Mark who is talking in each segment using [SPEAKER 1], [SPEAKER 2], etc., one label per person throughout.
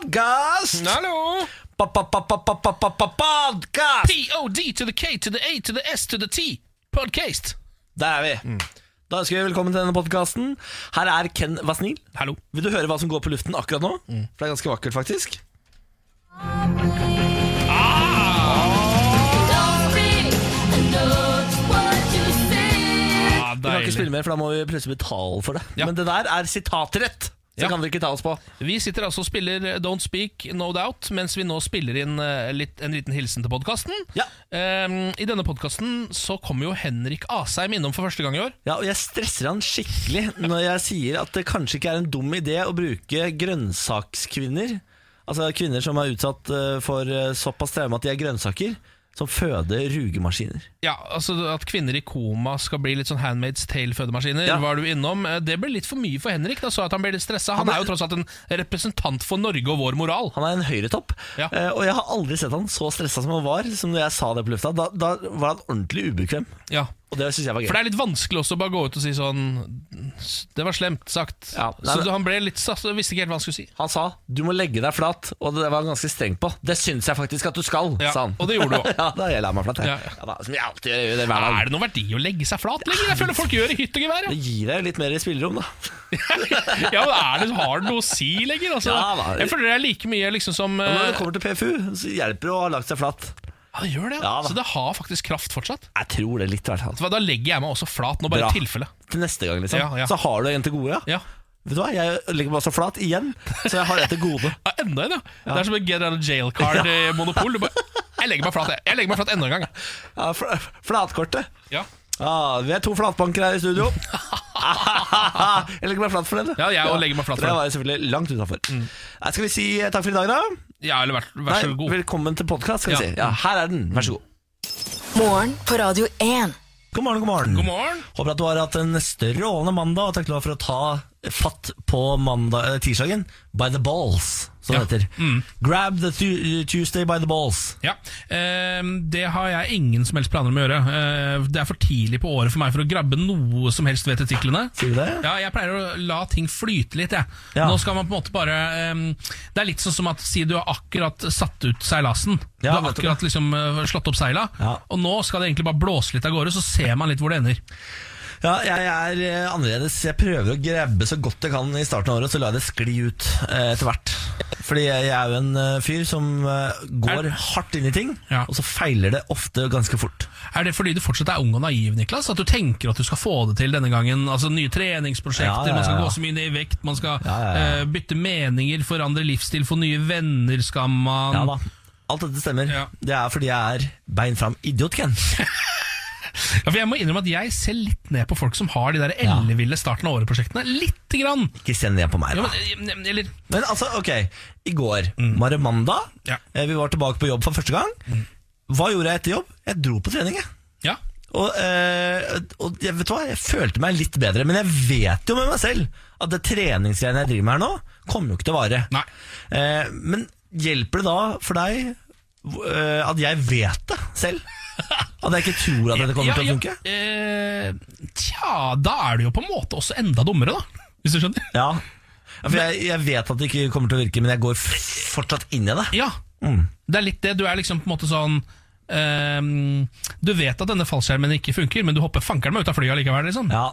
[SPEAKER 1] podkast!
[SPEAKER 2] Hallo!
[SPEAKER 1] Podkast!
[SPEAKER 2] POD to the K to the A to the S to the T. Podcast.
[SPEAKER 1] Der er
[SPEAKER 2] Mm.
[SPEAKER 1] vi. Da ønsker vi velkommen til denne podkasten. Her er Ken Vasnil.
[SPEAKER 2] Hallo.
[SPEAKER 1] Vil du høre hva som går på luften akkurat nå?
[SPEAKER 2] Mm.
[SPEAKER 1] For det er ganske vakkert, faktisk.
[SPEAKER 3] Don't read the notes, what you say.
[SPEAKER 2] Ah,
[SPEAKER 1] Vi kan ikke
[SPEAKER 2] deilig.
[SPEAKER 1] spille mer, for da må vi plutselig betale for det.
[SPEAKER 2] Ja.
[SPEAKER 1] Men det der er sitatrett! Så
[SPEAKER 2] Ja.
[SPEAKER 1] kan dere ikke ta oss på.
[SPEAKER 2] Vi sitter altså og spiller eh, Don't Speak No Doubt mens vi nå spiller inn eh, litt, en liten hilsen til podkasten.
[SPEAKER 1] Ja.
[SPEAKER 2] I denne podkasten så kommer jo Henrik Asheim innom for første gang i år.
[SPEAKER 1] Ja, og jeg stresser han skikkelig når jeg sier at det kanskje ikke er en dum idé å bruke grønnsakskvinner, altså kvinner som er utsatt eh, for eh, såpass traume at de er grønnsaker, som føder rugemaskiner.
[SPEAKER 2] Ja, altså At kvinner i koma skal bli litt sånn Handmaid's Tale-fødemaskiner,
[SPEAKER 1] Ja.
[SPEAKER 2] var du innom. Eh, Det ble litt for mye for Henrik. Da så jeg at han ble litt stressa. Han
[SPEAKER 1] Han er-
[SPEAKER 2] er jo tross alt en representant for Norge og vår moral.
[SPEAKER 1] Han er en høyretopp,
[SPEAKER 2] Ja.
[SPEAKER 1] eh, og jeg har aldri sett han så stressa som han var. Som da jeg sa det på lufta. Da, da var han ordentlig ubekvem,
[SPEAKER 2] Ja
[SPEAKER 1] og det syns jeg var
[SPEAKER 2] For
[SPEAKER 1] gøy.
[SPEAKER 2] det er litt vanskelig også å bare gå ut og si sånn Det var slemt sagt.
[SPEAKER 1] Ja, nei,
[SPEAKER 2] så
[SPEAKER 1] men-
[SPEAKER 2] du- han ble litt sass, visste ikke helt hva han skulle si.
[SPEAKER 1] Han sa 'du må legge deg flat', og det var han ganske streng på. 'Det syns jeg faktisk at du skal',
[SPEAKER 2] Ja,
[SPEAKER 1] sa han.
[SPEAKER 2] og det gjorde du også.
[SPEAKER 1] ja, da jeg la meg flat, jeg.
[SPEAKER 2] Ja,
[SPEAKER 1] Ja.
[SPEAKER 2] ja.
[SPEAKER 1] da, som jeg alltid gjør. jeg gjør det hver
[SPEAKER 2] Er
[SPEAKER 1] dag.
[SPEAKER 2] det noen verdi å legge seg flat lenger? Jeg føler folk gjør i hytt og gevær.
[SPEAKER 1] Det
[SPEAKER 2] Ja.
[SPEAKER 1] gir deg jo litt mer spillerom, da.
[SPEAKER 2] Ja, men er det, har det noe å si lenger? Altså,
[SPEAKER 1] Ja, da.
[SPEAKER 2] jeg føler det er like mye liksom som
[SPEAKER 1] Og Når det
[SPEAKER 2] eh,
[SPEAKER 1] kommer til PFU, så hjelper det å ha lagt seg flat.
[SPEAKER 2] Ja, det gjør det, ja.
[SPEAKER 1] Ja, da.
[SPEAKER 2] Så det har faktisk kraft fortsatt.
[SPEAKER 1] Jeg tror det litt, i hvert fall.
[SPEAKER 2] Vet du hva, Da legger jeg meg også flat, nå bare
[SPEAKER 1] Bra.
[SPEAKER 2] i tilfelle.
[SPEAKER 1] Til neste gang, liksom.
[SPEAKER 2] Ja, ja.
[SPEAKER 1] Så har du en til gode, ja.
[SPEAKER 2] Ja.
[SPEAKER 1] Vet du hva, jeg legger meg også flat igjen, så jeg har en til gode.
[SPEAKER 2] Ja, enda en, ja. Det er som en get out of jail card-monopol. Jeg legger meg flat jeg. Jeg legger meg flat enda en gang. jeg.
[SPEAKER 1] Ja, fl- flatkortet.
[SPEAKER 2] Ja.
[SPEAKER 1] Ja, Ah, vi er to flatbanker her i studio. jeg legger meg flat for den. du.
[SPEAKER 2] Ja, jeg også legger meg flat for
[SPEAKER 1] Det
[SPEAKER 2] den.
[SPEAKER 1] var jeg selvfølgelig langt utenfor. Nei, Skal vi si eh, takk for i dag, da?
[SPEAKER 2] ja, eller vær, vær så
[SPEAKER 1] Nei,
[SPEAKER 2] god.
[SPEAKER 1] Velkommen til podkast, skal vi
[SPEAKER 2] Ja.
[SPEAKER 1] si. Ja, her er den. Vær så god.
[SPEAKER 4] Morgen på Radio 1.
[SPEAKER 1] God morgen, god morgen.
[SPEAKER 2] God morgen.
[SPEAKER 1] Håper at du har hatt en strålende mandag, og takk for å ta fatt på mandag, eh, tirsdagen by the balls, som
[SPEAKER 2] Ja. Mm.
[SPEAKER 1] det heter. Grab the tu- Tuesday by the balls.
[SPEAKER 2] Ja, ehm, Det har jeg ingen som helst planer om å gjøre. Eh, det er for tidlig på året for meg for å grabbe noe som helst ved testiklene.
[SPEAKER 1] Sier du det?
[SPEAKER 2] Ja, jeg pleier å la ting flyte litt. Jeg.
[SPEAKER 1] Ja.
[SPEAKER 2] Nå skal man på en måte bare ehm, Det er litt sånn som at si du har akkurat satt ut seilasen.
[SPEAKER 1] Ja,
[SPEAKER 2] du har
[SPEAKER 1] nettopp.
[SPEAKER 2] akkurat liksom eh, slått opp seila,
[SPEAKER 1] Ja.
[SPEAKER 2] og nå skal det egentlig bare blåse litt av gårde, så ser man litt hvor det ender.
[SPEAKER 1] Ja, jeg er eh, annerledes. Jeg prøver å grabbe så godt jeg kan i starten av året, så lar jeg det skli ut eh, etter hvert. Fordi jeg jeg er jo en eh, fyr som eh, går hardt inn i ting,
[SPEAKER 2] Ja.
[SPEAKER 1] og så feiler det ofte ganske fort.
[SPEAKER 2] Er det fordi du fortsatt er ung og naiv, Niklas? At du tenker at du skal få det til denne gangen? Altså Nye
[SPEAKER 1] Ja,
[SPEAKER 2] treningsprosjekter,
[SPEAKER 1] ja, ja,
[SPEAKER 2] man skal
[SPEAKER 1] ja.
[SPEAKER 2] gå så mye ned i vekt, man skal
[SPEAKER 1] Ja, ja, ja.
[SPEAKER 2] eh, bytte meninger, forandre livsstil, få nye venner, skal man
[SPEAKER 1] Ja da. Alt dette stemmer.
[SPEAKER 2] Ja.
[SPEAKER 1] Det er fordi jeg er bein fram idiot, Ken.
[SPEAKER 2] Ja, for Jeg må innrømme at jeg ser litt ned på folk som har de der elleville starten av året-prosjektene. Lite grann!
[SPEAKER 1] Ikke send det på meg,
[SPEAKER 2] Ja,
[SPEAKER 1] da.
[SPEAKER 2] men, eh, eller,
[SPEAKER 1] Men altså, ok. I går var det mandag.
[SPEAKER 2] Ja. Mm.
[SPEAKER 1] Eh, Vi var tilbake på jobb for første gang. Hva gjorde jeg etter jobb? Jeg dro på trening, jeg.
[SPEAKER 2] ja.
[SPEAKER 1] Og, eh, og jeg, vet du hva, jeg følte meg litt bedre, men jeg vet jo med meg selv at det treningsgreiene jeg driver med her nå, kommer jo ikke til å vare.
[SPEAKER 2] Nei.
[SPEAKER 1] Eh, men hjelper det da for deg eh, at jeg vet det selv? At jeg ikke tror at dette kommer
[SPEAKER 2] ja,
[SPEAKER 1] til å funke?
[SPEAKER 2] Ja, eh, tja, da er du jo på en måte også enda dummere, da. Hvis du skjønner?
[SPEAKER 1] Ja. Ja, for jeg, jeg vet at det ikke kommer til å virke, men jeg går f- fortsatt inn i det.
[SPEAKER 2] Ja.
[SPEAKER 1] Mm.
[SPEAKER 2] Det er litt det. Du er liksom på en måte sånn ehm, Du vet at denne fallskjermen ikke funker, men du hopper fankeren meg ut av flyet likevel, liksom.
[SPEAKER 1] Ja,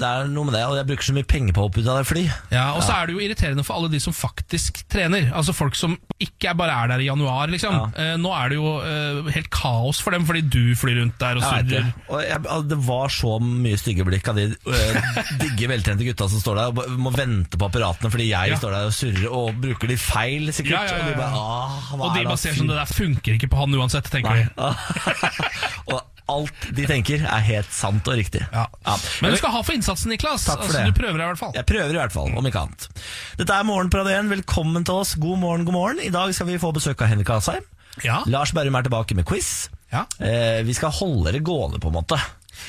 [SPEAKER 1] det er noe med det, og jeg bruker så mye penger på å hoppe ut av det fly.
[SPEAKER 2] Ja, og så er det jo irriterende for alle de som faktisk trener. Altså folk som ikke er bare er der i januar, liksom. Eh, nå er det jo eh, helt kaos for dem fordi du flyr rundt der og
[SPEAKER 1] Jeg vet
[SPEAKER 2] surrer.
[SPEAKER 1] det. Og jeg, al- det var så mye stygge blikk av de øh, digge, veltrente gutta som står der og ba- må vente på apparatene fordi jeg
[SPEAKER 2] Ja.
[SPEAKER 1] står der og surrer og bruker de feil, sikkert.
[SPEAKER 2] Ja,
[SPEAKER 1] Og de
[SPEAKER 2] ja, ja, ja.
[SPEAKER 1] bare ah, hva
[SPEAKER 2] Og de
[SPEAKER 1] er
[SPEAKER 2] bare
[SPEAKER 1] det
[SPEAKER 2] ser
[SPEAKER 1] han
[SPEAKER 2] sånn det der funker ikke på han uansett, tenker de.
[SPEAKER 1] fyr- Og alt de tenker, er helt sant og riktig.
[SPEAKER 2] Ja.
[SPEAKER 1] Ja.
[SPEAKER 2] Men du skal ha for innsatsen, Niklas.
[SPEAKER 1] Takk for
[SPEAKER 2] altså,
[SPEAKER 1] det.
[SPEAKER 2] Du prøver deg i hvert fall.
[SPEAKER 1] Jeg prøver i hvert fall, om ikke annet. Dette er Morgen på Radio 1. Velkommen til oss. God morgen, god morgen. I dag skal vi få besøk av Henrik Asheim.
[SPEAKER 2] Ja.
[SPEAKER 1] Lars Berrum er tilbake med quiz.
[SPEAKER 2] Ja.
[SPEAKER 1] Eh, vi skal holde det gående, på en måte.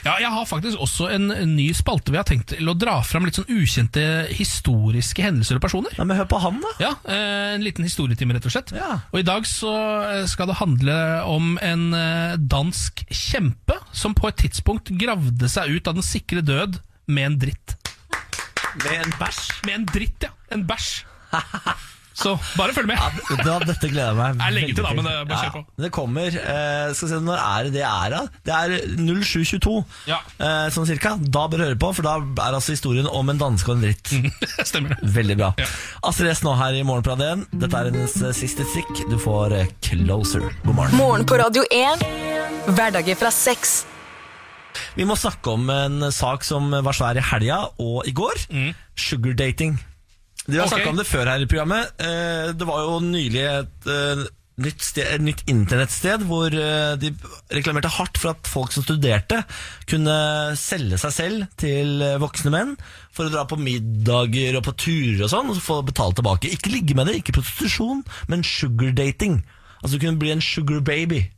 [SPEAKER 2] ja, jeg har faktisk også en en ny spalte vi har tenkt til å dra fram litt sånn ukjente historiske hendelser og personer.
[SPEAKER 1] Ja, men hør på han, da.
[SPEAKER 2] Ja, eh, en liten historietime, rett og slett.
[SPEAKER 1] Ja.
[SPEAKER 2] Og i dag så eh, skal det handle om en eh, dansk kjempe som på et tidspunkt gravde seg ut av den sikre død med en dritt.
[SPEAKER 1] Med en bæsj.
[SPEAKER 2] Med en dritt, ja. En bæsj. Så bare følg med.
[SPEAKER 1] Vet du hva, dette gleder jeg meg
[SPEAKER 2] Jeg legger til, da,
[SPEAKER 1] veldig
[SPEAKER 2] men det- bare
[SPEAKER 1] Ja,
[SPEAKER 2] kjør på.
[SPEAKER 1] Det kommer. eh, skal vi se, Når er det det er, da? Det er 07.22,
[SPEAKER 2] Ja.
[SPEAKER 1] eh, sånn cirka. Da bør du høre på, for da er altså historien om en danske og en dritt.
[SPEAKER 2] Stemmer det.
[SPEAKER 1] Veldig bra.
[SPEAKER 2] Ja.
[SPEAKER 1] Astrid S nå her i Morgen på Radio 1. Dette er hennes eh, siste stikk. Du får eh, Closer. God morgen.
[SPEAKER 4] Morgen på Radio 1. Hverdager fra seks.
[SPEAKER 1] Vi må snakke om en sak som var svær i helga og i går. Sugardating. Vi har
[SPEAKER 2] Mm. Ok.
[SPEAKER 1] snakket om det før her i programmet. Eh, Det var jo nylig et eh, nytt, sted, et nytt internettsted hvor eh, de reklamerte hardt for at folk som studerte, kunne selge seg selv til eh, voksne menn for å dra på middager og på turer og sånn, og så få betalt tilbake. Ikke ligge med det, ikke prostitusjon, men sugardating. Altså du kunne bli en sugar baby.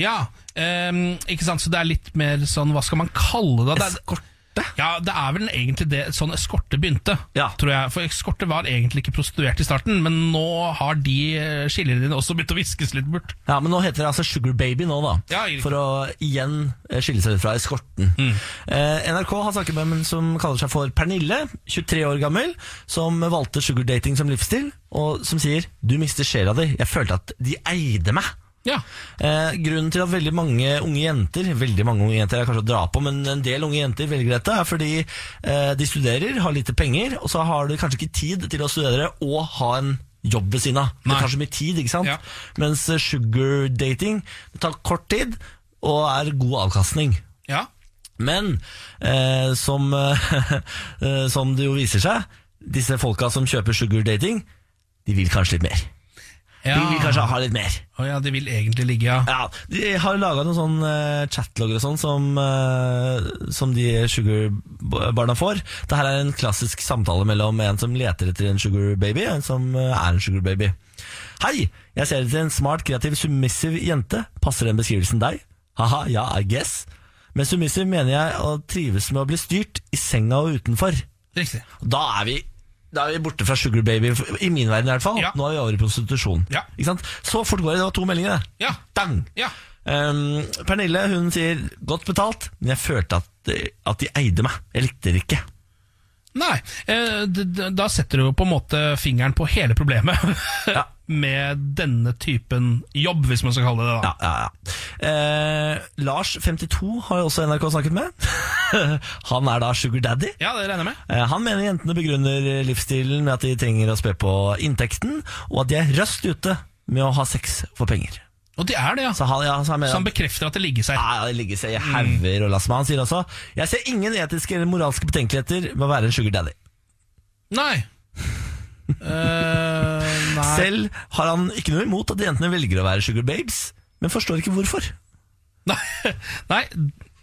[SPEAKER 2] Ja, ehm, ikke sant, så det er litt mer sånn, hva skal man kalle det? det er,
[SPEAKER 1] Eskorte.
[SPEAKER 2] Ja, det er vel egentlig det sånn eskorte begynte,
[SPEAKER 1] Ja.
[SPEAKER 2] tror jeg. For eskorte var egentlig ikke prostituert i starten, men nå har de eh, skillelinjene også begynt å viskes litt bort.
[SPEAKER 1] Ja, men nå heter det altså Sugar Baby nå da
[SPEAKER 2] Ja, riktig. Mm.
[SPEAKER 1] For å igjen eh, skille seg ut fra eskorten eh, NRK har snakket med en som kaller seg for Pernille 23 år gammel Som valgte sugar dating som livsstil Og som sier Du mister sjela di Jeg følte at de eide meg
[SPEAKER 2] Ja,
[SPEAKER 1] Eh, grunnen til at veldig mange unge jenter Veldig mange unge jenter er kanskje å dra på Men en del unge jenter velger dette Er fordi eh, de studerer, har lite penger Og så har de kanskje ikke tid til å studere Og ha en jobb ved siden av Det
[SPEAKER 2] Nei.
[SPEAKER 1] tar så mye tid, ikke sant?
[SPEAKER 2] Ja.
[SPEAKER 1] Mens eh, sugar dating Det tar kort tid Og er god avkastning
[SPEAKER 2] ja.
[SPEAKER 1] men eh, som, eh, eh, som det jo viser seg, disse folka som kjøper sugar dating, de vil kanskje litt mer. De
[SPEAKER 2] Ja.
[SPEAKER 1] vil kanskje ha litt mer.
[SPEAKER 2] Å ja, de vil egentlig ligge, ja.
[SPEAKER 1] Ja, De har laga noen sånn eh, chatlogger og sånn som, eh, som de sugarbarna får. Dette er en klassisk samtale mellom en som leter etter en sugar baby, og en som eh, er en sugar baby. Hei, jeg ser etter en smart, kreativ, submissiv jente. Passer den beskrivelsen deg? Haha, ja, I guess. Med submissiv mener jeg å trives med å bli styrt, i senga og utenfor.
[SPEAKER 2] Riktig.
[SPEAKER 1] Da er vi da er vi borte fra Sugar Baby, i min verden i hvert fall.
[SPEAKER 2] Ja.
[SPEAKER 1] Nå er vi over i prostitusjon.
[SPEAKER 2] Ja.
[SPEAKER 1] Ikke sant? Så fort går det. Det var to meldinger, det.
[SPEAKER 2] Ja.
[SPEAKER 1] Dang!
[SPEAKER 2] Ja.
[SPEAKER 1] Um, Pernille hun sier 'godt betalt', men jeg følte at, at de eide meg. Jeg likte det ikke.
[SPEAKER 2] Nei, eh, d- d- da setter du jo på en måte fingeren på hele problemet
[SPEAKER 1] Ja.
[SPEAKER 2] med denne typen jobb, hvis man skal kalle det det.
[SPEAKER 1] Ja,
[SPEAKER 2] da.
[SPEAKER 1] ja, ja. Eh, Lars, 52, har jo også NRK snakket med. han er da Sugar Daddy.
[SPEAKER 2] Ja, det regner jeg med.
[SPEAKER 1] Eh, Han mener jentene begrunner livsstilen med at de trenger å spe på inntekten, og at de er røst ute med å ha sex for penger.
[SPEAKER 2] Og de er det, ja.
[SPEAKER 1] Så han, ja, så han mener
[SPEAKER 2] Så han bekrefter at det ligger seg.
[SPEAKER 1] Ja, ja, det ligger seg i hauger og lass med. Han sier også Jeg ser ingen etiske eller moralske betenkeligheter med å være en sugar daddy.
[SPEAKER 2] Nei. Eh, nei.
[SPEAKER 1] Selv har han ikke noe imot at jentene velger å være sugar babes, men forstår ikke hvorfor.
[SPEAKER 2] nei. Nei,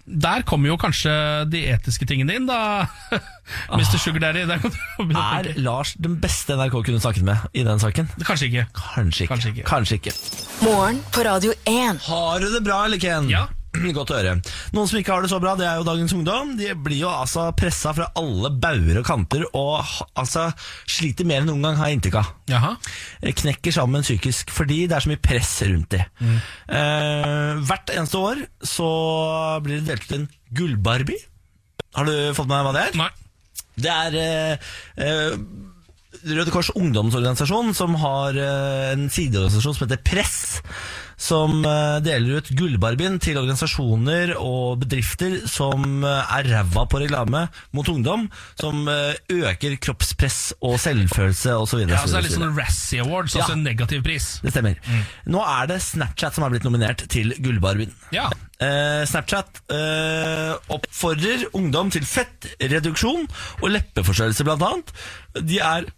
[SPEAKER 2] der kommer jo kanskje de etiske tingene inn, da. Mr. Sugar Daddy. Der kan du begynne å
[SPEAKER 1] Er
[SPEAKER 2] tenke.
[SPEAKER 1] Lars den beste NRK kunne snakket med i den saken?
[SPEAKER 2] Kanskje ikke.
[SPEAKER 1] Kanskje ikke.
[SPEAKER 2] Kanskje ikke.
[SPEAKER 1] Kanskje ikke.
[SPEAKER 4] Morgen på Radio 1.
[SPEAKER 1] Har du det bra, eller Ken?
[SPEAKER 2] Ja.
[SPEAKER 1] Godt å høre. Noen som ikke har det så bra, det er jo dagens ungdom. De blir jo altså pressa fra alle bauger og kanter, og ha- altså sliter mer enn noen gang, har jeg inntrykk av. Eh,
[SPEAKER 2] Jaha.
[SPEAKER 1] knekker sammen psykisk fordi det er så mye press rundt dem.
[SPEAKER 2] Mm.
[SPEAKER 1] Eh, hvert eneste år så blir det delt ut en gullbarbie. Har du fått med deg hva det er?
[SPEAKER 2] Nei.
[SPEAKER 1] Det er eh, eh, Røde Kors ungdomsorganisasjon som har eh, en sideorganisasjon som heter Press. Som eh, deler ut gullbarbien til organisasjoner og bedrifter som eh, er ræva på reklame mot ungdom. Som eh, øker kroppspress og selvfølelse osv.
[SPEAKER 2] Ja, så det er litt sånn Mm. Razzie Awards,
[SPEAKER 1] Ja.
[SPEAKER 2] altså en negativ pris.
[SPEAKER 1] Det stemmer. Nå er det Snapchat som er blitt nominert til Gullbarbien.
[SPEAKER 2] Ja.
[SPEAKER 1] Eh, Snapchat eh, oppfordrer ungdom til fettreduksjon og leppeforstørrelse, blant annet. De er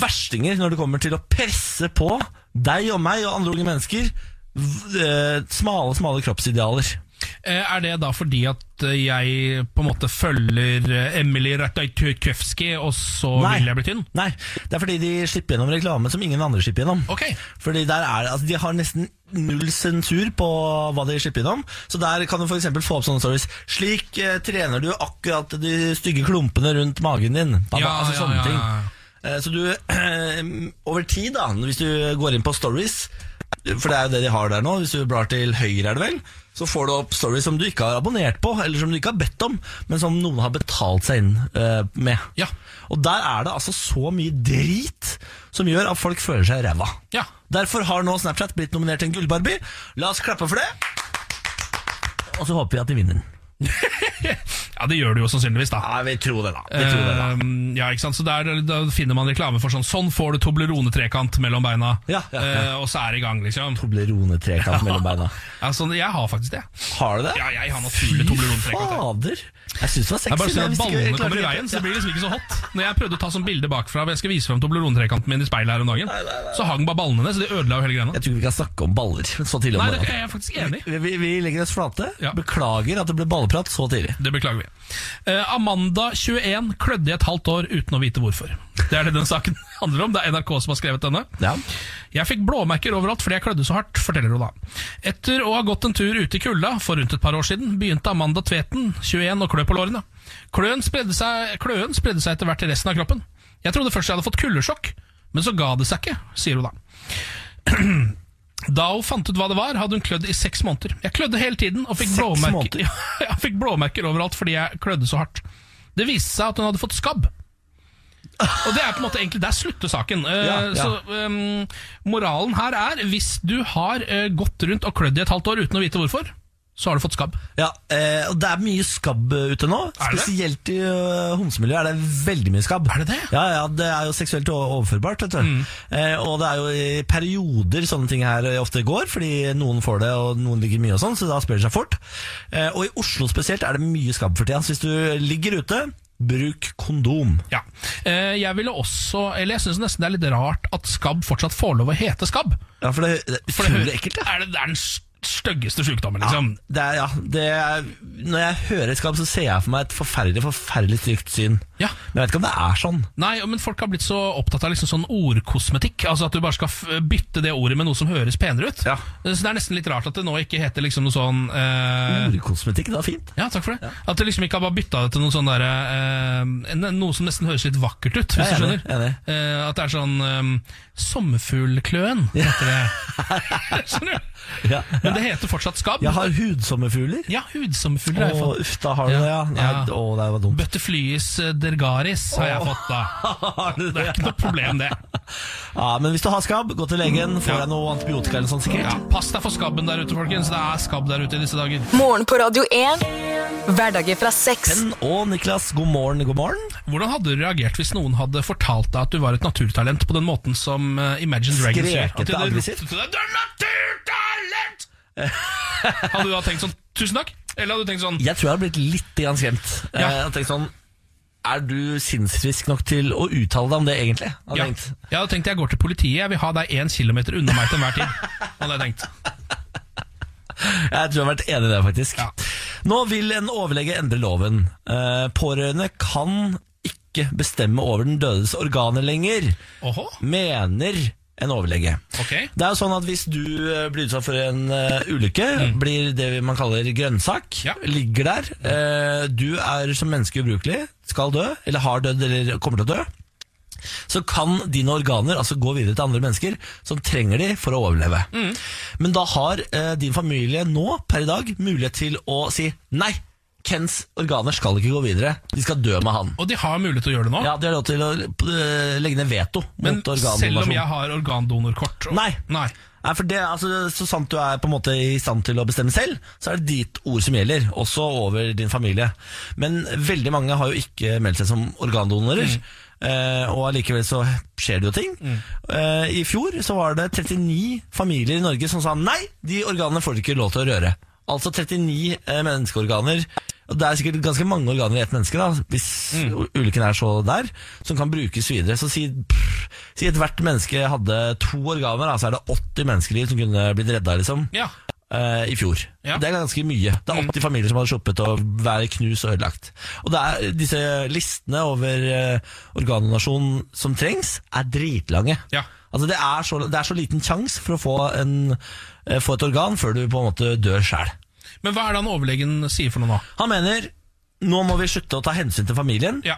[SPEAKER 1] verstinger når det kommer til å presse på deg og meg og andre unge mennesker v- eh, smale, smale kroppsidealer.
[SPEAKER 2] Eh, Er det da fordi at eh, jeg på en måte følger eh, Emily Ratajkowski, og så vil jeg bli tynn?
[SPEAKER 1] Nei, det er fordi de slipper gjennom reklame som ingen andre slipper gjennom.
[SPEAKER 2] Ok.
[SPEAKER 1] Fordi der er det, altså De har nesten null sensur på hva de slipper innom. Så der kan du f.eks. få opp sånne stories. Slik eh, trener du akkurat de stygge klumpene rundt magen din. Pappa,
[SPEAKER 2] Ja,
[SPEAKER 1] altså
[SPEAKER 2] ja,
[SPEAKER 1] sånne
[SPEAKER 2] ja,
[SPEAKER 1] ting.
[SPEAKER 2] ja.
[SPEAKER 1] Eh, Så du, over tid da, hvis du går inn på stories For det er jo det de har der nå. Hvis du blar til høyre, er det vel, så får du opp stories som du ikke har abonnert på, eller som du ikke har bedt om, men som noen har betalt seg inn eh, med.
[SPEAKER 2] Ja.
[SPEAKER 1] Og der er det altså så mye drit som gjør at folk føler seg ræva.
[SPEAKER 2] Ja.
[SPEAKER 1] Derfor har nå Snapchat blitt nominert til en gullbarbie. La oss klappe for det. Og så håper vi at de vinner.
[SPEAKER 2] Ja, det gjør du jo sannsynligvis, da.
[SPEAKER 1] Ja, vi tror det, da. Eh.
[SPEAKER 2] Ehm, ja, ikke sant? Så der, Da finner man reklame for sånn Sånn får du Toblerone-trekant mellom beina,
[SPEAKER 1] Ja, ja, ja.
[SPEAKER 2] Eh, og så er det i gang, liksom.
[SPEAKER 1] Toblerone-trekant mellom beina.
[SPEAKER 2] Ja, sånn, jeg har faktisk det.
[SPEAKER 1] Har du det?
[SPEAKER 2] Ja, jeg har naturlig Toblerone-trekant. jeg.
[SPEAKER 1] fader! Jeg syns det var
[SPEAKER 2] Det
[SPEAKER 1] sexy.
[SPEAKER 2] er bare
[SPEAKER 1] men jeg
[SPEAKER 2] sånn at
[SPEAKER 1] visste ikke- jeg
[SPEAKER 2] Ballene
[SPEAKER 1] klarte
[SPEAKER 2] kommer i
[SPEAKER 1] ikke-
[SPEAKER 2] veien, så det blir liksom ikke så hot. Når jeg prøvde å ta sånn bilde bakfra, og jeg skal vise frem Toblerone-trekanten min i speilet her om dagen, så hang bare ballene ned, så det ødela jo hele greia.
[SPEAKER 1] Jeg tror ikke vi kan snakke om baller så tidlig om
[SPEAKER 2] Nei, det
[SPEAKER 1] morgenen.
[SPEAKER 2] er jeg faktisk enig i.
[SPEAKER 1] Vi, vi, vi legger oss flate.
[SPEAKER 2] Ja.
[SPEAKER 1] Beklager at det ble balleprat så tidlig.
[SPEAKER 2] Det beklager vi. Eh, Amanda, 21, klødde i et halvt år uten å vite hvorfor. Det er det den saken handler om. Det er NRK som har skrevet denne.
[SPEAKER 1] Ja.
[SPEAKER 2] Jeg fikk blåmerker overalt fordi jeg klødde så hardt, forteller hun da. Etter å ha gått en tur ute i kulda for rundt et par år siden, begynte Amanda Tveten, 21, å klø på lårene. Kløen spredde seg, kløen spredde seg etter hvert til resten av kroppen. Jeg trodde først jeg hadde fått kuldesjokk, men så ga det seg ikke, sier hun da. Da hun fant ut hva det var, hadde hun klødd i seks måneder. Jeg klødde hele tiden og fikk
[SPEAKER 1] Seks
[SPEAKER 2] blåmerker,
[SPEAKER 1] måneder?
[SPEAKER 2] ja, jeg fikk blåmerker overalt fordi jeg klødde så hardt. Det viste seg at hun hadde fått skabb. Og det er på en måte egentlig Der slutter saken. Eh,
[SPEAKER 1] Ja, ja.
[SPEAKER 2] Så ehm, moralen her er hvis du har eh, gått rundt og klødd i et halvt år uten å vite hvorfor, så har du fått skabb.
[SPEAKER 1] Ja, eh, og Det er mye skabb eh, ute nå.
[SPEAKER 2] Er det?
[SPEAKER 1] Spesielt i uh, homsemiljøet er det veldig mye skabb.
[SPEAKER 2] Er det Mm. det?
[SPEAKER 1] Ja, ja, Det er jo seksuelt o- overførbart. vet du eh, Og det er jo i perioder sånne ting her eh, ofte går, fordi noen får det og noen ligger mye, og sånn, så da sprer det seg fort. Eh, og i Oslo spesielt er det mye skabb for tida. Så hvis du ligger ute, bruk kondom.
[SPEAKER 2] Ja. Eh, jeg ville også Eller jeg syns nesten det er litt rart at skabb fortsatt får lov å hete skabb.
[SPEAKER 1] Ja, For det, det er
[SPEAKER 2] For det,
[SPEAKER 1] utrolig ekkelt. ja.
[SPEAKER 2] er, det, det er den styggeste sykdommen, liksom.
[SPEAKER 1] Det er, ja, det er, når jeg hører skam, så ser jeg for meg et forferdelig forferdelig stygt syn.
[SPEAKER 2] Ja.
[SPEAKER 1] Men jeg vet ikke om det er sånn.
[SPEAKER 2] Nei, men folk har blitt så opptatt av liksom sånn ordkosmetikk. Altså At du bare skal f bytte det ordet med noe som høres penere ut.
[SPEAKER 1] Ja.
[SPEAKER 2] Så Det er nesten litt rart at det nå ikke heter liksom noe sånn
[SPEAKER 1] Mm.
[SPEAKER 2] eh,
[SPEAKER 1] Urkosmetikk, det er fint.
[SPEAKER 2] Ja, takk for det. At det liksom ikke har bare bytta det til noe sånn der, eh, en- Noe som nesten høres litt vakkert ut, hvis
[SPEAKER 1] Jeg er
[SPEAKER 2] du
[SPEAKER 1] enig,
[SPEAKER 2] skjønner.
[SPEAKER 1] jeg er enig.
[SPEAKER 2] Eh, at det er sånn eh, Sommerfuglkløen heter det. skjønner du?
[SPEAKER 1] Ja.
[SPEAKER 2] Men det heter forthudt skabb.
[SPEAKER 1] Jeg har hudsommerfugler.
[SPEAKER 2] Ja, hudsommerfugler har jeg
[SPEAKER 1] Å,
[SPEAKER 2] fått.
[SPEAKER 1] uff, da har du det, ja. Nei,
[SPEAKER 2] Ja.
[SPEAKER 1] Å, det var dumt.
[SPEAKER 2] Butterflyes dergaris har jeg fått, da.
[SPEAKER 1] Har du
[SPEAKER 2] Det er ikke noe problem, det.
[SPEAKER 1] Ja, men hvis du har skabb, gå til legen. Får deg noe antibiotika eller sånn sikkert.
[SPEAKER 2] Mm, Ja, pass deg for skabben der ute, folkens. Det er skabb der ute i disse dager.
[SPEAKER 4] Morgen på Radio 1. Hverdager fra seks.
[SPEAKER 1] Penn og Niklas, god morgen, god morgen.
[SPEAKER 2] Hvordan hadde du reagert hvis noen hadde fortalt deg at du var et naturtalent på den måten som eh, Imagine Dragons gjør?
[SPEAKER 1] Skreket
[SPEAKER 2] At de
[SPEAKER 1] det
[SPEAKER 2] hadde ropt
[SPEAKER 1] aggressivt?
[SPEAKER 2] til deg, Du er naturtalent! hadde du da tenkt sånn Tusen takk? Eller hadde du tenkt sånn
[SPEAKER 1] Jeg tror jeg har blitt litt grann skremt.
[SPEAKER 2] Ja.
[SPEAKER 1] Eh, Jeg har tenkt sånn Er du sinnsfrisk nok til å uttale deg om det, egentlig? Har jeg
[SPEAKER 2] ja,
[SPEAKER 1] tenkt.
[SPEAKER 2] Jeg hadde tenkt jeg går til politiet, jeg vil ha deg én kilometer unna meg til enhver tid. Hadde jeg tenkt.
[SPEAKER 1] Jeg tror jeg har vært enig i det, faktisk.
[SPEAKER 2] Ja.
[SPEAKER 1] Nå vil en overlege endre loven. Eh, pårørende kan ikke bestemme over den dødes organer lenger,
[SPEAKER 2] Åhå,
[SPEAKER 1] mener en overlege.
[SPEAKER 2] ok.
[SPEAKER 1] Det er jo sånn at Hvis du eh, blir utsatt for en eh, ulykke, blir det man kaller grønnsak,
[SPEAKER 2] Mm. Ja.
[SPEAKER 1] ligger der eh, Du er som menneske ubrukelig, skal dø, eller har dødd eller kommer til å dø. Så kan dine organer altså gå videre til andre mennesker som trenger de for å overleve.
[SPEAKER 2] Mm.
[SPEAKER 1] Men da har eh, din familie nå, per i dag, mulighet til å si nei. Kens organer skal ikke gå videre, de skal dø med han.
[SPEAKER 2] Og de har mulighet til å gjøre det nå,
[SPEAKER 1] Ja, De har lov til å eh, legge ned veto
[SPEAKER 2] men
[SPEAKER 1] mot organdonasjon.
[SPEAKER 2] selv om jeg har organdonorkort og-
[SPEAKER 1] Nei.
[SPEAKER 2] Nei.
[SPEAKER 1] Nei, for det, altså, Så sant du er på en måte i stand til å bestemme selv, så er det ditt ord som gjelder, også over din familie. Men veldig mange har jo ikke meldt seg som organdonorer, eh, og allikevel så skjer det jo ting. Eh, I fjor så var det 39 familier i Norge som sa nei, de organene får du ikke lov til å røre. Altså 39 eh, menneskeorganer. Og Det er sikkert ganske mange organer i ett menneske, da, hvis
[SPEAKER 2] Mm.
[SPEAKER 1] u- ulykken er så der, som kan brukes videre. Så si, pff, si et hvert menneske hadde to organer, da, så er det 80 menneskeliv som kunne blitt redda liksom,
[SPEAKER 2] Ja.
[SPEAKER 1] eh, i fjor.
[SPEAKER 2] Ja. Mm.
[SPEAKER 1] Det er ganske mye. Det er 80 familier som hadde sluppet å være knust og ødelagt. Og det er, disse listene over eh, organdonasjon som trengs, er dritlange.
[SPEAKER 2] Ja.
[SPEAKER 1] Altså det, er så, det er så liten sjanse for å få, en, eh, få et organ før du på en måte dør sjæl.
[SPEAKER 2] Men hva er det han overlegen sier for noe nå?
[SPEAKER 1] Han mener nå må vi slutte å ta hensyn til familien.
[SPEAKER 2] Ja.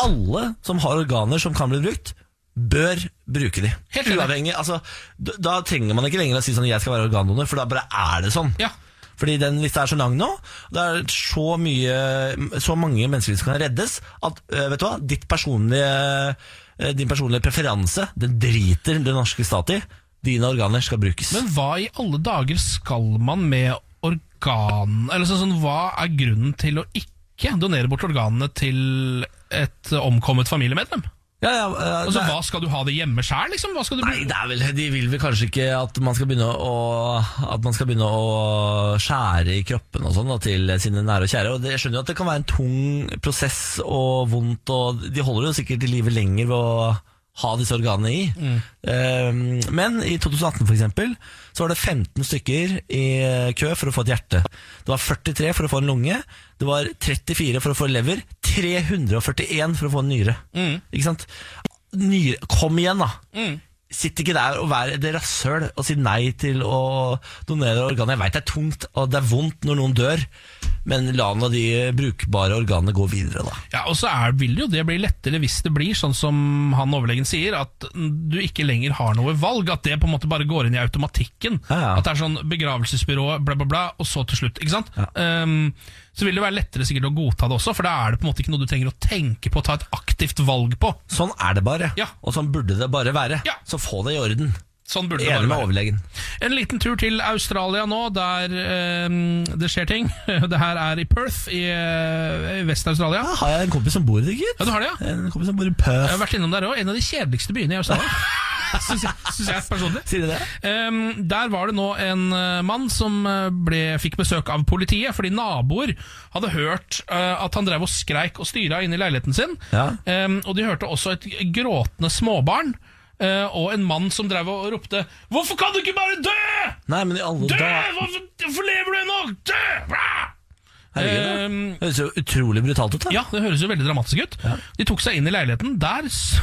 [SPEAKER 1] Alle som har organer som kan bli brukt, bør bruke de.
[SPEAKER 2] Helt enig.
[SPEAKER 1] Uavhengig, altså, da, da trenger man ikke lenger å si sånn 'jeg skal være organdonor', for da bare er det sånn.
[SPEAKER 2] Ja.
[SPEAKER 1] Fordi den lista er så lang nå, og det er så, mye, så mange mennesker som kan reddes, at øh, vet du hva, ditt personlige, øh, din personlige preferanse, den driter den norske stat i. Dine organer skal brukes.
[SPEAKER 2] Men hva i alle dager skal man med organ Eller sånn, sånn, hva er grunnen til å ikke donere bort organene til et eh, omkommet familiemedlem?
[SPEAKER 1] ja, ja, øh,
[SPEAKER 2] Altså,
[SPEAKER 1] det-
[SPEAKER 2] Hva skal du ha det hjemme sjæl, liksom? Hva skal du
[SPEAKER 1] Nei, det er vel, De vil vel kanskje ikke at man skal begynne å, at man skal begynne å skjære i kroppen og sånn da, til sine nære og kjære. Og det, Jeg skjønner jo at det kan være en tung prosess og vondt, og de holder jo sikkert i live lenger ved å ha disse organene i. Eh, men i 2018 for eksempel, så var det 15 stykker i kø for å få et hjerte. Det var 43 for å få en lunge, det var 34 for å få lever, 341 for å få en nyre. Ikke sant? Nyre, kom igjen da!
[SPEAKER 2] Mm.
[SPEAKER 1] Sitt ikke der og vær et rasshøl og si nei til å donere organer. Jeg veit det er tungt og det er vondt når noen dør, men la nå de brukbare organene gå videre, da.
[SPEAKER 2] Ja, og så er, vil jo det bli lettere hvis det blir sånn som han overlegen sier, at du ikke lenger har noe valg, at det på en måte bare går inn i automatikken.
[SPEAKER 1] Ja, ja.
[SPEAKER 2] At det er sånn begravelsesbyrå, bla bla bla, og så til slutt, ikke sant? Ehm, så vil det være lettere sikkert å godta det også, for da er det på en måte ikke noe du trenger å tenke på, ta et aktivt valg på.
[SPEAKER 1] Sånn er det bare,
[SPEAKER 2] Ja.
[SPEAKER 1] og sånn burde det bare være.
[SPEAKER 2] Ja.
[SPEAKER 1] Så få det i orden.
[SPEAKER 2] Sånn burde det
[SPEAKER 1] Enig
[SPEAKER 2] bare
[SPEAKER 1] med
[SPEAKER 2] være.
[SPEAKER 1] overlegen.
[SPEAKER 2] En liten tur til Australia nå, der ehm, det skjer ting. Det her er i Perth i, eh, i Vest-Australia.
[SPEAKER 1] Da har jeg en kompis som bor i det, gitt.
[SPEAKER 2] Ja, du har det, ja?
[SPEAKER 1] En kompis som bor i
[SPEAKER 2] Jeg har
[SPEAKER 1] Perth.
[SPEAKER 2] vært innom der òg. En av de kjedeligste byene i Australia. Syns jeg, synes jeg personlig.
[SPEAKER 1] Sier de det?
[SPEAKER 2] Ehm, der var det nå en eh, mann som eh, ble, fikk besøk av politiet fordi naboer hadde hørt eh, at han drev og skreik og styra inne i leiligheten sin.
[SPEAKER 1] Ja.
[SPEAKER 2] Ehm, og de hørte også et gråtende småbarn eh, og en mann som drev og ropte 'Hvorfor kan du ikke bare dø?'
[SPEAKER 1] Nei, men i alle
[SPEAKER 2] Dø!
[SPEAKER 1] dager
[SPEAKER 2] Hvorfor, hvorfor lever du ennå? Dø! Bra!
[SPEAKER 1] Herregud, da.
[SPEAKER 2] Ehm,
[SPEAKER 1] Det høres jo utrolig brutalt ut, da.
[SPEAKER 2] ja, det høres jo veldig dramatisk ut. De tok seg inn i leiligheten. Der s-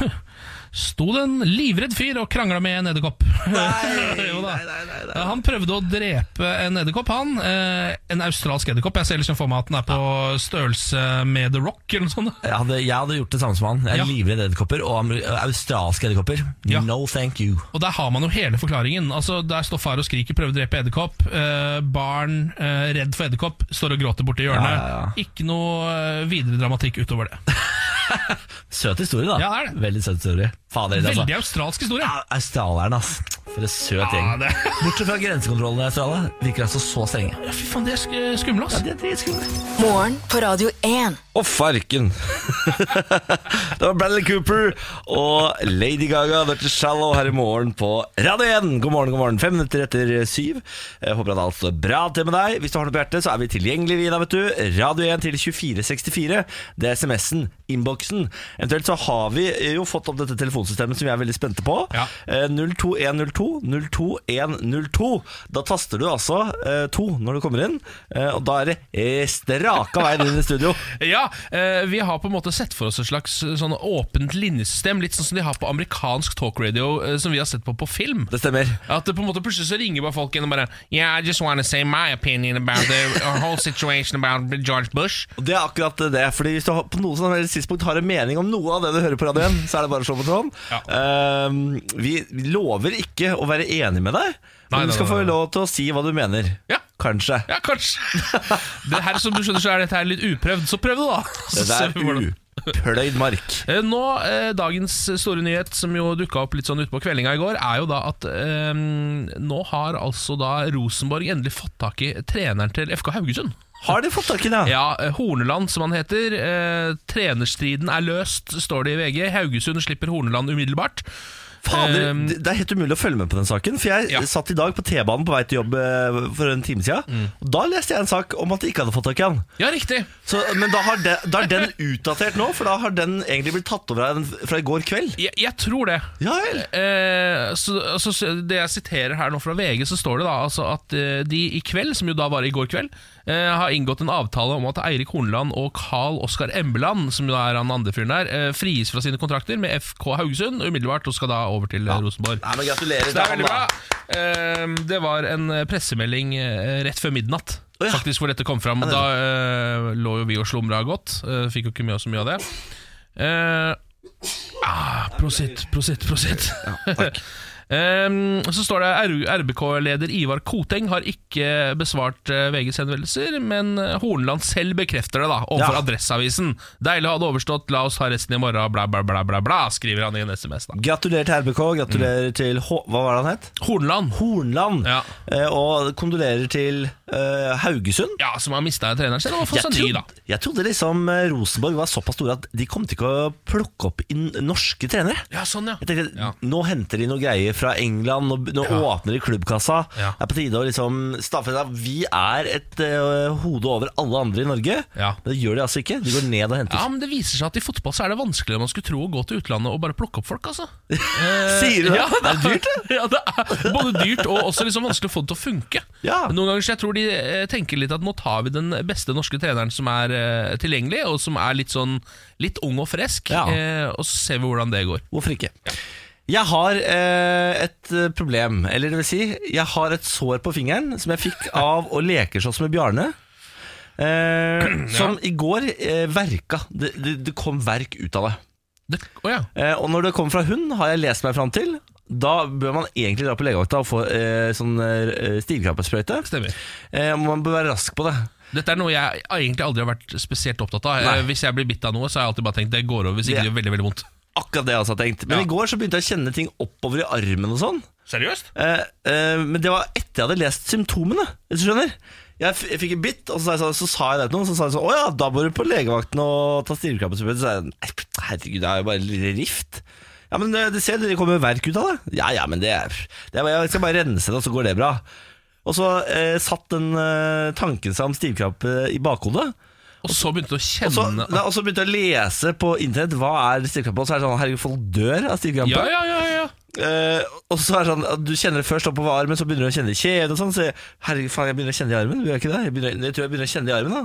[SPEAKER 2] sto det en livredd fyr og krangla med en edderkopp. Jo da. Ja, Han prøvde å drepe en edderkopp, han. Eh, en australsk edderkopp. Jeg ser liksom for meg at den er på størrelse med The Rock eller noe sånt.
[SPEAKER 1] Jeg hadde, jeg hadde gjort det samme som han. Jeg er
[SPEAKER 2] Ja.
[SPEAKER 1] livredd edderkopper, og amer- australske edderkopper.
[SPEAKER 2] Ja.
[SPEAKER 1] No thank you.
[SPEAKER 2] Og der har man jo hele forklaringen. Altså, Der står far og skriker, prøver å drepe edderkopp. Eh, barn, eh, redd for edderkopp, står og gråter borti hjørnet.
[SPEAKER 1] Ja, ja, ja.
[SPEAKER 2] Ikke noe eh, videre dramatikk utover det.
[SPEAKER 1] Søt historie, da.
[SPEAKER 2] Ja, det er det.
[SPEAKER 1] Veldig søt historie. Fader, altså.
[SPEAKER 2] Veldig australsk historie.
[SPEAKER 1] Ja, Australierne, ass. For en søt
[SPEAKER 2] Ja,
[SPEAKER 1] gjeng.
[SPEAKER 2] Ah, det-
[SPEAKER 1] Bortsett fra grensekontrollen i Australia, virker altså så strenge.
[SPEAKER 2] Fy faen, det er sk- skummel, ass.
[SPEAKER 1] Det er dritskummelt.
[SPEAKER 4] Morgen på Radio 1.
[SPEAKER 5] Å, farken! det var Bradley Cooper og Lady Gaga, Dr. Shallow, her i morgen på Radio 1. God morgen, god morgen. Fem minutter etter syv. Jeg håper at alt står bra til med deg. Hvis du har noe på hjertet, så er vi tilgjengelige, vi da, vet du. Radio 1 til 2464. Det er SMS-en, innboksen. Eventuelt så har vi jo fått opp dette telefonsystemet som vi er veldig spente på.
[SPEAKER 2] Ja.
[SPEAKER 5] Eh, 02102 02102 Da taster du altså eh, to når du kommer inn, eh, og da er det eh, straka veien inn i studio.
[SPEAKER 2] Ja, eh, vi har på en måte sett for oss et slags eh, sånn åpent linjesystem, litt sånn som de har på amerikansk talkradio, eh, som vi har sett på på film.
[SPEAKER 5] Det stemmer.
[SPEAKER 2] At det på en måte plutselig så ringer bare folk inn og bare Yeah, I just wanna say my opinion about the whole situation about George Bush.
[SPEAKER 5] Og Det er akkurat det. Fordi Hvis du har- på noe som helst tidspunkt har en mening om noe av det du hører på radioen, så er det bare å slå på tråden. Ehm, vi vi lover ikke å være enig med deg, men
[SPEAKER 2] Nei,
[SPEAKER 5] du
[SPEAKER 2] nei,
[SPEAKER 5] skal
[SPEAKER 2] nei,
[SPEAKER 5] få
[SPEAKER 2] nei.
[SPEAKER 5] lov til å si hva du mener.
[SPEAKER 2] Ja.
[SPEAKER 5] Kanskje.
[SPEAKER 2] Ja, kanskje. Det her, som du skjønner, så er dette her litt uprøvd, så prøv det, da. Så
[SPEAKER 5] Det
[SPEAKER 2] ser
[SPEAKER 5] er
[SPEAKER 2] vi hvordan-
[SPEAKER 5] upløyd mark.
[SPEAKER 2] Eh, Nå, eh, Dagens store nyhet, som jo dukka opp litt sånn utpå kveldinga i går, er jo da at eh, nå har altså da Rosenborg endelig fått tak i treneren til FK Haugesund.
[SPEAKER 5] Har de fått tak i det?
[SPEAKER 2] Ja, eh, Horneland, som han heter. Eh, trenerstriden er løst, står det i VG. Haugesund slipper Horneland umiddelbart.
[SPEAKER 5] Fader,
[SPEAKER 2] Ehm.
[SPEAKER 5] det- det er helt umulig å følge med på den saken. For jeg
[SPEAKER 2] Ja.
[SPEAKER 5] satt i dag på T-banen på vei til jobb eh, for en time siden.
[SPEAKER 2] Mm.
[SPEAKER 5] Og da leste jeg en sak om at de ikke hadde fått tak i han.
[SPEAKER 2] Ja, riktig!
[SPEAKER 5] Så, men da, har de, da er den utdatert nå, for da har den egentlig blitt tatt over av den fra i går kveld.
[SPEAKER 2] Jeg, jeg tror det.
[SPEAKER 5] Ja vel.
[SPEAKER 2] Eh, så, altså, så det jeg siterer her nå fra VG, så står det da altså at eh, de i kveld, som jo da var i går kveld, eh, har inngått en avtale om at Eirik Horneland og Carl Oskar Embeland, som jo da er han andre fyren der, eh, frigis fra sine kontrakter med FK Haugesund umiddelbart og skal da over til eh, Rosenborg.
[SPEAKER 5] Nei, men Gratulerer.
[SPEAKER 2] Så det er
[SPEAKER 5] til
[SPEAKER 2] veldig bra.
[SPEAKER 5] han, da.
[SPEAKER 2] Eh, det var en eh, pressemelding eh, rett før midnatt.
[SPEAKER 5] Å, ja.
[SPEAKER 2] Faktisk hvor dette kom fram. Da eh, lå jo vi og slumra godt. eh, fikk jo ikke med oss så mye av det. Eh, Ah, prosit, prosit, prosit. Ehm, så står det RBK-leder Ivar Koteng har ikke besvart eh, VGs henvendelser, men eh, Hornland selv bekrefter det da overfor
[SPEAKER 5] Ja.
[SPEAKER 2] Adresseavisen. 'Deilig å ha det overstått, la oss ha resten i morgen', bla, bla, bla, bla, bla skriver han i en SMS. da
[SPEAKER 1] Gratulerer til RBK, gratulerer
[SPEAKER 5] Mm.
[SPEAKER 1] til H Hva var det han het?
[SPEAKER 2] Hornland,
[SPEAKER 1] Hornland.
[SPEAKER 2] Ja.
[SPEAKER 1] Eh, og kondolerer til eh, Haugesund.
[SPEAKER 2] ja, som har mista treneren sin, og har fått seg ny, da.
[SPEAKER 1] trodde, jeg trodde liksom eh, Rosenborg var såpass store at de kom til ikke å plukke opp inn norske trenere.
[SPEAKER 2] Ja, sånn, ja.
[SPEAKER 1] Jeg tenkte,
[SPEAKER 2] Ja.
[SPEAKER 1] Nå henter de noe greier fra England, nå, nå åpner de klubbkassa.
[SPEAKER 2] Ja.
[SPEAKER 1] Det er på tide å liksom stadfeste at vi er et eh, hode over alle andre i Norge.
[SPEAKER 2] Ja.
[SPEAKER 1] Men det gjør de altså ikke. De går ned og henter.
[SPEAKER 2] Ja, men Det viser seg at i fotball så er det vanskeligere enn man skulle tro å gå til utlandet og bare plukke opp folk. altså
[SPEAKER 1] Sier du det?
[SPEAKER 2] Ja,
[SPEAKER 1] det er dyrt, det.
[SPEAKER 2] ja, det er både dyrt og også liksom vanskelig å få det til å funke.
[SPEAKER 1] Ja.
[SPEAKER 2] Noen ganger så jeg tror de eh, tenker litt at nå tar vi den beste norske treneren som er eh, tilgjengelig, og som er litt sånn litt ung og frisk,
[SPEAKER 1] Ja.
[SPEAKER 2] eh, og så ser vi hvordan det går.
[SPEAKER 1] Hvorfor ikke? Jeg har eh, et eh, problem, eller det vil si, jeg har et sår på fingeren som jeg fikk av å lekeslåss med Bjarne. Eh, Som i går eh, verka. Det, det, det kom verk ut av det.
[SPEAKER 2] Det, å ja.
[SPEAKER 1] Eh, og når det kommer fra hund, har jeg lest meg fram til, da bør man egentlig dra på legevakta og få eh, sånn eh, stilkrampesprøyte.
[SPEAKER 2] Stemmer.
[SPEAKER 1] Eh, man bør være rask på det.
[SPEAKER 2] Dette er noe jeg egentlig aldri har vært spesielt opptatt av. Eh, Hvis jeg blir bitt av noe, så har jeg alltid bare tenkt det går over hvis ikke
[SPEAKER 1] Det-
[SPEAKER 2] det gjør veldig veldig vondt.
[SPEAKER 1] Akkurat det jeg også har tenkt. Men
[SPEAKER 2] Ja.
[SPEAKER 1] i går så begynte jeg å kjenne ting oppover i armen og sånn.
[SPEAKER 2] Seriøst?
[SPEAKER 1] Eh, eh, men det var etter jeg hadde lest symptomene. Hvis du skjønner Jeg, f jeg fikk en bitt, og så sa jeg, sånn- så sa jeg det til noen. Så sa jeg sånn Å ja, da må du på legevakten og ta stivkrampesprøyte. Så sa jeg «Nei, herregud, det er jo bare en liten rift. Ja, men eh, det, ser det kommer verk ut av det. Ja ja, men det, er- det er, bare- Jeg skal bare rense det, og så går det bra. Og så eh, satt den eh, tanken seg om stivkrampe i bakhodet.
[SPEAKER 2] Og så begynte du å
[SPEAKER 1] Og så,
[SPEAKER 2] kjenne
[SPEAKER 1] da- og så begynte jeg å lese på internett hva er stivkrampe, og så er det sånn herregud, folk dør av stivkrampe.
[SPEAKER 2] Ja, ja, ja, ja.
[SPEAKER 1] Eh, og så er det sånn at Du kjenner det først oppover armen, så begynner du å kjenne det i kjeven. og sånn, Så jeg, herregud, faen, jeg begynner å kjenne det i armen. Gjør jeg ikke det? Jeg, begynner, jeg tror jeg begynner å kjenne det i armen. da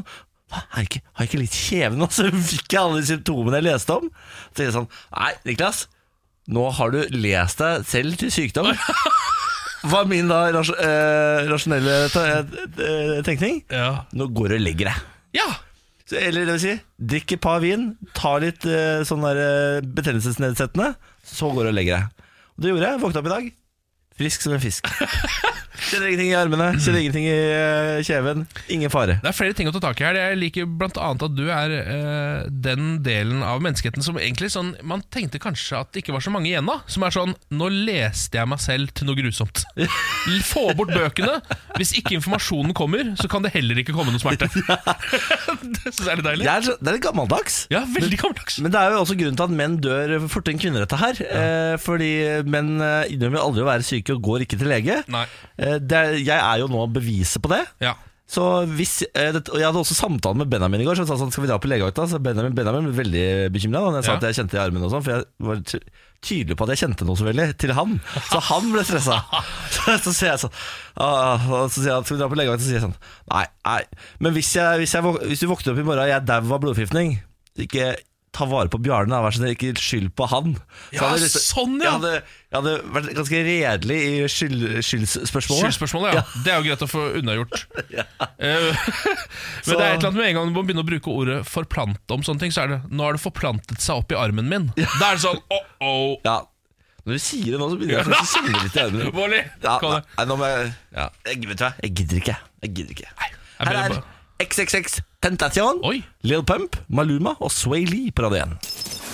[SPEAKER 1] Hva, Har jeg ikke, har jeg ikke litt kjeven? nå? Så fikk jeg alle de symptomene jeg leste om. Så tenkte jeg sånn Nei, Niklas, nå har du lest deg selv til sykdom. Var min da ras eh, rasjonelle ta- eh, tenkning.
[SPEAKER 2] ja.
[SPEAKER 1] Nå går du og legger deg.
[SPEAKER 2] ja.
[SPEAKER 1] Så, eller det vil si, drikk et par vin, ta litt eh, sånn der eh, betennelsesnedsettende, så går du og legger deg. Og det gjorde jeg. Våkna opp i dag. Frisk som en fisk. Kjenner ingenting i armene, kjenner ingenting i eh, kjeven. Ingen fare.
[SPEAKER 2] Det er flere ting å ta tak i her. Jeg liker blant annet at du er eh, den delen av menneskeheten som egentlig sånn Man tenkte kanskje at det ikke var så mange igjen, da. Som er sånn Nå leste jeg meg selv til noe grusomt. L- Få bort bøkene. Hvis ikke informasjonen kommer, så kan det heller ikke komme noe smerte. det syns jeg er litt
[SPEAKER 1] Det
[SPEAKER 2] deilig.
[SPEAKER 1] er, så- det er litt gammeldags.
[SPEAKER 2] Ja, veldig gammeldags.
[SPEAKER 1] Men det er jo også grunnen til at menn dør fortere enn kvinner dette her. Eh, fordi menn eh, innrømmer aldri å være syke og går ikke til lege.
[SPEAKER 2] Nei.
[SPEAKER 1] Eh, det er, jeg er jo nå beviset på det.
[SPEAKER 2] Ja.
[SPEAKER 1] Så hvis, eh, det, og Jeg hadde også samtale med Benjamin i går, som sa sånn, skal vi dra på legevakta. Så Benjamin, Benjamin ble veldig bekymra da jeg sa
[SPEAKER 2] Ja.
[SPEAKER 1] at jeg kjente det i armen og sånn. For jeg var ty- tydelig på at jeg kjente noe så veldig til han. Så han ble stressa. Så, så sier jeg sånn ah, og Så sier han skal vi dra på legevakta, så sier jeg sånn nei, nei. Men hvis, jeg, hvis, jeg, våk- hvis du våkner opp i morgen og jeg er dau av blodforgiftning, så ikke ta vare på Bjarne. da, Vær så snill, ikke skyld på han. Så
[SPEAKER 2] Ja,
[SPEAKER 1] hadde jeg lyst til-
[SPEAKER 2] sånn, ja.
[SPEAKER 1] Jeg hadde, jeg hadde vært ganske redelig i skyld, skyldspørsmålet.
[SPEAKER 2] Skyldspørsmålet, ja. Det er jo greit å få unnagjort. Eh, Men
[SPEAKER 1] Så-
[SPEAKER 2] det er et eller annet med en gang man begynner å bruke ordet 'forplante' om sånne ting, så er det 'nå har det forplantet seg opp i armen min'. Da er det sånn oh, oh,
[SPEAKER 1] Ja Når du sier det nå, så begynner jeg faktisk å kjenne litt i øynene.
[SPEAKER 2] Bårdli,
[SPEAKER 1] Ja,
[SPEAKER 2] kom
[SPEAKER 1] nei,
[SPEAKER 2] det.
[SPEAKER 1] nei, nå må jeg
[SPEAKER 2] Ja.
[SPEAKER 1] jeg, Vet du hva, jeg gidder ikke. Jeg gidder ikke.
[SPEAKER 2] jeg
[SPEAKER 1] Her er
[SPEAKER 2] begynner
[SPEAKER 1] XXX Tentation,
[SPEAKER 2] Oi.
[SPEAKER 1] Lil Pump, Maluma og Sway Lee på Radio 1.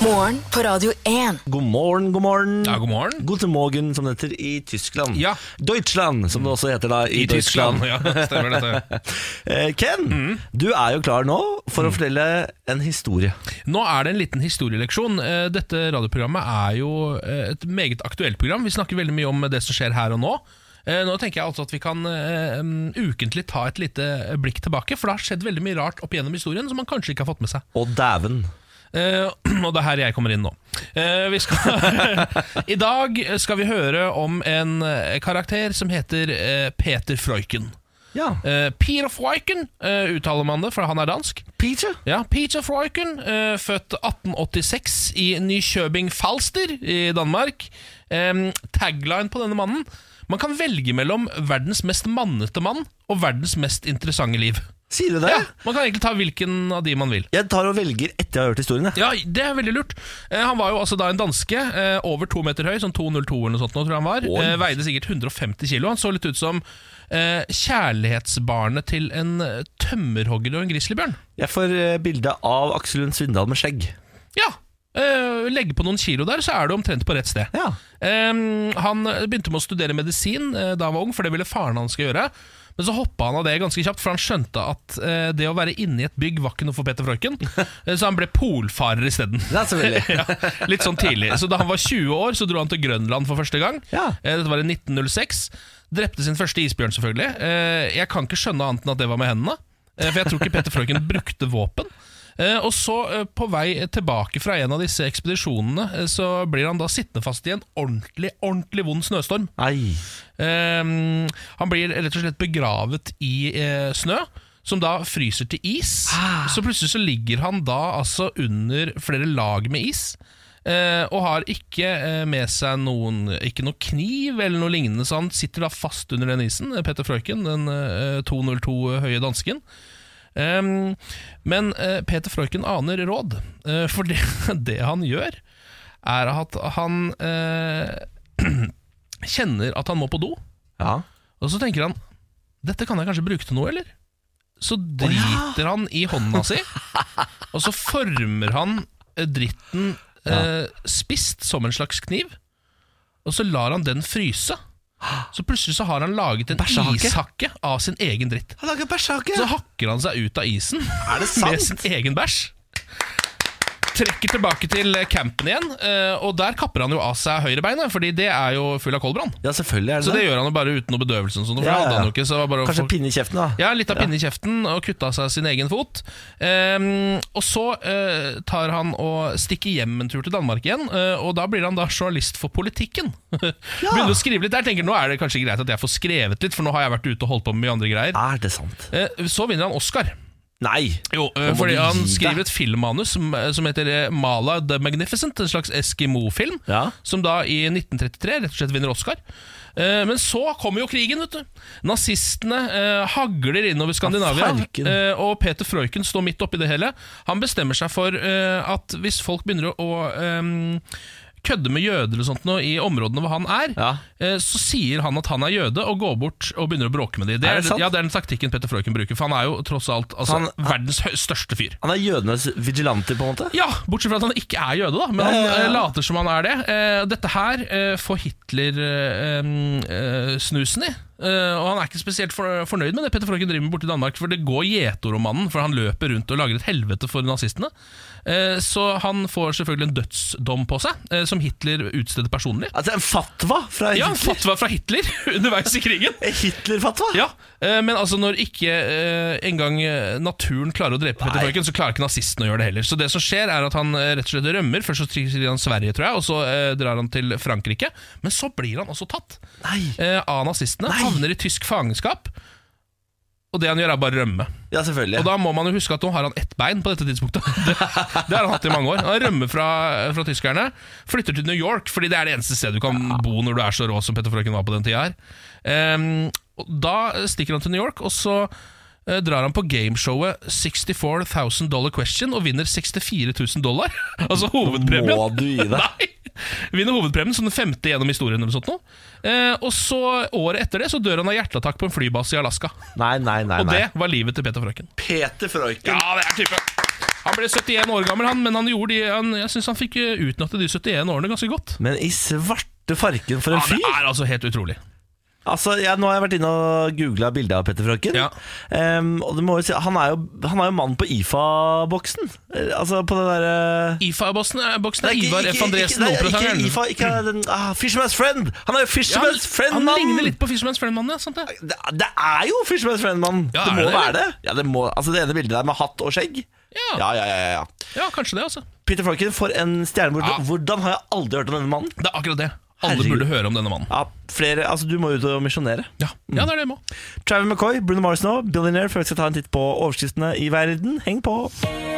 [SPEAKER 4] Morgen på Radio 1.
[SPEAKER 1] God morgen, god morgen.
[SPEAKER 2] Ja, god morgen.
[SPEAKER 1] Guten Morgen, som det heter i Tyskland.
[SPEAKER 2] Ja.
[SPEAKER 1] Deutschland, som det også heter da i,
[SPEAKER 2] I Tyskland. Ja, Mm. stemmer dette.
[SPEAKER 1] Eh, Ken, du er jo klar nå for å fortelle en historie.
[SPEAKER 2] Nå er det en liten historieleksjon. Eh, Dette radioprogrammet er jo eh, et meget aktuelt program. Vi snakker veldig mye om det som skjer her og nå. Eh, Nå tenker jeg altså at vi kan eh, um, ukentlig ta et lite blikk tilbake, for det har skjedd veldig mye rart opp gjennom historien som man kanskje ikke har fått med seg.
[SPEAKER 1] Og dæven.
[SPEAKER 2] Eh, og det er her jeg kommer inn nå. Eh, vi skal, I dag skal vi høre om en eh, karakter som heter eh, Peter Freuchen.
[SPEAKER 1] Ja.
[SPEAKER 2] Eh, Peter Freuchen eh, uttaler man det, for han er dansk.
[SPEAKER 1] Peter.
[SPEAKER 2] Ja, Peter Freuchen, eh, født 1886 i Nykjøbing Falster i Danmark. Eh, tagline på denne mannen Man kan velge mellom verdens mest mannete mann og verdens mest interessante liv.
[SPEAKER 1] Sier du det?
[SPEAKER 2] Ja, man kan egentlig ta hvilken av de man vil.
[SPEAKER 1] Jeg tar og velger etter jeg har hørt historien. jeg.
[SPEAKER 2] Ja, det er veldig lurt. Eh, han var jo altså da en danske, eh, over to meter høy, sånn 202 eller noe sånt nå, tror jeg han var. Eh, veide sikkert 150 kilo. Han så litt ut som eh, kjærlighetsbarnet til en eh, tømmerhogger og en grizzlybjørn.
[SPEAKER 1] Jeg får eh, bilde av Aksel Lund Svindal med skjegg.
[SPEAKER 2] Ja! eh, legge på noen kilo der, så er du omtrent på rett sted.
[SPEAKER 1] Ja.
[SPEAKER 2] Eh, han begynte med å studere medisin eh, da han var ung, for det ville faren hans gjøre. Men så hoppa han av det ganske kjapt, for han skjønte at eh, det å være inni et bygg var ikke noe for Peter Frøyken, Eh, så han ble polfarer isteden.
[SPEAKER 1] Ja, selvfølgelig.
[SPEAKER 2] ja, litt sånn tidlig. Så da han var 20 år, så dro han til Grønland for første gang.
[SPEAKER 1] Ja.
[SPEAKER 2] Eh, Dette var i 1906. Drepte sin første isbjørn, selvfølgelig. Eh, Jeg kan ikke skjønne annet enn at det var med hendene. Eh, For jeg tror ikke Peter Frøken brukte våpen. Eh, Og så, eh, på vei tilbake fra en av disse ekspedisjonene, eh, så blir han da sittende fast i en ordentlig, ordentlig vond snøstorm.
[SPEAKER 1] Nei.
[SPEAKER 2] Eh, Han blir rett og slett begravet i eh, snø. Som da fryser til is. Så plutselig så ligger han da altså under flere lag med is. eh, og har ikke eh, med seg noen Ikke noe kniv eller noe lignende, så han sitter da fast under den isen. eh, Peter Frøyken, den eh, 202 høye dansken. Ehm, men eh, Peter Frøyken aner råd, eh, for det, det han gjør, er at han eh, kjenner at han må på do.
[SPEAKER 1] Ja.
[SPEAKER 2] Og så tenker han Dette kan jeg kanskje bruke til noe, eller? Så driter han i hånda si Og så former han eh, dritten eh, Spist som en slags kniv Og så lar han den fryse Så plutselig så har han laget en
[SPEAKER 1] Bæsjehake?
[SPEAKER 2] ishakke Av sin egen dritt
[SPEAKER 1] Han lager bæsjehake!
[SPEAKER 2] Så hakker han seg ut av isen
[SPEAKER 1] Er det
[SPEAKER 2] Med sin egen bæsj Trekker tilbake til campen igjen eh, Og der kapper han jo av seg høyrebeinet Fordi det er jo full av kolbrand
[SPEAKER 1] Ja, selvfølgelig er det
[SPEAKER 2] så det
[SPEAKER 1] det.
[SPEAKER 2] gjør han jo bare uten noe bedøvelse. og sånt, For
[SPEAKER 1] Ja,
[SPEAKER 2] det
[SPEAKER 1] ja,
[SPEAKER 2] hadde han
[SPEAKER 1] ja.
[SPEAKER 2] jo ikke, så det var bare å
[SPEAKER 1] Kanskje
[SPEAKER 2] få-
[SPEAKER 1] en pinne i kjeften, da.
[SPEAKER 2] ja, litt av pinne i kjeften og kutta seg sin egen fot. Ehm, og så eh, tar han og stikker hjem en tur til Danmark igjen, eh, og da blir han da journalist for politikken. Begynner å skrive litt der, tenker nå er det kanskje greit at jeg får skrevet litt, for nå har jeg vært ute og holdt på med mye andre greier.
[SPEAKER 1] Er det sant?
[SPEAKER 2] Eh, så vinner han Oscar.
[SPEAKER 1] Nei!
[SPEAKER 2] Jo, eh,
[SPEAKER 1] Nå må
[SPEAKER 2] fordi
[SPEAKER 1] du
[SPEAKER 2] han
[SPEAKER 1] gi deg.
[SPEAKER 2] skriver et filmmanus som, som heter eh, Mala the Magnificent, en slags Eskimo-film,
[SPEAKER 1] Ja.
[SPEAKER 2] som da i 1933 rett og slett vinner Oscar. Eh, Men så kommer jo krigen, vet du. Nazistene eh, hagler innover
[SPEAKER 1] Ja,
[SPEAKER 2] Skandinavia.
[SPEAKER 1] farken.
[SPEAKER 2] eh, og Peter Frøyken står midt oppi det hele. Han bestemmer seg for eh, at hvis folk begynner å, å ehm, kødde med jøder og sånt nå i områdene hvor han er,
[SPEAKER 1] Ja.
[SPEAKER 2] eh, så sier han at han er jøde, og går bort og begynner å bråke med dem. Det
[SPEAKER 1] Er
[SPEAKER 2] er,
[SPEAKER 1] det sant?
[SPEAKER 2] ja, det er den taktikken Peter Frøyken bruker, for han er jo tross alt altså,
[SPEAKER 1] han-
[SPEAKER 2] verdens hø- største fyr.
[SPEAKER 1] Han er jødenes vigilante, på en måte?
[SPEAKER 2] Ja, Bortsett fra at han ikke er jøde, da, men
[SPEAKER 1] Ja, ja, ja.
[SPEAKER 2] han eh, later som han er det. Eh, dette her eh, får Hitler eh, eh, snusen i. Eh, og han er ikke spesielt for, fornøyd med det Peter Frøken driver med borte i Danmark, for det går gjetord om mannen, for han løper rundt og lager et helvete for nazistene. Eh, så han får selvfølgelig en dødsdom på seg, eh, som Hitler utsteder personlig.
[SPEAKER 1] Altså, en fatwa fra
[SPEAKER 2] Ja, en
[SPEAKER 1] Hitler?
[SPEAKER 2] fatwa fra Hitler underveis i krigen.
[SPEAKER 1] En Hitler-fatwa?
[SPEAKER 2] Ja, eh, men altså når ikke eh, engang eh, naturen klarer å drepe Peter Frøken, så klarer ikke nazistene å gjøre det heller. Så det som skjer, er at han eh, rett og slett rømmer. Først så triller han Sverige, tror jeg, og så eh, drar han til Frankrike. Men så blir han også tatt
[SPEAKER 1] Nei!
[SPEAKER 2] eh, av nazistene.
[SPEAKER 1] Nei.
[SPEAKER 2] Havner i tysk fangenskap. Og det han gjør, er bare å rømme.
[SPEAKER 1] Ja, selvfølgelig.
[SPEAKER 2] Og da må man jo huske at nå har han ett bein på dette tidspunktet. Det, det har han hatt i mange år. Han rømmer fra, fra tyskerne, flytter til New York, fordi det er det eneste stedet du kan bo når du er så rå som Petter Frøken var på den tida her. Ehm, og da stikker han til New York, og så eh, drar han på gameshowet 64 000 Dollar Question og vinner 64 000 dollar. altså hovedpremien.
[SPEAKER 1] Må du gi deg?
[SPEAKER 2] Nei! Vinner hovedpremien som den femte gjennom historien. eller noe sånt nå. Eh, og så Året etter det så dør han av hjerteattakk på en flybase i Alaska.
[SPEAKER 1] Nei, nei, nei.
[SPEAKER 2] Og
[SPEAKER 1] nei.
[SPEAKER 2] det var livet til Peter Frøken.
[SPEAKER 1] Peter Frøyken.
[SPEAKER 2] Ja, det er type Han ble 71 år gammel, han, men han gjorde de, han, jeg syns han fikk eh, utnytte de 71 årene ganske godt.
[SPEAKER 1] Men i svarte farken for
[SPEAKER 2] Ja,
[SPEAKER 1] en
[SPEAKER 2] det
[SPEAKER 1] fyr!
[SPEAKER 2] er altså helt utrolig.
[SPEAKER 1] Altså, jeg, Nå har jeg vært inne og googla bildet av Petter Frøken.
[SPEAKER 2] Ja.
[SPEAKER 1] Em, og du må jo si, han er jo, han er jo mannen på IFA-boksen. Eh, Altså på det derre
[SPEAKER 2] IFA-boksen eh, er Ivar F. Andresen,
[SPEAKER 1] ikke, ikke,
[SPEAKER 2] operatøren.
[SPEAKER 1] IFA, ikke den ah, Fisherman's Friend! Han er jo
[SPEAKER 2] Ja, han,
[SPEAKER 1] Fisherman's
[SPEAKER 2] han
[SPEAKER 1] Friend-mann!
[SPEAKER 2] ligner litt på Fisherman's Friend-mannen, ja. Sant det?
[SPEAKER 1] Det, det er jo Fisherman's Friend-mann! det
[SPEAKER 2] Ja, er
[SPEAKER 1] må
[SPEAKER 2] det det?
[SPEAKER 1] være det. Ja, det, må, altså, det ene bildet der med hatt og skjegg.
[SPEAKER 2] Ja.
[SPEAKER 1] Ja, ja, ja, ja, ja.
[SPEAKER 2] ja, kanskje det, altså.
[SPEAKER 1] Peter Frøken, for en stjernemord.
[SPEAKER 2] Ja.
[SPEAKER 1] Hvordan har jeg aldri hørt om denne mannen?
[SPEAKER 2] Det er akkurat det. Alle
[SPEAKER 1] Herregud.
[SPEAKER 2] burde høre om denne mannen.
[SPEAKER 1] Ja, flere, altså Du må ut og misjonere.
[SPEAKER 2] Ja, ja det er det jeg må.
[SPEAKER 1] Travis McCoy, Bruno Mars nå, Billionaire, før vi skal ta en titt på overskriftene i verden. Heng på!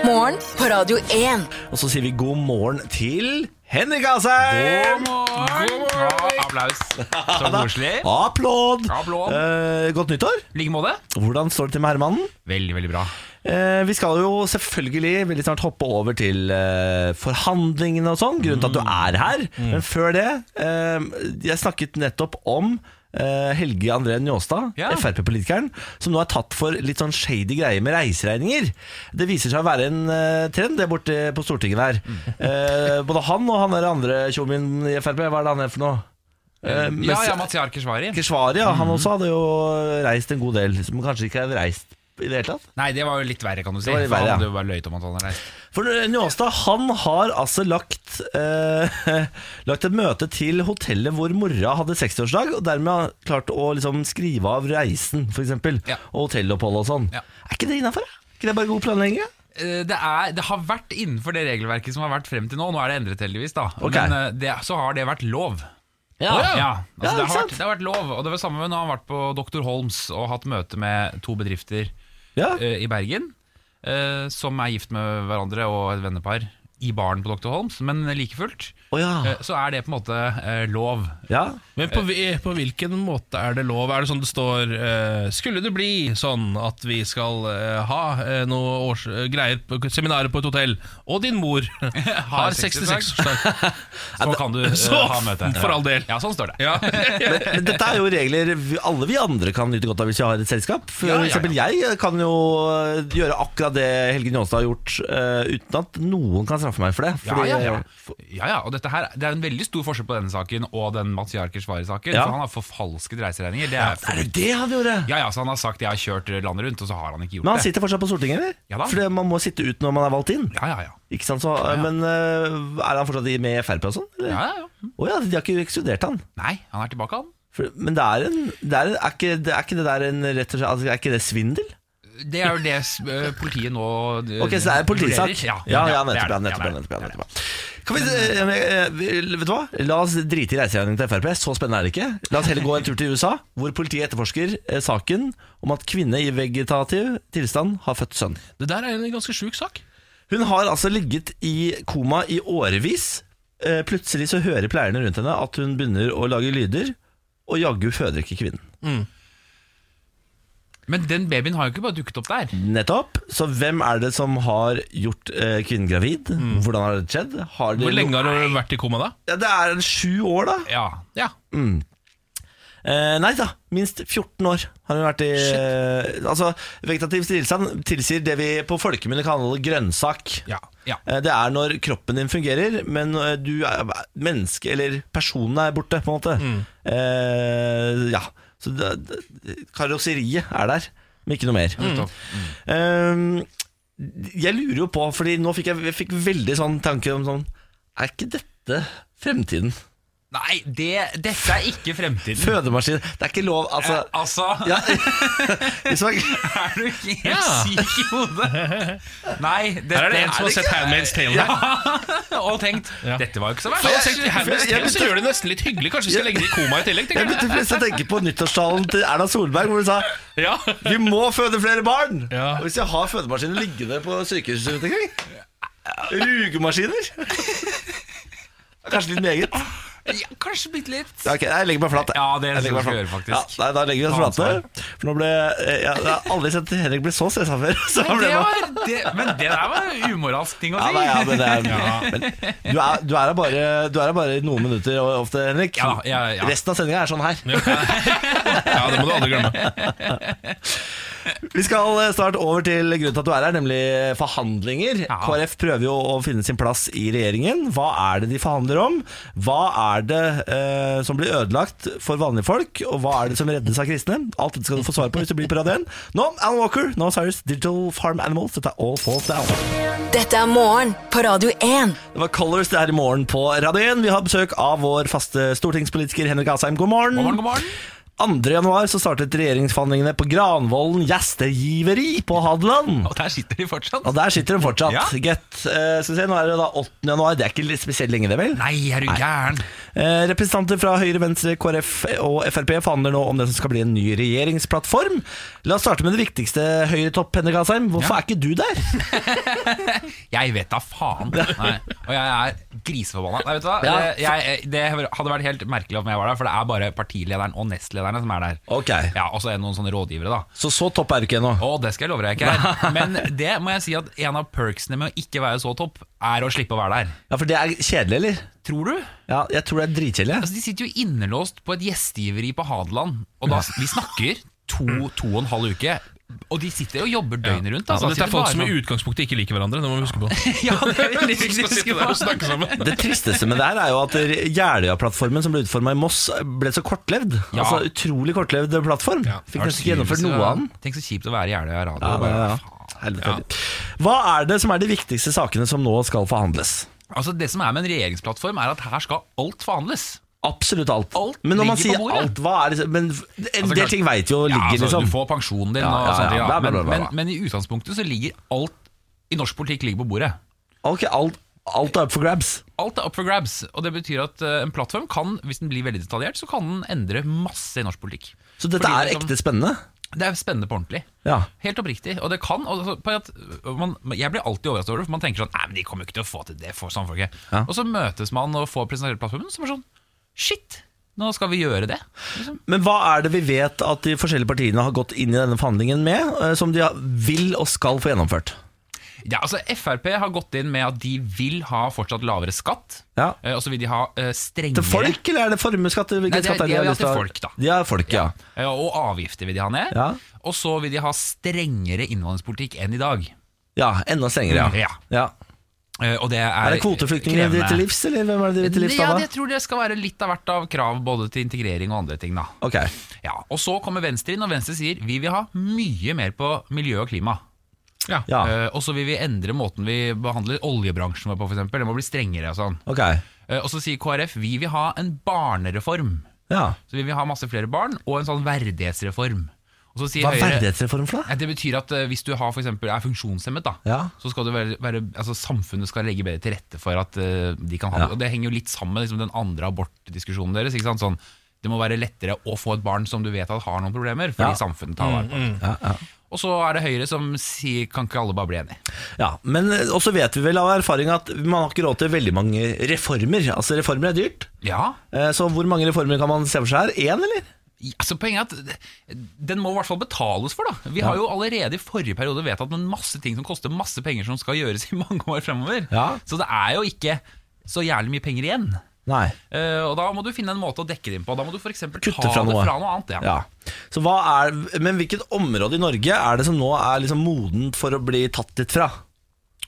[SPEAKER 4] Morgen på Radio 1.
[SPEAKER 1] Og så sier vi god morgen til Henrik Asheim!
[SPEAKER 6] Ja, applaus. Så koselig.
[SPEAKER 1] Applaud!
[SPEAKER 6] Applaud.
[SPEAKER 1] Eh, godt nyttår.
[SPEAKER 6] I like måte.
[SPEAKER 1] Hvordan står det til med herremannen?
[SPEAKER 6] Veldig, veldig bra.
[SPEAKER 1] Eh, vi skal jo selvfølgelig veldig snart hoppe over til eh, forhandlingene og sånn, grunnen til
[SPEAKER 6] Mm.
[SPEAKER 1] at du er her. Men før det, eh, jeg snakket nettopp om eh, Helge André Njåstad,
[SPEAKER 6] Ja.
[SPEAKER 1] Frp-politikeren, som nå er tatt for litt sånn shady greier med reiseregninger. Det viser seg å være en eh, trend det borte på Stortinget der.
[SPEAKER 6] Mm.
[SPEAKER 1] Eh, både han og han der andre tjommien i Frp, hva er det han er for noe? Eh,
[SPEAKER 6] Ja,
[SPEAKER 1] Mest-
[SPEAKER 6] ja, Mm. Matzyar Keshvari.
[SPEAKER 1] Keshvari, ja, han også hadde jo reist en god del, som kanskje ikke hadde reist i det hele tatt.
[SPEAKER 6] Nei, det var jo litt verre, kan du si.
[SPEAKER 1] Det var litt verre, ja.
[SPEAKER 6] For han hadde jo bare løyet om at han hadde reist.
[SPEAKER 1] For eh, Njåstad han har altså lagt eh, Lagt et møte til hotellet hvor mora hadde 60-årsdag, og dermed har klart å liksom skrive av reisen, f.eks.,
[SPEAKER 6] Ja.
[SPEAKER 1] og hotellopphold og sånn.
[SPEAKER 6] Ja.
[SPEAKER 1] Er ikke det innafor? Ikke det bare god planlegging? ja?
[SPEAKER 6] Eh, det, er, det har vært innenfor det regelverket som har vært frem til nå. Nå er det endret, heldigvis. da
[SPEAKER 1] Ok.
[SPEAKER 6] Men eh, det, så har det vært lov.
[SPEAKER 1] Ja.
[SPEAKER 6] ja.
[SPEAKER 1] Ja,
[SPEAKER 6] Altså, det,
[SPEAKER 1] ikke
[SPEAKER 6] har
[SPEAKER 1] sant?
[SPEAKER 6] vært, det har vært lov. Og det var samme når han har vært på Dr. Holms og hatt møte med to bedrifter
[SPEAKER 1] Ja.
[SPEAKER 6] eh, i Bergen, eh, som er gift med hverandre og et vennepar, i baren på Dr. Holms. Men like fullt
[SPEAKER 1] Å ja.
[SPEAKER 6] eh, så er det på en måte eh, lov.
[SPEAKER 1] ja.
[SPEAKER 2] Men på, vi- på hvilken måte er det lov? Er det sånn det står eh, Skulle det bli sånn at vi skal eh, ha uh, noe års, eh, greier på seminaret på et hotell, og din mor har 66-årsdag
[SPEAKER 6] Så kan du eh,
[SPEAKER 2] så
[SPEAKER 6] ha møte.
[SPEAKER 2] for all del.
[SPEAKER 6] Ja, sånn står det.
[SPEAKER 2] ja.
[SPEAKER 1] Men, men dette er jo regler vi- alle vi andre kan nyte godt av hvis vi har et selskap. For
[SPEAKER 6] Ja, ja, ja.
[SPEAKER 1] eksempel jeg kan jo eh, gjøre akkurat det Helge Njåstad har gjort, eh, uten at noen kan straffe meg for det.
[SPEAKER 6] Ja, ja, ja. ja, ja, og dette her, Det er en veldig stor forskjell på denne saken og den Mats Jarkers-Vare-saken.
[SPEAKER 1] Ja.
[SPEAKER 6] For Han har forfalsket reiseregninger. Det er
[SPEAKER 1] Er det det han gjorde?
[SPEAKER 6] ja, ja, så Han har sagt 'jeg har kjørt landet rundt', og så har han ikke gjort
[SPEAKER 1] Men han
[SPEAKER 6] det.
[SPEAKER 1] sitter fortsatt på Stortinget, eller?
[SPEAKER 6] Ja da.
[SPEAKER 1] For det- man må sitte ut når man er valgt inn.
[SPEAKER 6] Ja, ja, ja.
[SPEAKER 1] Ikke sant, så, Men øh, er han fortsatt i- med i Frp og sånn? eller?
[SPEAKER 6] ja, ja, ja.
[SPEAKER 1] Å ja, de har ikke ekskludert han.
[SPEAKER 6] Nei, han er tilbake, han.
[SPEAKER 1] For, men det er, en, det er, en, er, ikke, det, er ikke det der en rett og slett altså, Er ikke det svindel?
[SPEAKER 6] Det er jo det eh, politiet nå eh,
[SPEAKER 1] Ok, så det er en politisak.
[SPEAKER 6] vurderer.
[SPEAKER 1] Ja,
[SPEAKER 6] Ja,
[SPEAKER 1] ja, nettopp.
[SPEAKER 6] det er
[SPEAKER 1] ja,
[SPEAKER 6] det.
[SPEAKER 1] nettopp, ja,
[SPEAKER 6] Ja, det er det.
[SPEAKER 1] nettopp, ja, nettopp. Kan vi, eh, eh, vi- vet du hva? La oss drite i reiseregningen til Frp. Så spennende er det ikke. La oss heller gå en tur til USA, hvor politiet etterforsker eh, saken om at kvinne i vegetativ tilstand har født sønn.
[SPEAKER 2] Det der er en ganske sjuk sak.
[SPEAKER 1] Hun har altså ligget i koma i årevis. Eh, Plutselig så hører pleierne rundt henne at hun begynner å lage lyder, og jaggu føder ikke kvinnen.
[SPEAKER 6] Men den babyen har jo ikke bare dukket opp der.
[SPEAKER 1] Mm. Nettopp. Så hvem er det som har gjort eh, kvinnen gravid? Hvordan har det skjedd? Har det
[SPEAKER 2] Mm. Hvor lenge har du vært i koma da?
[SPEAKER 1] Ja, det er en sju år, da.
[SPEAKER 6] Ja,
[SPEAKER 2] Ja,
[SPEAKER 1] Eh, nei da, minst 14 år har hun vært i eh, Altså, vegetativ tilstand tilsier det vi på folkemunne kaller grønnsak.
[SPEAKER 6] ja, ja.
[SPEAKER 1] Eh, Det er når kroppen din fungerer, men eh, du er menneske, eller personen er borte, på en måte.
[SPEAKER 6] Mm.
[SPEAKER 1] Eh, ja. Så det, det, karosseriet er der, men ikke noe mer.
[SPEAKER 6] Mm.
[SPEAKER 1] Mm.
[SPEAKER 6] Nettopp.
[SPEAKER 1] Eh, jeg lurer jo på, fordi nå fikk jeg, jeg fikk veldig sånn tanke om sånn Er ikke dette fremtiden?
[SPEAKER 6] Nei, det, dette er ikke fremtiden.
[SPEAKER 1] Fødemaskin Det er ikke lov, altså.
[SPEAKER 6] Eh, altså,
[SPEAKER 1] Ja, hvis man,
[SPEAKER 6] er du ikke helt
[SPEAKER 2] Ja.
[SPEAKER 6] syk i hodet? Nei, dette
[SPEAKER 2] Her er det en som har sett Handmaid's Tale her.
[SPEAKER 6] og tenkt
[SPEAKER 2] Ja.
[SPEAKER 6] 'dette var jo ikke så
[SPEAKER 2] For jeg
[SPEAKER 6] verst'.
[SPEAKER 2] tenkte, Handmaid's Tale så gjør det nesten litt hyggelig. Kanskje vi skal legge det i koma i tillegg?
[SPEAKER 1] jeg
[SPEAKER 2] tenker
[SPEAKER 1] begynte plutselig å tenke på nyttårstalen til Erna Solberg, hvor hun sa
[SPEAKER 2] jeg. Ja.
[SPEAKER 1] Vi må føde flere barn!
[SPEAKER 2] Ja.
[SPEAKER 1] Og hvis jeg har fødemaskiner liggende på sykehuset rundt omkring Rugemaskiner? Kanskje litt meget?
[SPEAKER 6] Ja, kanskje bitte litt.
[SPEAKER 1] Ja, ok, jeg legger meg flat. jeg.
[SPEAKER 6] Ja, det
[SPEAKER 1] Jeg legger
[SPEAKER 6] skal vi
[SPEAKER 1] meg
[SPEAKER 6] gjøre,
[SPEAKER 1] flat.
[SPEAKER 6] faktisk.
[SPEAKER 1] Ja, nei, da legger vi
[SPEAKER 6] Ta
[SPEAKER 1] oss flate. For nå ble jeg, jeg har aldri sett Henrik bli så stressa før. Så han
[SPEAKER 6] Det
[SPEAKER 1] ble bare-
[SPEAKER 6] var, det, men det der var en umoralsk ting å
[SPEAKER 1] ja,
[SPEAKER 6] si.
[SPEAKER 1] nei, ja, men det er, men du, er, du, er her bare, du er her bare i noen minutter og- ofte, Henrik.
[SPEAKER 6] Ja, ja, ja.
[SPEAKER 1] Resten av sendinga er sånn her.
[SPEAKER 2] ja, det må du aldri glemme.
[SPEAKER 1] Vi skal eh, snart over til grunnen til at du er her, nemlig eh, forhandlinger.
[SPEAKER 6] Ja.
[SPEAKER 1] KrF prøver jo å finne sin plass i regjeringen. Hva er det de forhandler om? Hva er det eh, som blir ødelagt for vanlige folk, og hva er det som reddes av kristne? Alt dette skal du få svar på hvis du blir på Radio 1. Nå, Alan Walker, nå Cyrus, Digital Farm Animals. Dette er All Falls Down.
[SPEAKER 4] Dette er morgen på Radio 1.
[SPEAKER 1] Det var Colors det er i morgen på Radio 1. Vi har besøk av vår faste stortingspolitiker Henrik Asheim. God morgen.
[SPEAKER 6] God morgen, god morgen.
[SPEAKER 1] 2. januar så startet regjeringsforhandlingene på Granvollen gjestgiveri på Hadeland.
[SPEAKER 6] Og der sitter de fortsatt.
[SPEAKER 1] Og der sitter de fortsatt.
[SPEAKER 6] Ja.
[SPEAKER 1] Gett. Eh, skal vi se, nå er det da 8. januar. Det er ikke spesielt lenge, det, vel?
[SPEAKER 6] Nei, er du gæren?
[SPEAKER 1] Eh, Representanter fra Høyre, Venstre, KrF og Frp forhandler nå om det som skal bli en ny regjeringsplattform. La oss starte med det viktigste, Høyre-topp Henne Gasheim. Hvorfor er ikke du der?
[SPEAKER 6] Jeg vet da faen. Nei. Og jeg er griseforbanna. Nei, vet du hva?
[SPEAKER 1] Ja.
[SPEAKER 6] Det, jeg, det hadde vært helt merkelig om jeg var der, for det er bare partilederen og nestlederne som er der.
[SPEAKER 1] Ok.
[SPEAKER 6] Ja, Og så er det noen sånne rådgivere, da.
[SPEAKER 1] Så så topp er du ikke ennå.
[SPEAKER 6] Å, det skal jeg love deg ikke er. Men det må jeg si at en av perksene med å ikke være så topp, er å slippe å være der.
[SPEAKER 1] Ja, for det er kjedelig, eller?
[SPEAKER 6] Tror du?
[SPEAKER 1] Ja, jeg tror det er dritkjedelig. jeg.
[SPEAKER 6] Altså, de sitter jo innelåst på et gjestgiveri på Hadeland, og da, vi snakker to, to og en halv uke. Og de sitter og jobber døgnet rundt. Altså.
[SPEAKER 2] Og dette er folk som i
[SPEAKER 6] Sitter bare
[SPEAKER 2] utgangspunktet ikke liker hverandre. Det må vi huske på.
[SPEAKER 6] sånn- Ja, det er veldig viktig å huske på.
[SPEAKER 2] snakke sammen.
[SPEAKER 1] Det tristeste med det her er jo at Jeløya-plattformen som ble utforma i Moss, ble så kortlevd.
[SPEAKER 6] Ja.
[SPEAKER 1] Altså Utrolig kortlevd plattform.
[SPEAKER 2] Ja.
[SPEAKER 1] Fikk nesten ikke gjennomført noe av den.
[SPEAKER 6] Tenk så kjipt å være i Jeløya radio.
[SPEAKER 1] Ja, ja,
[SPEAKER 6] og bare,
[SPEAKER 1] ja.
[SPEAKER 6] faen.
[SPEAKER 1] Helvete. Hva er det som er de viktigste sakene som nå skal forhandles?
[SPEAKER 6] Altså Det som er med en regjeringsplattform, er at her skal alt forhandles.
[SPEAKER 1] Absolutt alt.
[SPEAKER 6] Alt
[SPEAKER 1] men når man
[SPEAKER 6] ligger på
[SPEAKER 1] sier
[SPEAKER 6] bordet.
[SPEAKER 1] alt, hva er det Men en
[SPEAKER 6] Altså,
[SPEAKER 1] del
[SPEAKER 6] klart-
[SPEAKER 1] ting veit jo ligger,
[SPEAKER 6] ja, altså,
[SPEAKER 1] liksom.
[SPEAKER 6] Du får pensjonen din
[SPEAKER 1] Ja,
[SPEAKER 6] og
[SPEAKER 1] ja,
[SPEAKER 6] sånne ting.
[SPEAKER 1] ja.
[SPEAKER 6] da.
[SPEAKER 1] Bla, bla,
[SPEAKER 6] Men,
[SPEAKER 1] bla, bla,
[SPEAKER 6] men,
[SPEAKER 1] bla.
[SPEAKER 6] men i utgangspunktet så ligger alt i norsk politikk ligger på bordet.
[SPEAKER 1] Ok, alt, alt er up for grabs.
[SPEAKER 6] Alt er up for grabs. Og det betyr at eh, en plattform kan, hvis den blir veldig detaljert, så kan den endre masse i norsk politikk.
[SPEAKER 1] Så dette
[SPEAKER 6] Fordi liksom-
[SPEAKER 1] er
[SPEAKER 6] det kan-
[SPEAKER 1] ekte spennende.
[SPEAKER 6] Det er spennende på ordentlig.
[SPEAKER 1] Ja.
[SPEAKER 6] Helt oppriktig. Og det kan altså, på at man, Jeg blir alltid overrasket over det, for man tenker sånn Nei, men de kommer jo ikke til å få til det for samfolket.
[SPEAKER 1] Ja.
[SPEAKER 6] Og så møtes man og får presentert plattformen, så bare sånn Shit! Nå skal vi gjøre det. Liksom.
[SPEAKER 1] Men hva er det vi vet at de forskjellige partiene har gått inn i denne forhandlingen med, eh, som de har- vil og skal få gjennomført?
[SPEAKER 6] Ja, altså Frp har gått inn med at de vil ha fortsatt lavere skatt.
[SPEAKER 1] Ja.
[SPEAKER 6] eh, Og så vil de ha eh, strengere
[SPEAKER 1] Til folk, eller er det formuesskatt? Nei,
[SPEAKER 6] det er- de er til folk, da.
[SPEAKER 1] De er folk, ja.
[SPEAKER 6] eh, Og avgifter vil de ha ned.
[SPEAKER 1] Ja.
[SPEAKER 6] Og så vil de ha strengere innvandringspolitikk enn i dag.
[SPEAKER 1] Ja, Enda strengere, ja.
[SPEAKER 6] Ja.
[SPEAKER 1] ja.
[SPEAKER 6] Eh, Og det er,
[SPEAKER 1] Er det kvoteflyktninger de vil til livs, eller hvem er det de vil til livs da?
[SPEAKER 6] Ja,
[SPEAKER 1] da?
[SPEAKER 6] jeg tror det skal være litt av hvert av krav både til integrering og andre ting. da
[SPEAKER 1] Ok,
[SPEAKER 6] Ja, Og så kommer Venstre inn, og Venstre sier vi vil ha mye mer på miljø og klima.
[SPEAKER 1] ja.
[SPEAKER 6] Eh, og så vil vi endre måten vi behandler oljebransjen vår på, f.eks. Det må bli strengere og sånn.
[SPEAKER 1] ok.
[SPEAKER 6] Eh, og så sier KrF vi vil ha en barnereform.
[SPEAKER 1] Ja.
[SPEAKER 6] Så vi vil ha masse flere barn, og en sånn verdighetsreform. Og så sier
[SPEAKER 1] Hva er
[SPEAKER 6] Høyre-
[SPEAKER 1] verdighetsreform for noe?
[SPEAKER 6] Ja, Det betyr at eh, hvis du har, for eksempel, er funksjonshemmet, da,
[SPEAKER 1] Ja.
[SPEAKER 6] så skal du være, være, altså, samfunnet skal legge bedre til rette for at eh, de kan ha
[SPEAKER 1] Ja.
[SPEAKER 6] det. Og det henger jo litt sammen med liksom, den andre abortdiskusjonen deres. Ikke sant? Sånn, det må være lettere å få et barn som du vet at har noen problemer,
[SPEAKER 1] Ja.
[SPEAKER 6] fordi
[SPEAKER 1] Mm.
[SPEAKER 6] samfunnet tar vare på det. Og så er det Høyre som sier kan ikke alle bare bli enige.
[SPEAKER 1] Ja, men eh, også vet vi vel av erfaring at man har ikke råd til veldig mange reformer. Altså, reformer er dyrt.
[SPEAKER 6] Ja,
[SPEAKER 1] Eh, Så hvor mange reformer kan man se for seg her? Én, eller?
[SPEAKER 6] Ja, altså Poenget er at den må i hvert fall betales for. da Vi har jo allerede i forrige periode vedtatt en masse ting som koster masse penger, som skal gjøres i mange år fremover.
[SPEAKER 1] Ja.
[SPEAKER 6] Så det er jo ikke så jævlig mye penger igjen.
[SPEAKER 1] Nei.
[SPEAKER 6] Eh, og Da må du finne en måte å dekke det inn på. Da må du for eksempel
[SPEAKER 1] Kutte
[SPEAKER 6] ta
[SPEAKER 1] fra
[SPEAKER 6] det
[SPEAKER 1] noe.
[SPEAKER 6] fra noe annet. Ja.
[SPEAKER 1] Ja. Så hva er, men hvilket område i Norge er det som nå er liksom modent for å bli tatt litt fra?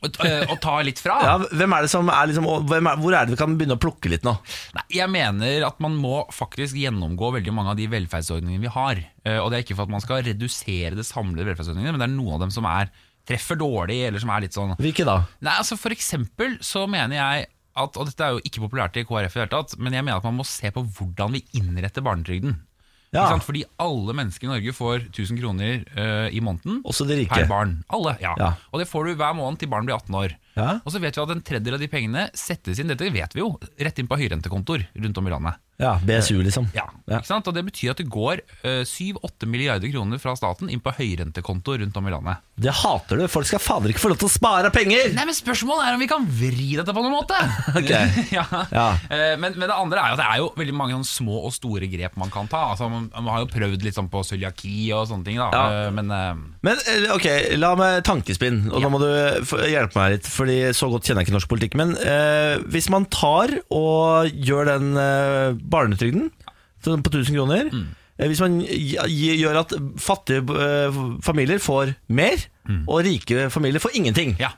[SPEAKER 6] Og, eh, og ta litt fra.
[SPEAKER 1] Ja, hvem er det som er liksom, og hvem er, hvor er det vi kan begynne å plukke litt nå?
[SPEAKER 6] Nei, jeg mener at man må faktisk gjennomgå veldig mange av de velferdsordningene vi har. Eh, og det er ikke for at man skal redusere det samlede velferdsordningene, men det er noen av dem som er, treffer dårlig, eller som er litt sånn
[SPEAKER 1] Hvilke da?
[SPEAKER 6] Nei, altså For eksempel så mener jeg at, og dette er jo ikke populært i KrF i det hele tatt, men jeg mener at man må se på hvordan vi innretter barnetrygden.
[SPEAKER 1] Ja.
[SPEAKER 6] Ikke sant? Fordi alle mennesker i Norge får 1000 kroner eh, i måneden
[SPEAKER 1] Også de rike.
[SPEAKER 6] per barn. Alle, ja.
[SPEAKER 1] Ja.
[SPEAKER 6] Og det får du hver måned til barn blir 18 år.
[SPEAKER 1] Ja.
[SPEAKER 6] Og så vet vi at en tredjedel av de pengene settes inn dette vet vi jo, rett inn på høyrentekontor rundt om i landet.
[SPEAKER 1] Ja, BSU liksom.
[SPEAKER 6] Ja, ikke sant? Og Det betyr at det går eh, 7-8 milliarder kroner fra staten inn på høyrentekontor rundt om i landet.
[SPEAKER 1] Det hater du. Folk skal fader ikke få lov til å spare penger!
[SPEAKER 6] Nei, men Spørsmålet er om vi kan vri dette på noen måte.
[SPEAKER 1] Ok.
[SPEAKER 6] ja.
[SPEAKER 1] Ja.
[SPEAKER 6] Eh, Men, men det andre er jo at det er jo veldig mange sånne små og store grep man kan ta. Altså, man, man har jo prøvd litt sånn på cøliaki og sånne ting, da.
[SPEAKER 1] Ja.
[SPEAKER 6] Eh, Men eh,
[SPEAKER 1] Men eh, ok, la meg tankespinn, og da må du f- hjelpe meg litt, Fordi så godt kjenner jeg ikke norsk politikk. Men eh, hvis man tar og gjør den eh, barnetrygden sånn på 1000 kroner eh, Hvis man gi- gi- gjør at fattige eh, familier får mer, og rike familier får ingenting
[SPEAKER 6] ja.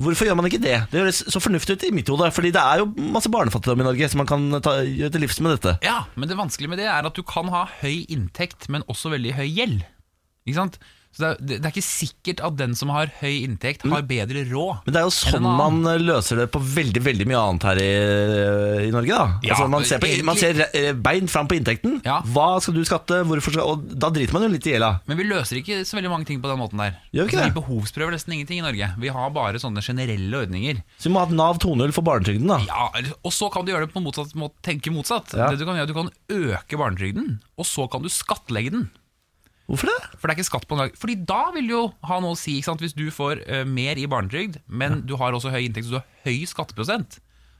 [SPEAKER 1] Hvorfor gjør man ikke det? Det høres så fornuftig ut i mitt hode. Fordi det er jo masse barnefattigdom i Norge, så man kan ta, gjøre til livs med dette.
[SPEAKER 6] ja. Men det vanskelige med det er at du kan ha høy inntekt, men også veldig høy gjeld. Ikke sant? Så det, er, det det er ikke sikkert at den som har høy inntekt, har bedre råd.
[SPEAKER 1] Men det er jo
[SPEAKER 6] enn en
[SPEAKER 1] sånn
[SPEAKER 6] annen.
[SPEAKER 1] man løser det på veldig veldig mye annet her i, eh, i Norge. da
[SPEAKER 6] Ja,
[SPEAKER 1] altså, man, ser på,
[SPEAKER 6] egentlig-
[SPEAKER 1] man ser eh, beint fram på inntekten.
[SPEAKER 6] Ja.
[SPEAKER 1] Hva skal du skatte? Hvorfor skal, og da driter man jo litt i gjelda.
[SPEAKER 6] Men vi løser ikke så veldig mange ting på den måten der.
[SPEAKER 1] Gjør vi ikke det?
[SPEAKER 6] Altså, vi behovsprøver nesten ingenting i Norge. Vi har bare sånne generelle ordninger.
[SPEAKER 1] Så vi må ha et Nav 2.0 for barnetrygden. da
[SPEAKER 6] Ja, Og så kan du gjøre det på motsatt måte, tenke motsatt.
[SPEAKER 1] Ja.
[SPEAKER 6] Det du kan gjøre, du kan øke barnetrygden, og så kan du skattlegge den.
[SPEAKER 1] Hvorfor det?
[SPEAKER 6] For det er ikke skatt på en dag. Fordi da vil du jo ha noe å si. ikke sant? Hvis du får eh, mer i barnetrygd, men du har også høy inntekt, så du har høy skatteprosent,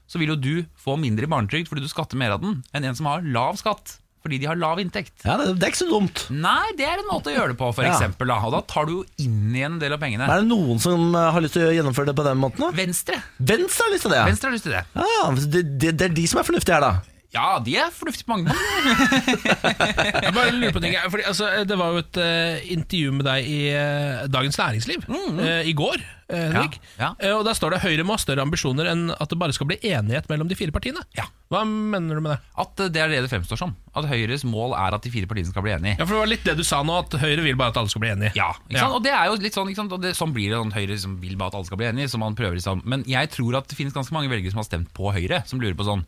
[SPEAKER 6] så vil jo du få mindre i barnetrygd fordi du skatter mer av den, enn en som har lav skatt fordi de har lav inntekt.
[SPEAKER 1] Ja, det, det er ikke så dumt.
[SPEAKER 6] Nei, det er en måte å gjøre det på, for
[SPEAKER 1] Ja.
[SPEAKER 6] eksempel. Da. Og da tar du jo inn igjen en del av pengene.
[SPEAKER 1] Er det noen som eh, har lyst til å gjennomføre det på den måten? da?
[SPEAKER 6] Venstre.
[SPEAKER 1] Venstre har lyst til det. ja.
[SPEAKER 6] Venstre har lyst til det.
[SPEAKER 1] Ja, det, det, det er de som er fornuftige her, da.
[SPEAKER 6] Ja, de er fornuftige på mange måter.
[SPEAKER 2] Jeg bare lurer på en ting jeg, fordi, altså, Det var jo et eh, intervju med deg i eh, Dagens Næringsliv eh, i går. eh, Henrik
[SPEAKER 6] Ja,
[SPEAKER 2] Eh, Og Der står det Høyre må ha større ambisjoner enn at det bare skal bli enighet mellom de fire partiene.
[SPEAKER 6] Ja.
[SPEAKER 2] Hva mener du med det?
[SPEAKER 6] At eh, det er det det fremstår som. At Høyres mål er at de fire partiene skal bli enige.
[SPEAKER 2] Ja, for Det var litt det du sa nå, at Høyre vil bare at alle skal bli enige.
[SPEAKER 6] Ja, ikke sant? og det er jo litt sånn, ikke sant? Og det, sånn blir det sånn, Høyre liksom, vil bare at alle skal bli enige, så man prøver liksom. Men jeg tror at det finnes ganske mange velgere som har stemt på Høyre, som lurer på sånn,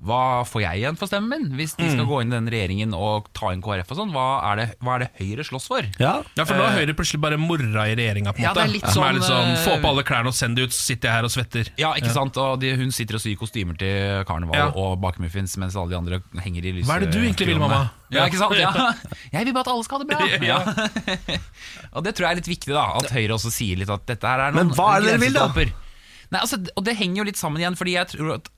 [SPEAKER 6] hva får jeg igjen for stemmen min, hvis de
[SPEAKER 2] Mm.
[SPEAKER 6] skal gå inn i den regjeringen og ta inn KrF og sånn? Hva er det, hva er det Høyre slåss for?
[SPEAKER 1] Ja.
[SPEAKER 2] Ja, for nå er Høyre plutselig bare morra i regjeringa, på en
[SPEAKER 6] Ja,
[SPEAKER 2] måte.
[SPEAKER 6] det er litt
[SPEAKER 2] som
[SPEAKER 6] sånn,
[SPEAKER 2] Eh. er litt sånn
[SPEAKER 6] eh,
[SPEAKER 2] Få på alle klærne og send det ut, så sitter jeg her og svetter.
[SPEAKER 6] Ja, ikke sant? Og de, hun sitter og syr kostymer til karneval
[SPEAKER 2] Ja.
[SPEAKER 6] og baker muffins, mens alle de andre henger i lyset.
[SPEAKER 2] Hva er det du egentlig vil, mamma?
[SPEAKER 6] Ja, ikke sant? Ja. Jeg vil bare at alle skal ha det bra.
[SPEAKER 2] Ja.
[SPEAKER 6] og det tror jeg er litt viktig, da. At Høyre også sier litt at dette her er noen
[SPEAKER 1] Men hva er det dere vil, da?
[SPEAKER 6] grensestolper. Nei, altså, og det henger jo litt sammen igjen, fordi jeg tror at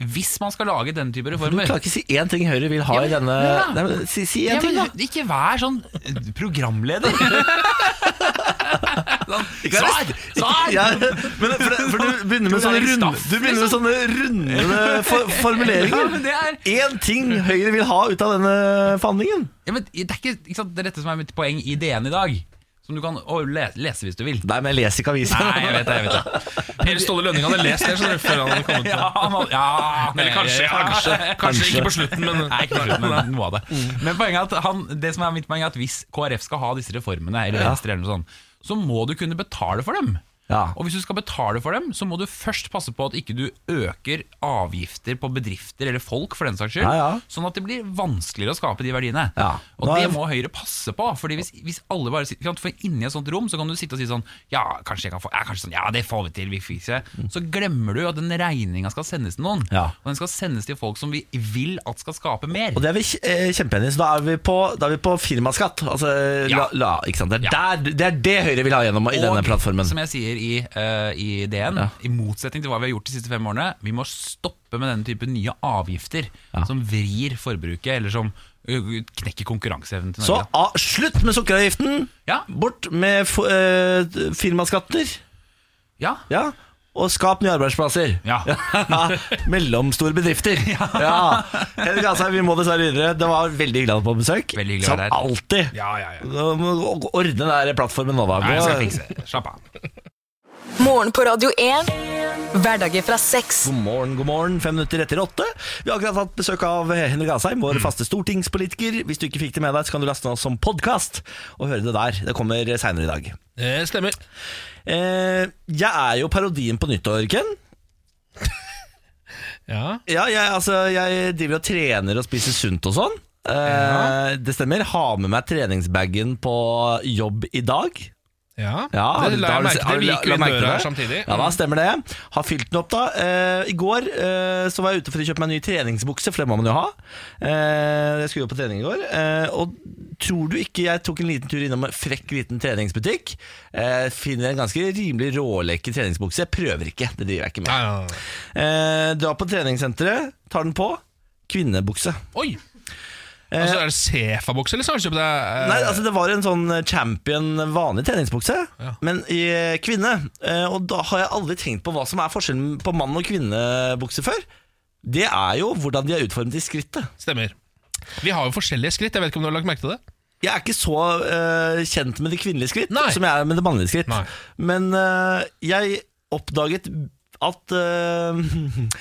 [SPEAKER 6] hvis man skal lage denne type
[SPEAKER 1] Du
[SPEAKER 6] reformer
[SPEAKER 1] klarer ikke å si én ting Høyre vil ha
[SPEAKER 6] Ja,
[SPEAKER 1] i
[SPEAKER 6] men-
[SPEAKER 1] denne
[SPEAKER 6] ja.
[SPEAKER 1] Nei, men, Si, si én
[SPEAKER 6] ja,
[SPEAKER 1] ting,
[SPEAKER 6] men,
[SPEAKER 1] da.
[SPEAKER 6] Ikke vær sånn programleder. sånn, svar! Svar!
[SPEAKER 1] Ja, men for, for du begynner med
[SPEAKER 6] Tror
[SPEAKER 1] sånne
[SPEAKER 6] jeg er
[SPEAKER 1] runde,
[SPEAKER 6] staff, liksom?
[SPEAKER 1] du begynner med sånne runde for,
[SPEAKER 6] Ja,
[SPEAKER 1] formuleringer.
[SPEAKER 6] men det er
[SPEAKER 1] Én ting Høyre vil ha ut av denne forhandlingen.
[SPEAKER 6] Ja, men det er ikke, ikke sant, det er dette som er mitt poeng i DN i dag. Som du kan å, le, lese hvis du vil.
[SPEAKER 1] Nei, men jeg leser ikke avisen.
[SPEAKER 6] Nei, jeg vet det. jeg vet det
[SPEAKER 2] Per Ståle Lønning hadde lest det. Så før han hadde kommet med.
[SPEAKER 6] Ja, man, ja,
[SPEAKER 2] Eller kanskje,
[SPEAKER 6] ja.
[SPEAKER 2] kanskje, kanskje. ikke på slutten, men
[SPEAKER 6] Nei, ikke slutt, men noe av det.
[SPEAKER 1] Mm.
[SPEAKER 6] Men poenget er at han, det som er mitt poeng er at hvis KrF skal ha disse reformene, eller Venstre eller noe sånt, så må du kunne betale for dem.
[SPEAKER 1] Ja.
[SPEAKER 6] Og hvis du skal betale for dem, så må du først passe på at ikke du øker avgifter på bedrifter eller folk, for den saks skyld,
[SPEAKER 1] Ja, ja.
[SPEAKER 6] sånn at det blir vanskeligere å skape de verdiene.
[SPEAKER 1] Ja.
[SPEAKER 6] Og
[SPEAKER 1] Da er-
[SPEAKER 6] det må Høyre passe på, Fordi hvis, hvis alle bare sitter ikke sant, For inni et sånt rom så kan du sitte og si sånn Ja, kanskje jeg kan få ja, kanskje sånn, ja det får vi til, vi fikser det. Så glemmer du at den regninga skal sendes til noen.
[SPEAKER 1] Mm. Ja.
[SPEAKER 6] Og den skal sendes til folk som vi vil at skal skape mer.
[SPEAKER 1] Og det er vi kj- eh, kjempeenige i, så da er vi på, da er vi på firmaskatt. Altså, la,
[SPEAKER 6] Ja.
[SPEAKER 1] la, ikke sant? Det, er
[SPEAKER 6] Ja.
[SPEAKER 1] der, det er det Høyre vil ha gjennom i denne plattformen.
[SPEAKER 6] som jeg sier i, eh, i DN, i motsetning til hva vi har gjort de siste fem årene, vi må stoppe med denne type nye avgifter som vrir forbruket, eller som ø, ø, knekker konkurranseevnen til
[SPEAKER 1] Så
[SPEAKER 6] Norge.
[SPEAKER 1] ah, slutt med sukkeravgiften!
[SPEAKER 6] Ja.
[SPEAKER 1] Bort med fo- eh, firmaskatter.
[SPEAKER 6] Ja.
[SPEAKER 1] Ja. Og skap nye arbeidsplasser.
[SPEAKER 6] Ja.
[SPEAKER 1] Mellomstore bedrifter. Ja. Henrik Asheim, vi må dessverre videre. Det var veldig hyggelig å ha deg på besøk.
[SPEAKER 6] Veldig hyggelig å
[SPEAKER 1] Som
[SPEAKER 6] være her.
[SPEAKER 1] alltid.
[SPEAKER 2] Ja, ja, ja.
[SPEAKER 1] Nå må du Ordne den der plattformen nå, da.
[SPEAKER 6] Nei, jeg skal fikse det. Slapp av.
[SPEAKER 4] Morgen på Radio 1. Hverdager fra seks.
[SPEAKER 1] God morgen, god morgen. Fem minutter etter åtte. Vi har akkurat hatt besøk av Henrik Asheim, vår faste stortingspolitiker. Hvis du ikke fikk det med deg, så kan du laste den oss som podkast og høre det der. Det kommer seinere i dag.
[SPEAKER 2] Det stemmer.
[SPEAKER 1] Eh, jeg er jo parodien på nyttår, Ken.
[SPEAKER 2] Ja.
[SPEAKER 1] Ja, jeg, altså, jeg driver og trener og spiser sunt og sånn. Eh, Det stemmer. Har med meg treningsbagen på jobb i dag.
[SPEAKER 2] Ja,
[SPEAKER 1] Ja,
[SPEAKER 2] det la
[SPEAKER 1] da har du
[SPEAKER 2] jeg merke
[SPEAKER 1] se- har
[SPEAKER 2] til.
[SPEAKER 1] du
[SPEAKER 2] Vi
[SPEAKER 1] la-
[SPEAKER 2] gikk
[SPEAKER 1] la
[SPEAKER 2] jo inn
[SPEAKER 1] merke til
[SPEAKER 2] døra
[SPEAKER 1] det?
[SPEAKER 2] her samtidig.
[SPEAKER 1] Ja, da stemmer det. Har fylt den opp, da. Eh, I går eh, så var jeg ute for å kjøpe meg en ny treningsbukse, for det må man jo ha. Eh, jeg skulle jo på trening i går. Eh, og tror du ikke jeg tok en liten tur innom en frekk liten treningsbutikk? Eh, finner en ganske rimelig rålekker treningsbukse. Jeg prøver ikke, det driver jeg ikke med.
[SPEAKER 2] Ja, ja, ja.
[SPEAKER 1] Eh, drar på treningssenteret, tar den på. Kvinnebukse.
[SPEAKER 2] Oi! Altså, er det Sefa-bukse, eller så har du kjøpt deg eh,
[SPEAKER 1] Eh, Nei, altså Det var en sånn champion, eh, vanlig treningsbukse,
[SPEAKER 2] Ja.
[SPEAKER 1] men i eh, kvinne. Eh, Og da har jeg aldri tenkt på hva som er forskjellen på mann- og kvinnebukse før. Det er jo hvordan de er utformet i skrittet.
[SPEAKER 2] Stemmer. Vi har jo forskjellige skritt. Jeg vet ikke om du har lagt merke til det?
[SPEAKER 1] Jeg er ikke så eh, kjent med det kvinnelige skritt
[SPEAKER 2] Nei.
[SPEAKER 1] som jeg er med det mannlige skritt.
[SPEAKER 2] Nei.
[SPEAKER 1] Men eh, jeg oppdaget at eh,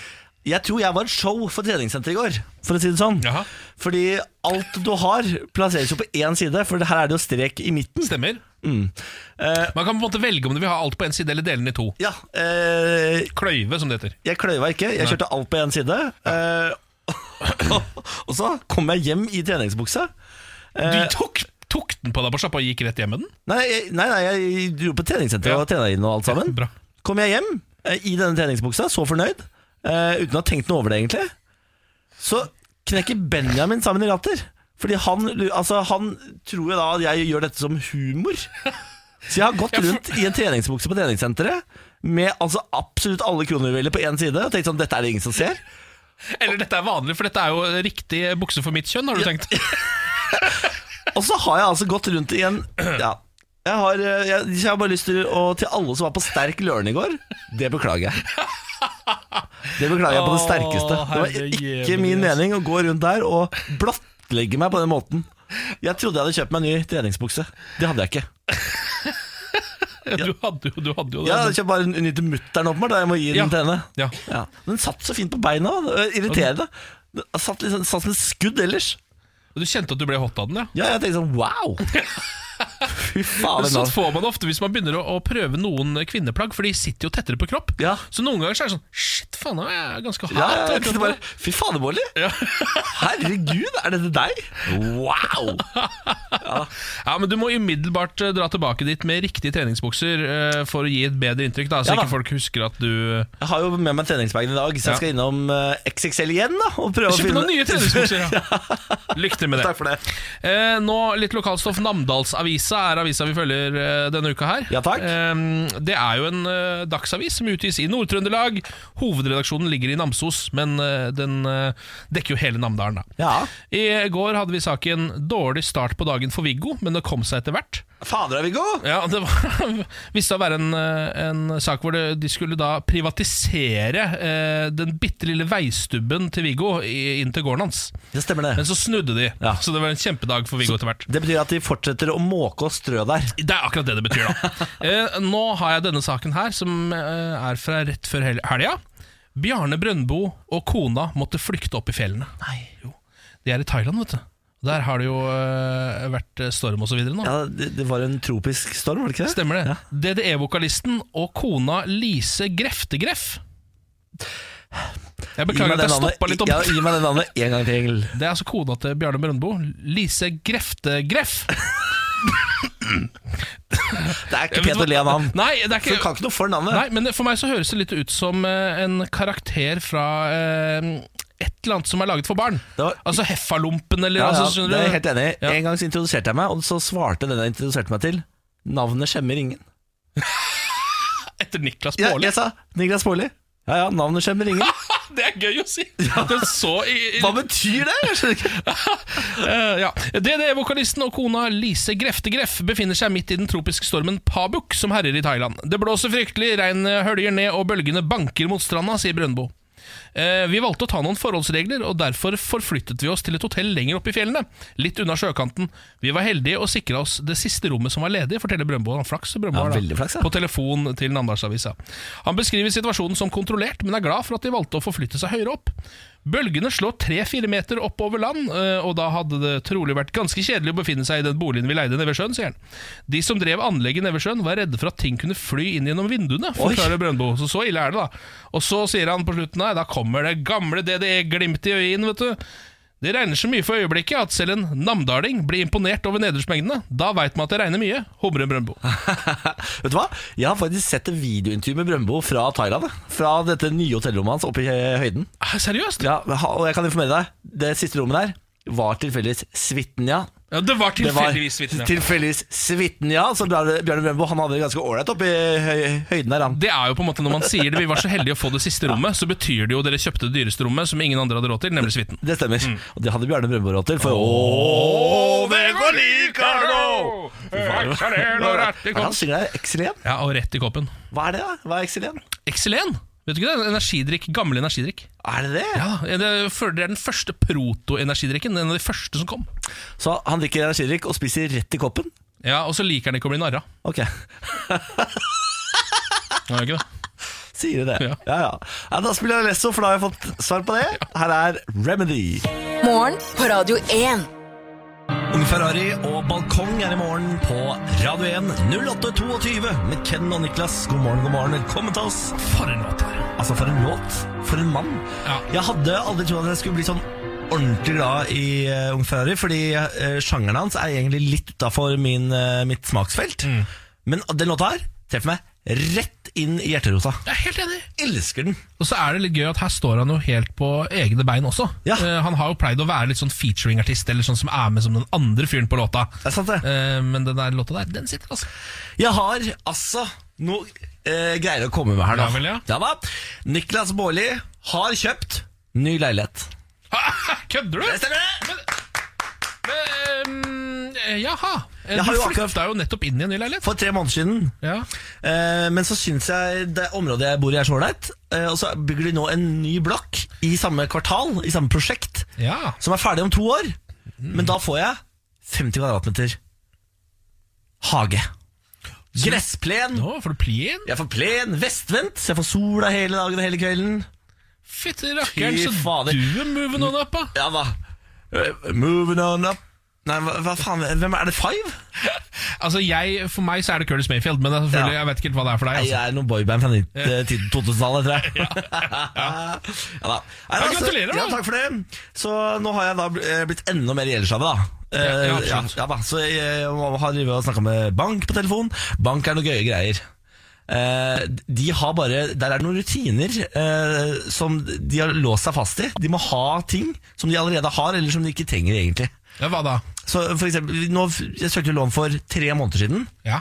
[SPEAKER 1] Jeg tror jeg var et show for treningssenteret i går, for å si det sånn.
[SPEAKER 2] Jaha.
[SPEAKER 1] Fordi alt du har, plasseres jo på én side, for her er det jo strek i midten.
[SPEAKER 2] Stemmer.
[SPEAKER 1] Eh,
[SPEAKER 2] Man kan på en måte velge om du vil ha alt på én side eller dele den i to.
[SPEAKER 1] ja, eh,
[SPEAKER 2] Kløyve, som det heter.
[SPEAKER 1] jeg kløyva ikke. Jeg kjørte alt på én side. Eh, og så kom jeg hjem i treningsbukse. Eh,
[SPEAKER 2] Du tok, tok den på deg på sjappa og gikk rett hjem med den?
[SPEAKER 1] Nei, jeg- nei, nei, jeg dro på treningssenteret
[SPEAKER 2] Ja.
[SPEAKER 1] og trena inn og alt sammen.
[SPEAKER 2] Bra.
[SPEAKER 1] Kom jeg hjem eh, i denne treningsbuksa, så fornøyd, eh, uten å ha tenkt noe over det egentlig. Så knekker Benjamin sammen i latter. Fordi han, lu- altså, han tror jo da at jeg gjør dette som humor. Så jeg har gått rundt i en treningsbukse på treningssenteret med altså absolutt alle kronjuveler på én side og tenkt sånn dette er det ingen som ser.
[SPEAKER 2] Eller dette er vanlig, for dette er jo riktig bukse for mitt kjønn, har du tenkt.
[SPEAKER 1] Og så har jeg altså gått rundt i en ja, jeg, har, eh, jeg, jeg har bare lyst til å Til alle som var på sterk lørn i går, det beklager jeg. Det beklager jeg på det
[SPEAKER 2] Åh,
[SPEAKER 1] sterkeste. Det var ikke
[SPEAKER 2] herrejævlig,
[SPEAKER 1] min
[SPEAKER 2] ass.
[SPEAKER 1] mening å gå rundt der og blottlegge meg på den måten. Jeg trodde jeg hadde kjøpt meg en ny treningsbukse. Det hadde jeg ikke.
[SPEAKER 2] Du hadde jo, du hadde jo det.
[SPEAKER 1] Jeg hadde kjøpt bare en ny til mutter'n, åpenbart. da Jeg må gi den
[SPEAKER 2] Ja.
[SPEAKER 1] til henne.
[SPEAKER 2] Ja.
[SPEAKER 1] Ja. Den satt så fint på beina. det var Irriterende. Den satt, liksom, satt som et skudd ellers.
[SPEAKER 2] Og Du kjente at du ble hot av den, ja?
[SPEAKER 1] Ja, jeg tenkte sånn wow! Fy faen.
[SPEAKER 2] Sånn
[SPEAKER 1] altså.
[SPEAKER 2] får man det ofte hvis man begynner å, å prøve noen kvinneplagg, for de sitter jo tettere på kropp.
[SPEAKER 1] Ja.
[SPEAKER 2] Så noen ganger så er det sånn Shit, faen, nå er jeg ganske
[SPEAKER 1] Ja,
[SPEAKER 2] hard.
[SPEAKER 1] ja, jeg tenkte bare, Fy fader, Molly! Herregud, er dette deg? Wow!
[SPEAKER 2] Ja, men du må umiddelbart eh, dra tilbake dit med riktige treningsbukser eh, for å gi et bedre inntrykk, da, så
[SPEAKER 1] Ja, da.
[SPEAKER 2] ikke folk husker at du eh,
[SPEAKER 1] Jeg har jo med meg treningsbagen i dag, så
[SPEAKER 2] Ja.
[SPEAKER 1] jeg skal innom eh, XXL igjen. da og prøve å
[SPEAKER 2] Kjøp
[SPEAKER 1] finne
[SPEAKER 2] noen nye treningsbukser! Ja. Lykke til med det.
[SPEAKER 1] Takk for det.
[SPEAKER 2] Eh, nå litt lokalstoff. Namdalsavisa er avisa vi følger eh, denne uka her.
[SPEAKER 1] Ja, takk.
[SPEAKER 2] Eh, det er jo en eh, dagsavis som utgis i Nord-Trøndelag. Hovedredaksjonen ligger i Namsos, men eh, den eh, dekker jo hele Namdalen. da.
[SPEAKER 1] Ja.
[SPEAKER 2] I går hadde vi saken 'Dårlig start på dagen for Viggo', men det kom seg etter hvert.
[SPEAKER 1] Fader, er vi gode?
[SPEAKER 2] Ja, Det var, viste seg å være en, eh, en sak hvor det, de skulle da privatisere eh, den bitte lille veistubben til Viggo i- inn til gården hans.
[SPEAKER 1] Det stemmer,
[SPEAKER 2] Men
[SPEAKER 1] det.
[SPEAKER 2] så snudde de,
[SPEAKER 1] Ja.
[SPEAKER 2] så det var en kjempedag for Viggo etter hvert.
[SPEAKER 1] Det betyr at de fortsetter å måke og strø der.
[SPEAKER 2] Det er akkurat det det betyr, da. Eh, nå har jeg denne saken her, som eh, er fra rett før hel- helga. Bjarne Brøndbo og kona måtte flykte opp i fjellene. Nei. Jo. De er i Thailand, vet du. Der har det jo eh, vært eh, storm og så videre nå.
[SPEAKER 1] Ja, Det, det var en tropisk storm, var det ikke det?
[SPEAKER 2] Stemmer det. DDE-vokalisten og kona Lise Greftegreff. Jeg
[SPEAKER 1] Gi meg
[SPEAKER 2] beklager at
[SPEAKER 1] det
[SPEAKER 2] jeg
[SPEAKER 1] navnet-
[SPEAKER 2] stoppa litt opp.
[SPEAKER 1] Ja, gi meg det navnet en gang til.
[SPEAKER 2] Det er altså kona til Bjarne Brøndbo. Lise Greftegreff.
[SPEAKER 1] Det er ikke pent å le av navn.
[SPEAKER 2] Nei, det
[SPEAKER 1] Så
[SPEAKER 2] er ikke
[SPEAKER 1] du kan ikke noe for navnet.
[SPEAKER 2] Nei, men for meg så høres det litt ut som eh, en karakter fra eh, et eller annet som er laget for barn.
[SPEAKER 1] Det var-
[SPEAKER 2] Altså Heffalumpen eller
[SPEAKER 1] Ja, ja,
[SPEAKER 2] altså, skjønner
[SPEAKER 1] det er
[SPEAKER 2] du?
[SPEAKER 1] jeg helt enig i.
[SPEAKER 2] Ja.
[SPEAKER 1] En gang så introduserte jeg meg, og så svarte den jeg introduserte meg til, navnet skjemmer ingen.
[SPEAKER 2] Etter Niklas
[SPEAKER 1] Ja,
[SPEAKER 2] Baarli.
[SPEAKER 1] jeg sa Niklas Baarli. Ja ja, navnet skjemmer ingen.
[SPEAKER 2] Det er gøy å si! Den så i, i
[SPEAKER 1] Hva betyr det? Jeg skjønner ikke.
[SPEAKER 2] Eh, ja. DDE-vokalisten og kona Lise Greftegreff befinner seg midt i den tropiske stormen Pabuk, som herjer i Thailand. Det blåser fryktelig, regnet høljer ned, og bølgene banker mot stranda, sier Brøndbo. Eh, vi valgte å ta noen forholdsregler, og derfor forflyttet vi oss til et hotell lenger oppe i fjellene, litt unna sjøkanten. Vi var heldige og sikra oss det siste rommet som var ledig, forteller Brøndbo. Han har Flaks, Brøndbo
[SPEAKER 1] Ja,
[SPEAKER 2] har da.
[SPEAKER 1] veldig flaks, ja.
[SPEAKER 2] På telefon til Namdalsavisa. Han beskriver situasjonen som kontrollert, men er glad for at de valgte å forflytte seg høyere opp. Bølgene slår tre-fire meter opp over land, eh, og da hadde det trolig vært ganske kjedelig å befinne seg i den boligen vi leide nede ved sjøen, sier han. De som drev anlegget nede ved sjøen, var redde for at ting kunne fly inn gjennom vinduene, forklarer Brøndbo. Så så ille er det, da. Og så sier han på slutten her, da kommer det gamle DDE-glimtet i øyet inn, vet du. Det regner så mye for øyeblikket at selv en namdaling blir imponert over nedersmengdene. Da veit man at det regner mye, humrer Brøndbo.
[SPEAKER 1] Vet du hva? Jeg har faktisk sett et videointervju med Brøndbo fra Thailand. Fra dette nye hotellrommet hans oppe i eh, høyden.
[SPEAKER 2] Ah, Seriøst?
[SPEAKER 1] Ja, og jeg kan informere deg, det siste rommet der var tilfeldigvis suiten, ja.
[SPEAKER 2] Ja, det var
[SPEAKER 1] Det var
[SPEAKER 2] tilfeldigvis vitne.
[SPEAKER 1] tilfeldigvis suiten, ja. Så Bjarne Bjarne Brøndbo han hadde det ganske ålreit oppe i høy- høyden der, han.
[SPEAKER 2] Det er jo på en måte Når man sier det, vi var så heldige å få det siste rommet, så betyr det jo dere kjøpte det dyreste rommet som ingen andre hadde råd til, nemlig suiten.
[SPEAKER 1] Det stemmer. Og det hadde Bjarne Brøndbo råd til, for ååå, det går like nå! Han synger der Excelen.
[SPEAKER 2] Ja, og rett i koppen.
[SPEAKER 1] Hva er det, da? Hva er Excelen?
[SPEAKER 2] Excelen! Vet du ikke det? Energidrikk, Gammel energidrikk.
[SPEAKER 1] Er det det?
[SPEAKER 2] Ja, det er det er den første proto-energidrikken. En av de første som kom.
[SPEAKER 1] Så han drikker energidrikk og spiser rett i koppen?
[SPEAKER 2] Ja, Og så liker han ikke å bli narra.
[SPEAKER 1] Ok.
[SPEAKER 2] Ja, ikke det?
[SPEAKER 1] Sier de det?
[SPEAKER 7] Ja.
[SPEAKER 1] Ja. Ja, ja, Da spiller jeg Lesso, for da har jeg fått svar på det. Her er Remedy.
[SPEAKER 4] Morgen på Radio 1.
[SPEAKER 1] Ung Ferrari og balkong er i morgen på Radio 1 0822 med Ken og Niklas. God morgen, god morgen. Velkommen til oss.
[SPEAKER 2] For en låt her.
[SPEAKER 1] Altså, for en låt. For en mann.
[SPEAKER 2] Ja.
[SPEAKER 1] Jeg hadde aldri trodd at jeg skulle bli sånn ordentlig glad i eh, Ung Ferrari, fordi eh, sjangeren hans er egentlig litt utafor mitt smaksfelt.
[SPEAKER 2] Mm.
[SPEAKER 1] Men den låta her treffer meg rett inn i hjerterota.
[SPEAKER 2] Jeg er helt enig.
[SPEAKER 1] Elsker den.
[SPEAKER 2] Og så er det litt gøy at her står han jo helt på egne bein også.
[SPEAKER 1] Ja.
[SPEAKER 2] Eh, han har jo pleid å være litt sånn featuring-artist, eller sånn som er med som den andre fyren på låta.
[SPEAKER 1] Det er sant, det.
[SPEAKER 2] Eh, men den der låta der, den sitter, altså.
[SPEAKER 1] Jeg har altså noe eh, greier å komme med her nå.
[SPEAKER 2] Ja vel, ja.
[SPEAKER 1] da. Niklas Baarli har kjøpt ny leilighet.
[SPEAKER 2] Kødder du?
[SPEAKER 1] Stemmer det?
[SPEAKER 2] Men, eh, jaha. Eh,
[SPEAKER 1] Jeg har
[SPEAKER 2] Du
[SPEAKER 1] jo akkurat-
[SPEAKER 2] flytta jo nettopp inn i en ny leilighet.
[SPEAKER 1] For tre måneder siden.
[SPEAKER 2] Ja.
[SPEAKER 1] Eh, men så syns jeg det området jeg bor i, er så ålreit. Eh, og så bygger de nå en ny blokk i samme kvartal, i samme prosjekt,
[SPEAKER 2] ja.
[SPEAKER 1] som er ferdig om to år. Men da får jeg 50 kvadratmeter hage. Gressplen.
[SPEAKER 2] Nå får du plen.
[SPEAKER 1] Jeg får plen vestvendt, så jeg får sola hele dagen og hele kvelden.
[SPEAKER 2] Fytti rakkeren,
[SPEAKER 1] Fy
[SPEAKER 2] så
[SPEAKER 1] fader.
[SPEAKER 2] du er moving on up, da.
[SPEAKER 1] Ja, hva? Eh, Moving on up Nei, hva, hva faen, hvem er det? Five?
[SPEAKER 2] Altså, jeg, For meg så er det Curtis Mayfield, men det er selvfølgelig,
[SPEAKER 1] Ja.
[SPEAKER 2] jeg vet ikke helt hva det er for deg.
[SPEAKER 1] Nei,
[SPEAKER 2] Altså.
[SPEAKER 1] jeg er noen boyband fra nitt- eh, tid- 2000-tallet, tror jeg. Ja, da. Nei,
[SPEAKER 2] Ja,
[SPEAKER 1] altså,
[SPEAKER 2] gratulerer, da.
[SPEAKER 1] Ja, takk for det. Så nå har jeg da bl- eh, blitt enda mer gjeldsslave, da. Eh,
[SPEAKER 2] Ja, ja,
[SPEAKER 1] ja,
[SPEAKER 2] absolutt.
[SPEAKER 1] ja da. Så jeg eh, har drevet og snakka med bank på telefon. Bank er noe gøye greier. Eh, de har bare Der er det noen rutiner eh, som de har låst seg fast i. De må ha ting som de allerede har, eller som de ikke trenger egentlig.
[SPEAKER 2] Ja, hva da?
[SPEAKER 1] Så for eksempel, nå, f- jeg søkte lån for tre måneder siden.
[SPEAKER 2] Ja,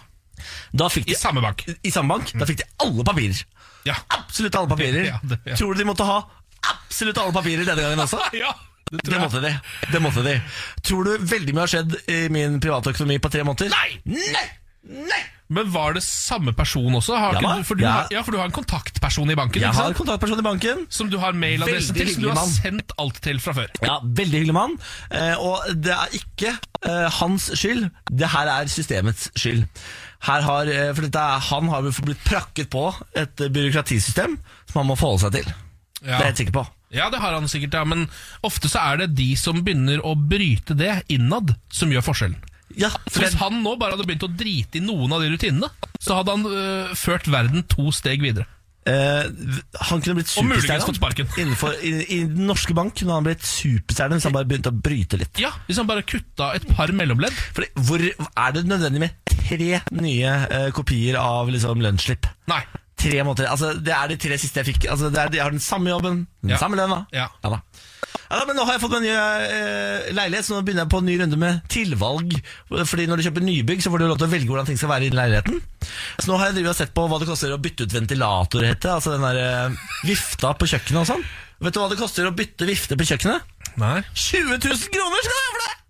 [SPEAKER 1] Da fikk
[SPEAKER 2] I
[SPEAKER 1] de,
[SPEAKER 2] samme bank.
[SPEAKER 1] I samme bank. Da fikk de alle papirer.
[SPEAKER 2] Ja.
[SPEAKER 1] Absolutt alle papirer.
[SPEAKER 2] Ja, det- ja.
[SPEAKER 1] Tror du de måtte ha absolutt alle papirer denne gangen også?
[SPEAKER 2] ja.
[SPEAKER 1] Det, måtte de. det måtte de. Tror du veldig mye har skjedd i min private økonomi på tre måneder?
[SPEAKER 2] Nei!
[SPEAKER 1] Nei! Nei!
[SPEAKER 2] Men var det samme person også? Har
[SPEAKER 1] Ja,
[SPEAKER 2] ikke
[SPEAKER 1] hva?
[SPEAKER 2] du, for, du
[SPEAKER 1] Ja.
[SPEAKER 2] Har, ja, for du har en kontaktperson i banken?
[SPEAKER 1] Jeg
[SPEAKER 2] ikke
[SPEAKER 1] har
[SPEAKER 2] sant?
[SPEAKER 1] kontaktperson i banken.
[SPEAKER 2] Som du har mailadressen
[SPEAKER 1] Veldig
[SPEAKER 2] til, som du har
[SPEAKER 1] hyggelig
[SPEAKER 2] sendt alt til fra før.
[SPEAKER 1] Ja, Veldig hyggelig mann. Eh, og det er ikke eh, hans skyld, det her er systemets skyld. Her har, eh, for dette, er- Han har blitt prakket på et eh, byråkratisystem som han må forholde seg til. Det
[SPEAKER 2] Ja.
[SPEAKER 1] er jeg helt sikker på.
[SPEAKER 2] ja, det har han sikkert, ja. Men ofte så er det de som begynner å bryte det innad, som gjør forskjellen.
[SPEAKER 1] Ja,
[SPEAKER 2] Så hvis han nå bare hadde begynt å drite i noen av de rutinene, så hadde han øh, ført verden to steg videre.
[SPEAKER 1] Eh, han kunne blitt
[SPEAKER 2] Og muligens
[SPEAKER 1] superstjerne.
[SPEAKER 2] fått sparken.
[SPEAKER 1] Innenfor, i, I den norske bank kunne han blitt superstjerne hvis han bare begynte å bryte litt.
[SPEAKER 2] Ja, Hvis han bare kutta et par mellomledd.
[SPEAKER 1] Fordi, hvor er det nødvendig med tre nye eh, kopier av liksom, lønnsslipp?
[SPEAKER 2] Nei.
[SPEAKER 1] Tre måneder, altså Det er de tre siste jeg fikk. Altså, det er, jeg har den samme jobben, den
[SPEAKER 2] Ja.
[SPEAKER 1] samme lønna.
[SPEAKER 2] Ja.
[SPEAKER 1] da. Ja, da, men nå har jeg fått meg en ny eh, leilighet, så nå begynner jeg på en ny runde med tilvalg. Fordi Når du kjøper nybygg, så får du lov til å velge hvordan ting skal være i leiligheten. Så nå har jeg drivet og sett på hva det koster å bytte ut ventilator, heter det. Altså den der eh, vifta på kjøkkenet og sånn. Vet du hva det koster å bytte vifte på kjøkjøkkenet?
[SPEAKER 2] Nei.
[SPEAKER 1] 20 000 kroner skal du ha for det!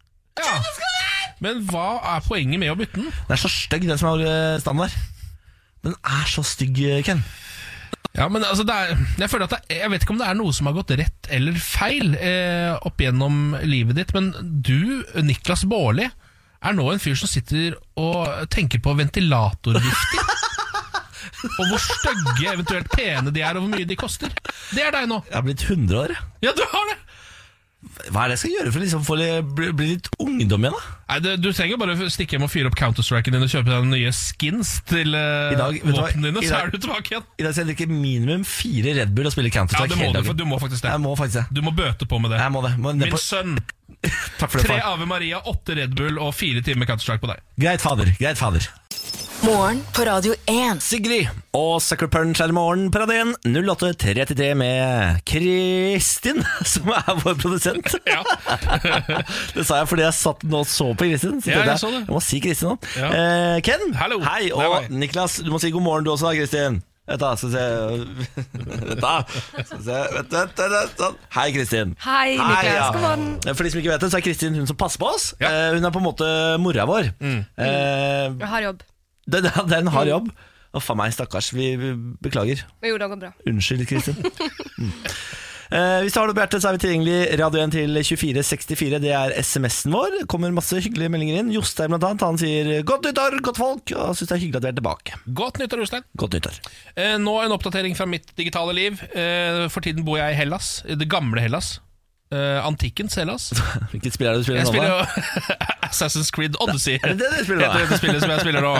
[SPEAKER 2] Ja. Men hva er poenget med å bytte den?
[SPEAKER 1] Den er så stygg, den som har eh, standard. Den er så stygg, eh, Ken.
[SPEAKER 2] Ja, men altså det er, Jeg føler at det, er- jeg vet ikke om det er noe som har gått rett eller feil eh, opp gjennom livet ditt, men du, Niklas Baarli, er nå en fyr som sitter og tenker på ventilatorvifter. og hvor stygge, eventuelt pene de er, og hvor mye de koster. Det er deg nå.
[SPEAKER 1] Jeg har blitt 100 år. jeg.
[SPEAKER 2] Ja, du har det!
[SPEAKER 1] Hva er det jeg skal gjøre for å liksom, få litt- bli, bli litt ungdom igjen? da?
[SPEAKER 2] Nei, det, Du trenger bare å stikke hjem og fyre opp Counter-Striken din og kjøpe deg nye skins til eh,
[SPEAKER 1] I dag, vet du hva,
[SPEAKER 2] våpnene dine,
[SPEAKER 1] i
[SPEAKER 2] så
[SPEAKER 1] dag-
[SPEAKER 2] er du tilbake igjen.
[SPEAKER 1] I dag skal jeg drikke minimum fire Red Bull og spille
[SPEAKER 2] Ja,
[SPEAKER 1] Counter-Strike
[SPEAKER 2] det må
[SPEAKER 1] hele
[SPEAKER 2] du, for
[SPEAKER 1] dagen.
[SPEAKER 2] du må faktisk det.
[SPEAKER 1] Jeg må faktisk det.
[SPEAKER 2] Du må bøte på med det.
[SPEAKER 1] Jeg må det. Må ned
[SPEAKER 2] Min
[SPEAKER 1] på,
[SPEAKER 2] sønn,
[SPEAKER 1] takk for det,
[SPEAKER 2] tre
[SPEAKER 1] far.
[SPEAKER 2] Ave Maria, åtte Red Bull og fire timer Counter-Strike på deg.
[SPEAKER 1] Greit, fader. Greit, fader.
[SPEAKER 4] Morgen på Radio 1.
[SPEAKER 1] Sigrid og Sucker Punch er i morgen på radien 08.33 med Kristin, som er vår produsent.
[SPEAKER 2] Ja.
[SPEAKER 1] det sa jeg fordi jeg satt nå og så på Kristin. Så
[SPEAKER 2] Ja, jeg
[SPEAKER 1] tenkte
[SPEAKER 2] så det.
[SPEAKER 1] Jeg må si Kristin nå.
[SPEAKER 2] Ja.
[SPEAKER 1] Eh, Ken,
[SPEAKER 2] Hallo.
[SPEAKER 1] hei. Og
[SPEAKER 2] Hei, hei.
[SPEAKER 1] Niklas, du må si god morgen du også da, Kristin. Vent da, skal vi se Vent da. Skal vi se. Vent, vent, vent, vent. sånn. Hei, Kristin.
[SPEAKER 8] Hei, Niklas. God morgen.
[SPEAKER 1] For de som ikke vet det, så er Kristin hun som passer på oss.
[SPEAKER 2] Ja. Mm.
[SPEAKER 1] Eh, Hun er på en måte mora vår. Eh,
[SPEAKER 8] Jeg har jobb. Mm.
[SPEAKER 1] det, det, det er en hard jobb. Å, faen meg, stakkars. Vi vi beklager.
[SPEAKER 8] Men jo, det går bra.
[SPEAKER 1] Unnskyld, Kristin. Mm. Eh, hvis du har noe på hjertet, så er vi tilgjengelig radio 1 til 2464. Det er SMS-en vår. kommer masse hyggelige meldinger inn. Jostein blant annet, han sier 'godt nyttår, godt folk', og syns det er hyggelig at vi er tilbake.
[SPEAKER 2] Godt nyttår, Jostein.
[SPEAKER 1] Godt nyttår.
[SPEAKER 2] Eh, nå en oppdatering fra mitt digitale liv. Eh, for tiden bor jeg i Hellas. i Det gamle Hellas. Eh, antikkens Hellas.
[SPEAKER 1] Hvilket spill er det du spiller
[SPEAKER 2] Jeg
[SPEAKER 1] nå? da?
[SPEAKER 2] spiller jo Assassin's Creed Odyssey.
[SPEAKER 1] Er det det du spiller
[SPEAKER 2] Heter
[SPEAKER 1] da?
[SPEAKER 2] dette spillet som jeg spiller nå.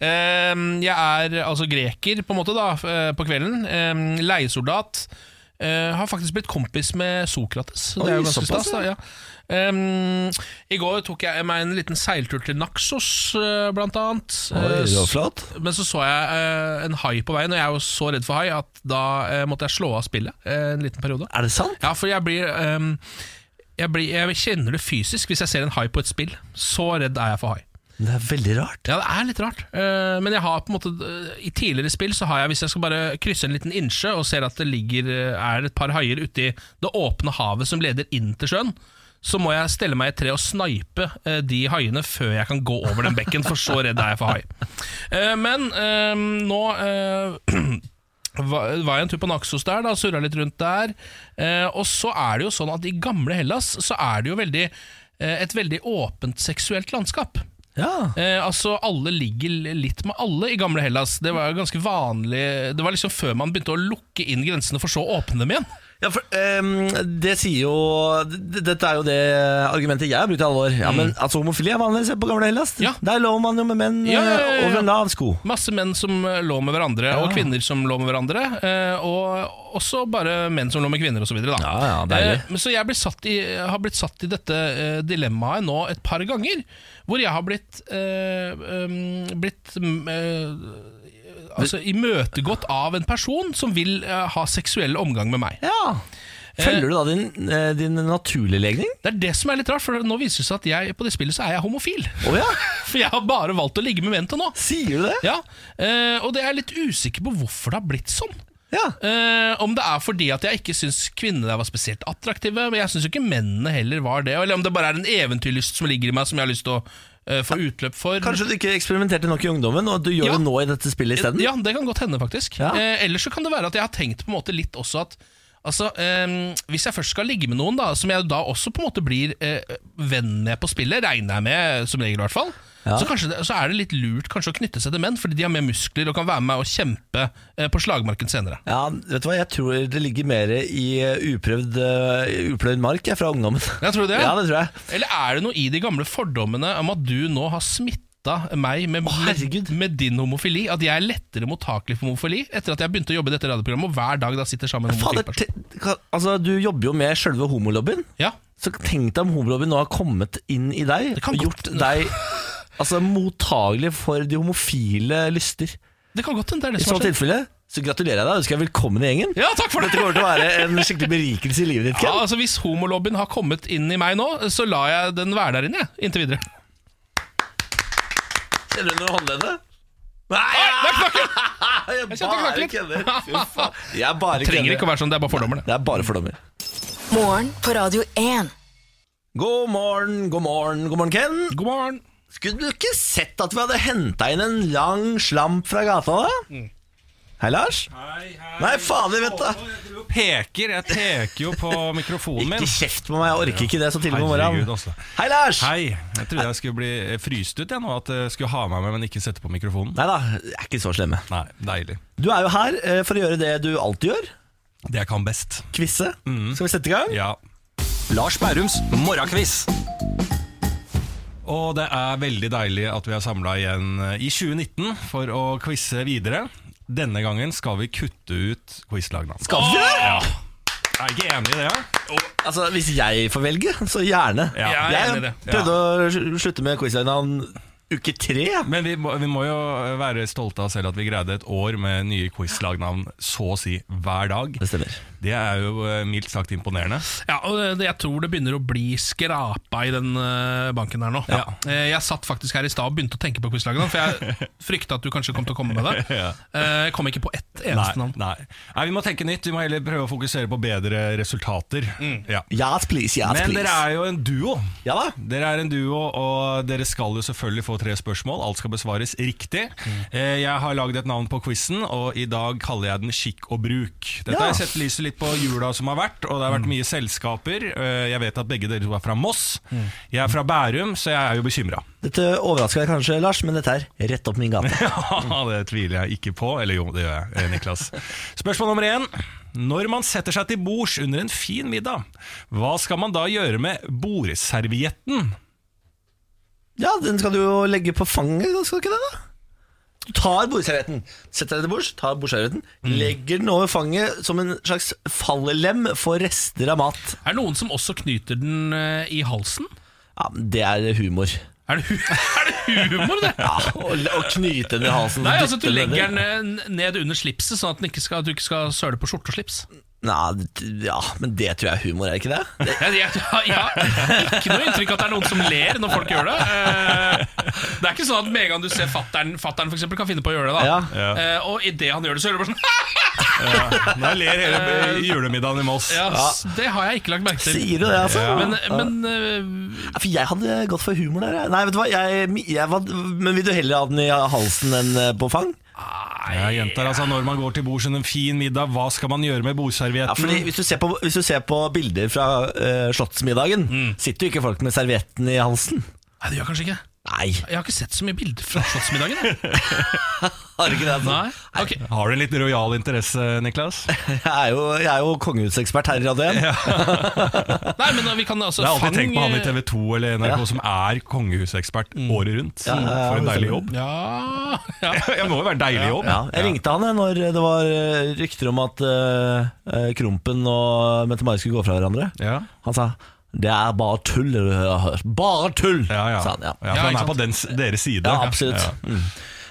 [SPEAKER 2] Ehm, jeg er altså greker, på en måte, da, f- eh, på kvelden. Ehm, leiesoldat. Eh, har faktisk blitt kompis med Sokrates. Det er
[SPEAKER 1] Oi,
[SPEAKER 2] jo ganske
[SPEAKER 1] såpass,
[SPEAKER 2] stas, da. Ja. Ehm, I går tok jeg meg en liten seiltur til Naxos, eh, blant annet.
[SPEAKER 1] Oi,
[SPEAKER 2] Eh,
[SPEAKER 1] det var flott.
[SPEAKER 2] men så så jeg eh, en hai på veien, og jeg er jo så redd for hai at da eh, måtte jeg slå av spillet eh, en liten periode.
[SPEAKER 1] Er det sant?
[SPEAKER 2] Ja, for jeg blir, ehm, jeg blir Jeg kjenner det fysisk hvis jeg ser en hai på et spill. Så redd er jeg for hai.
[SPEAKER 1] Det er veldig rart.
[SPEAKER 2] Ja, det er litt rart. Eh, men jeg har på en måte eh, i tidligere spill så har jeg, hvis jeg skal bare krysse en liten innsjø og ser at det ligger eh, er et par haier uti det åpne havet som leder inn til sjøen, så må jeg stelle meg i et tre og snipe eh, de haiene før jeg kan gå over den bekken, for så redd er jeg for hai. Eh, men eh, nå eh, var var jeg en tur på Naxos der, da, surra litt rundt der. Eh, og så er det jo sånn at i gamle Hellas så er det jo veldig, eh, et veldig åpent seksuelt landskap.
[SPEAKER 1] Ja.
[SPEAKER 2] Eh, altså Alle ligger litt med alle i gamle Hellas. Det var jo ganske vanlig Det var liksom før man begynte å lukke inn grensene, for så å åpne dem igjen.
[SPEAKER 1] Ja, for ehm, Det sier jo d- Dette er jo det argumentet jeg har brukt i alle år. Ja, men altså Homofili er vanlig, se på gamle Hellas.
[SPEAKER 2] Mm. Ja.
[SPEAKER 1] Der lå man jo med menn
[SPEAKER 2] Ja, ja, ja, ja.
[SPEAKER 1] eh, over en lav sko.
[SPEAKER 2] Masse menn som eh, lå med hverandre, og kvinner som lå med hverandre. eh, Og også bare menn som lå med kvinner, osv.
[SPEAKER 1] Ja, ja, deilig.
[SPEAKER 2] Eh, Så jeg blir satt i, har blitt satt i dette eh, dilemmaet nå et par ganger, hvor jeg har blitt eh, um, Blitt mm, eh, Altså imøtegått av en person som vil eh, ha seksuell omgang med meg.
[SPEAKER 1] Ja Følger du da din, eh, din naturlige legning?
[SPEAKER 2] Det er det som er litt rart, for nå viser det seg at jeg på det spillet så er jeg homofil.
[SPEAKER 1] Å ja,
[SPEAKER 2] For jeg har bare valgt å ligge med menn til nå.
[SPEAKER 1] sier du det?
[SPEAKER 2] Ja, eh, Og det er jeg litt usikker på hvorfor det har blitt sånn.
[SPEAKER 1] Ja,
[SPEAKER 2] Eh, om det er fordi at jeg ikke syns kvinnene der var spesielt attraktive, men jeg syns jo ikke mennene heller var det. Eller om det bare er en eventyrlyst som ligger i meg, som jeg har lyst til å eh, få utløp for.
[SPEAKER 1] Kanskje du ikke eksperimenterte nok i ungdommen, og du gjør
[SPEAKER 2] Ja.
[SPEAKER 1] det nå i dette spillet isteden?
[SPEAKER 2] Ja, det kan godt hende, faktisk.
[SPEAKER 1] Ja.
[SPEAKER 2] Eh, ellers så kan det være at jeg har tenkt på en måte litt også at Altså, eh, Hvis jeg først skal ligge med noen, da som jeg da også på en måte blir eh, venn med på spillet, regner jeg med som regel, i hvert fall, så, kanskje det, så er det litt lurt kanskje å knytte seg til menn, fordi de har mer muskler og kan være med og kjempe eh, på slagmarken senere.
[SPEAKER 1] Ja, vet du hva, jeg tror det ligger mer i eh, uprøvd, eh, upløyd mark jeg, fra ungdommen.
[SPEAKER 2] Ja, tror du det?
[SPEAKER 1] Ja, det tror jeg.
[SPEAKER 2] Eller er det noe i de gamle fordommene om at du nå har smitta meg med,
[SPEAKER 1] herregud.
[SPEAKER 2] med, med din homofili? At jeg er lettere mottakelig for homofili etter at jeg begynte å jobbe i dette radioprogrammet og hver dag da sitter sammen med en homofil
[SPEAKER 1] Fader,
[SPEAKER 2] person?
[SPEAKER 1] te- ka- altså, du jobber jo med sjølve homolobbyen.
[SPEAKER 2] Ja.
[SPEAKER 1] Så tenk deg om homolobbyen nå har kommet inn i deg
[SPEAKER 2] kan
[SPEAKER 1] og gjort deg altså, mottagelig for de homofile lyster.
[SPEAKER 2] Det kan godt hende det er det
[SPEAKER 1] I
[SPEAKER 2] som
[SPEAKER 1] så
[SPEAKER 2] har skjedd.
[SPEAKER 1] tilfelle så gratulerer jeg deg og ønsker deg velkommen i gjengen.
[SPEAKER 2] Ja, takk for
[SPEAKER 1] Dette
[SPEAKER 2] det!
[SPEAKER 1] kommer til å være en skikkelig berikelse i livet ditt.
[SPEAKER 2] Ja,
[SPEAKER 1] Ken.
[SPEAKER 2] altså Hvis homolobbyen har kommet inn i meg nå, så lar jeg den være der inne. jeg, Inntil videre.
[SPEAKER 1] Kjenner du noe håndleddet? Nei, jeg
[SPEAKER 2] kjente det knakk
[SPEAKER 1] bare
[SPEAKER 2] litt.
[SPEAKER 1] kødder. Fy faen. Jeg bare
[SPEAKER 2] Trenger ikke å
[SPEAKER 1] kødder.
[SPEAKER 2] være sånn, det er bare fordommer. det
[SPEAKER 1] Det er bare fordommer.
[SPEAKER 4] Morgen på Radio 1.
[SPEAKER 1] God morgen, god morgen, god morgen, Ken.
[SPEAKER 2] God morgen.
[SPEAKER 1] Skulle du ikke sett at vi hadde henta inn en lang slamp fra gata, da? Hei, Lars.
[SPEAKER 8] Mm. Hei, hei.
[SPEAKER 1] Nei, fader, vet du.
[SPEAKER 8] Du peker, jeg peker jo på mikrofonen min.
[SPEAKER 1] Ikke kjeft på meg, jeg orker ikke det så tidlig på
[SPEAKER 8] Herregud,
[SPEAKER 1] morgenen.
[SPEAKER 8] altså.
[SPEAKER 1] Hei, Lars.
[SPEAKER 8] Hei, jeg trodde jeg skulle bli fryst ut jeg nå, at jeg skulle ha meg med, men ikke sette på mikrofonen.
[SPEAKER 1] Nei da, jeg er ikke så slemme.
[SPEAKER 8] Nei, deilig.
[SPEAKER 1] Du er jo her eh, for å gjøre det du alltid gjør.
[SPEAKER 8] Det jeg kan best.
[SPEAKER 1] Quizze. Skal vi sette i gang?
[SPEAKER 8] Mm. Ja.
[SPEAKER 9] Lars Bærums morgenkviss.
[SPEAKER 8] Og det er veldig deilig at vi er samla igjen eh, i 2019 for å quize videre. Denne gangen skal vi kutte ut quizlagene.
[SPEAKER 1] Skal vi det?
[SPEAKER 8] Ja. Jeg er ikke enig i det, ja.
[SPEAKER 1] Altså, Hvis jeg får velge, så gjerne.
[SPEAKER 8] Ja, jeg
[SPEAKER 2] er enig i det.
[SPEAKER 1] prøvde å sl- slutte med quizlagnavn uke tre.
[SPEAKER 8] Men vi må, vi må jo være stolte av selv at vi greide et år med nye quizlagnavn så å si hver dag.
[SPEAKER 1] Det stemmer.
[SPEAKER 8] Det er jo eh, mildt sagt imponerende.
[SPEAKER 2] Ja, og eh, det, Jeg tror det begynner å bli skrapa i den eh, banken her nå. Eh, Jeg satt faktisk her i stad og begynte å tenke på quizlagene, for jeg frykta at du kanskje kom til å komme med det.
[SPEAKER 8] Ja.
[SPEAKER 2] Eh, Jeg kom ikke på ett eneste
[SPEAKER 8] Nei,
[SPEAKER 2] navn.
[SPEAKER 8] nei. nei, vi må tenke nytt. Vi må heller prøve å fokusere på bedre resultater. Ja.
[SPEAKER 1] Yes, please. Yes,
[SPEAKER 8] Men
[SPEAKER 1] please.
[SPEAKER 8] dere er jo en duo.
[SPEAKER 1] Ja da.
[SPEAKER 8] Dere er en duo, og dere skal jo selvfølgelig få tre spørsmål. Alt skal besvares riktig. Eh, Jeg har lagd et navn på quizen, og i dag kaller jeg den Skikk og bruk. Dette har jeg sett lyset litt litt på jula som har vært, og det har vært mye selskaper. Eh, Jeg vet at begge dere to er fra Moss. Jeg er fra Bærum, så jeg er jo bekymra.
[SPEAKER 1] Dette overrasker deg kanskje, Lars, men dette er rett opp min gate.
[SPEAKER 8] Ja, det tviler jeg ikke på. Eller jo, det gjør jeg, eh, Niklas. Spørsmål nummer én. Når man setter seg til bords under en fin middag, hva skal man da gjøre med bordservietten?
[SPEAKER 1] Ja, den skal du jo legge på fanget, skal du ikke det? da? Du tar bordservietten, setter deg til bords, tar bordservietten,
[SPEAKER 2] Mm.
[SPEAKER 1] legger den over fanget som en slags fallelem for rester av mat.
[SPEAKER 2] Er det noen som også knyter den eh, i halsen?
[SPEAKER 1] Ja, men Det er humor.
[SPEAKER 2] Er det, hu er det humor, det?
[SPEAKER 1] Ja, Å å knyte den i halsen.
[SPEAKER 2] Nei, altså at du
[SPEAKER 1] dytte
[SPEAKER 2] legger
[SPEAKER 1] ned.
[SPEAKER 2] den eh, ned under slipset, sånn at den ikke skal, at du ikke skal søle på skjorte og slips.
[SPEAKER 1] Nei, d- ja, men det tror jeg er humor, er det ikke det?
[SPEAKER 2] Jeg, jeg, jeg, har ikke noe inntrykk at det er noen som ler når folk gjør det. Eh, Det er ikke sånn at med en gang du ser fattern, fattern for eksempel, kan finne på å gjøre det. da
[SPEAKER 1] Ja.
[SPEAKER 2] Eh, Og idet han gjør det, så gjør det bare sånn.
[SPEAKER 8] Da ler hele eh, julemiddagen i Moss.
[SPEAKER 2] Ja, s- Det har jeg ikke lagt merke til.
[SPEAKER 1] Sier du det, altså?
[SPEAKER 2] Men, men eh,
[SPEAKER 1] Ja, for jeg hadde gått for humor der. jeg. Nei, vet du hva? Jeg, jeg var, men vil du heller ha den i halsen enn eh, på fang?
[SPEAKER 8] Jeg gjentar altså, Når man går til bords under en fin middag, hva skal man gjøre med
[SPEAKER 1] Ja, fordi
[SPEAKER 8] bordservietten?
[SPEAKER 1] hvis du ser på, hvis du ser på bilder fra eh, Slottsmiddagen,
[SPEAKER 8] Mm.
[SPEAKER 1] sitter jo ikke folk med servietten i halsen.
[SPEAKER 2] Nei, det gjør kanskje ikke.
[SPEAKER 1] Nei,
[SPEAKER 2] Jeg har ikke sett så mye bilder fra Slottsmiddagen. jeg.
[SPEAKER 1] har du ikke det? altså?
[SPEAKER 2] Nei, ok
[SPEAKER 8] Har du en litt rojal interesse, Niklas? Det
[SPEAKER 1] Jeg er jo, jeg er jo kongehusekspert her i Radio 1.
[SPEAKER 2] Nei, men vi kan altså
[SPEAKER 8] har jeg
[SPEAKER 2] fang-
[SPEAKER 8] alltid tenkt på
[SPEAKER 1] eh,
[SPEAKER 8] han i TV 2 eller NRK som er kongehusekspert året rundt.
[SPEAKER 1] Mm. Ja, ja, ja,
[SPEAKER 8] For en
[SPEAKER 1] det
[SPEAKER 8] deilig
[SPEAKER 1] stemmer.
[SPEAKER 8] jobb.
[SPEAKER 2] Ja, ja.
[SPEAKER 8] Jeg må jo være en deilig jobb.
[SPEAKER 1] Ja, jeg ringte han jeg, når det var eh, rykter om at eh, eh, Krompen og Mette-Marit skulle gå fra hverandre.
[SPEAKER 8] Ja.
[SPEAKER 1] Han sa det er bare tull. det du har hørt. Bare tull!
[SPEAKER 8] Ja, ja.
[SPEAKER 1] sa han. Sånn, Ja,
[SPEAKER 8] Ja,
[SPEAKER 1] ja.
[SPEAKER 8] for han
[SPEAKER 2] ikke
[SPEAKER 8] er på dens, deres side.
[SPEAKER 1] absolutt.
[SPEAKER 8] Ja.
[SPEAKER 1] Mm.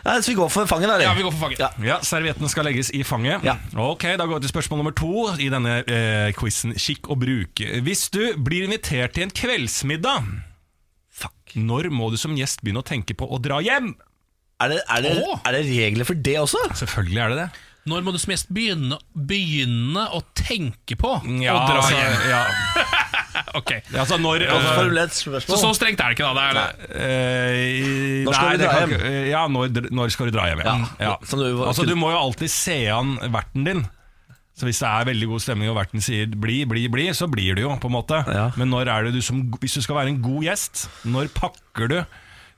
[SPEAKER 1] Nei, så vi går for fanget, da. eller?
[SPEAKER 2] Ja, vi går for fanget.
[SPEAKER 1] Ja.
[SPEAKER 8] Ja, Servietten skal legges i fanget.
[SPEAKER 1] Ja.
[SPEAKER 8] Ok, Da går vi til spørsmål nummer to i denne eh, quizen Kikk og bruk. Hvis du blir invitert til en kveldsmiddag, når må du som gjest begynne å tenke på å dra hjem?
[SPEAKER 1] Er, det, er, det,
[SPEAKER 2] Åh.
[SPEAKER 1] er det regler for det også?
[SPEAKER 8] Selvfølgelig er det det.
[SPEAKER 2] Når må du som gjest begynne, begynne å tenke på
[SPEAKER 8] Ja,
[SPEAKER 2] å dra
[SPEAKER 8] altså,
[SPEAKER 2] hjem?
[SPEAKER 8] ja.
[SPEAKER 2] Ok.
[SPEAKER 8] Altså, når altså,
[SPEAKER 1] Formulert
[SPEAKER 2] Så
[SPEAKER 1] spørsmål.
[SPEAKER 2] så strengt er det ikke, da. Det er,
[SPEAKER 8] eh,
[SPEAKER 1] Når skal
[SPEAKER 8] nei,
[SPEAKER 1] du
[SPEAKER 8] det
[SPEAKER 1] dra
[SPEAKER 8] kan
[SPEAKER 1] hjem?
[SPEAKER 8] ikke- Ja, når, når skal du dra hjem? Ja.
[SPEAKER 1] Ja, som du-
[SPEAKER 8] altså, du må jo alltid se an verten din. Så Hvis det er veldig god stemning og verten sier 'bli, bli, bli', så blir du jo. på en måte
[SPEAKER 1] Ja.
[SPEAKER 8] Men når er det du som, hvis du skal være en god gjest, når pakker du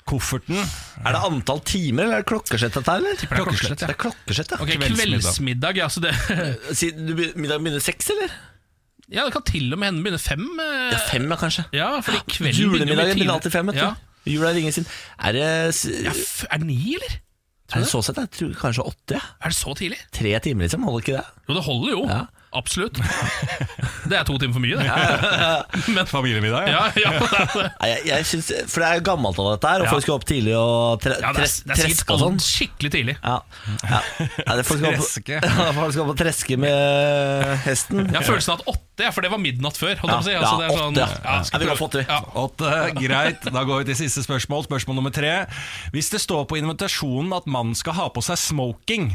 [SPEAKER 8] kofferten?
[SPEAKER 1] Er det antall timer, eller er det klokkeslett dette, her, eller?
[SPEAKER 2] det er klokkeslett, ja.
[SPEAKER 1] Det er klokkeslett, ja.
[SPEAKER 2] Ok,
[SPEAKER 8] Kveldsmiddag.
[SPEAKER 2] Kveldsmiddag, ja. Så det,
[SPEAKER 1] Si- du be- Middagen begynner seks, eller?
[SPEAKER 2] ja, det kan til og med hende begynne fem. eh,
[SPEAKER 1] Ja, fem, ja, kanskje.
[SPEAKER 2] Ja, fordi kvelden jo
[SPEAKER 1] Julemiddagen
[SPEAKER 2] tidlig.
[SPEAKER 1] begynner alltid fem, vet du.
[SPEAKER 2] Ja.
[SPEAKER 1] Jula ringer sin. Er det, s-
[SPEAKER 2] Ja, f er det ni, eller?
[SPEAKER 1] er det så sett? Jeg tror kanskje åtte, ja.
[SPEAKER 2] Er det så tidlig?
[SPEAKER 1] Tre timer, liksom. Holder ikke det?
[SPEAKER 2] Jo, det holder jo. Absolutt. Det er to timer for mye, det.
[SPEAKER 8] Men familiemiddag?
[SPEAKER 2] Ja, ja, det er det.
[SPEAKER 1] Nei, jeg, jeg synes, for det er jo gammelt av dette her, og folk skal opp tidlig og tre,
[SPEAKER 2] Ja, det er,
[SPEAKER 1] tres-
[SPEAKER 2] det er sikkert
[SPEAKER 1] treske og sånn.
[SPEAKER 2] skikkelig tidlig.
[SPEAKER 1] Ja. ja. Nei, det er folk skal opp,
[SPEAKER 8] Treske.
[SPEAKER 1] ja, folk skal opp og treske med hesten.
[SPEAKER 2] Jeg har følelsen av at åtte, ja, for det var midnatt før. Holdt jeg på å si.
[SPEAKER 1] Ja,
[SPEAKER 2] altså, det er
[SPEAKER 1] åtte,
[SPEAKER 2] sånn,
[SPEAKER 1] ja. Ja,
[SPEAKER 2] skal
[SPEAKER 1] vi går
[SPEAKER 2] prøve.
[SPEAKER 1] for åtte, vi.
[SPEAKER 2] Ja.
[SPEAKER 8] Åtte, eh, greit. Da går vi til siste spørsmål. Spørsmål nummer tre. Hvis det står på invitasjonen at mannen skal ha på seg smoking,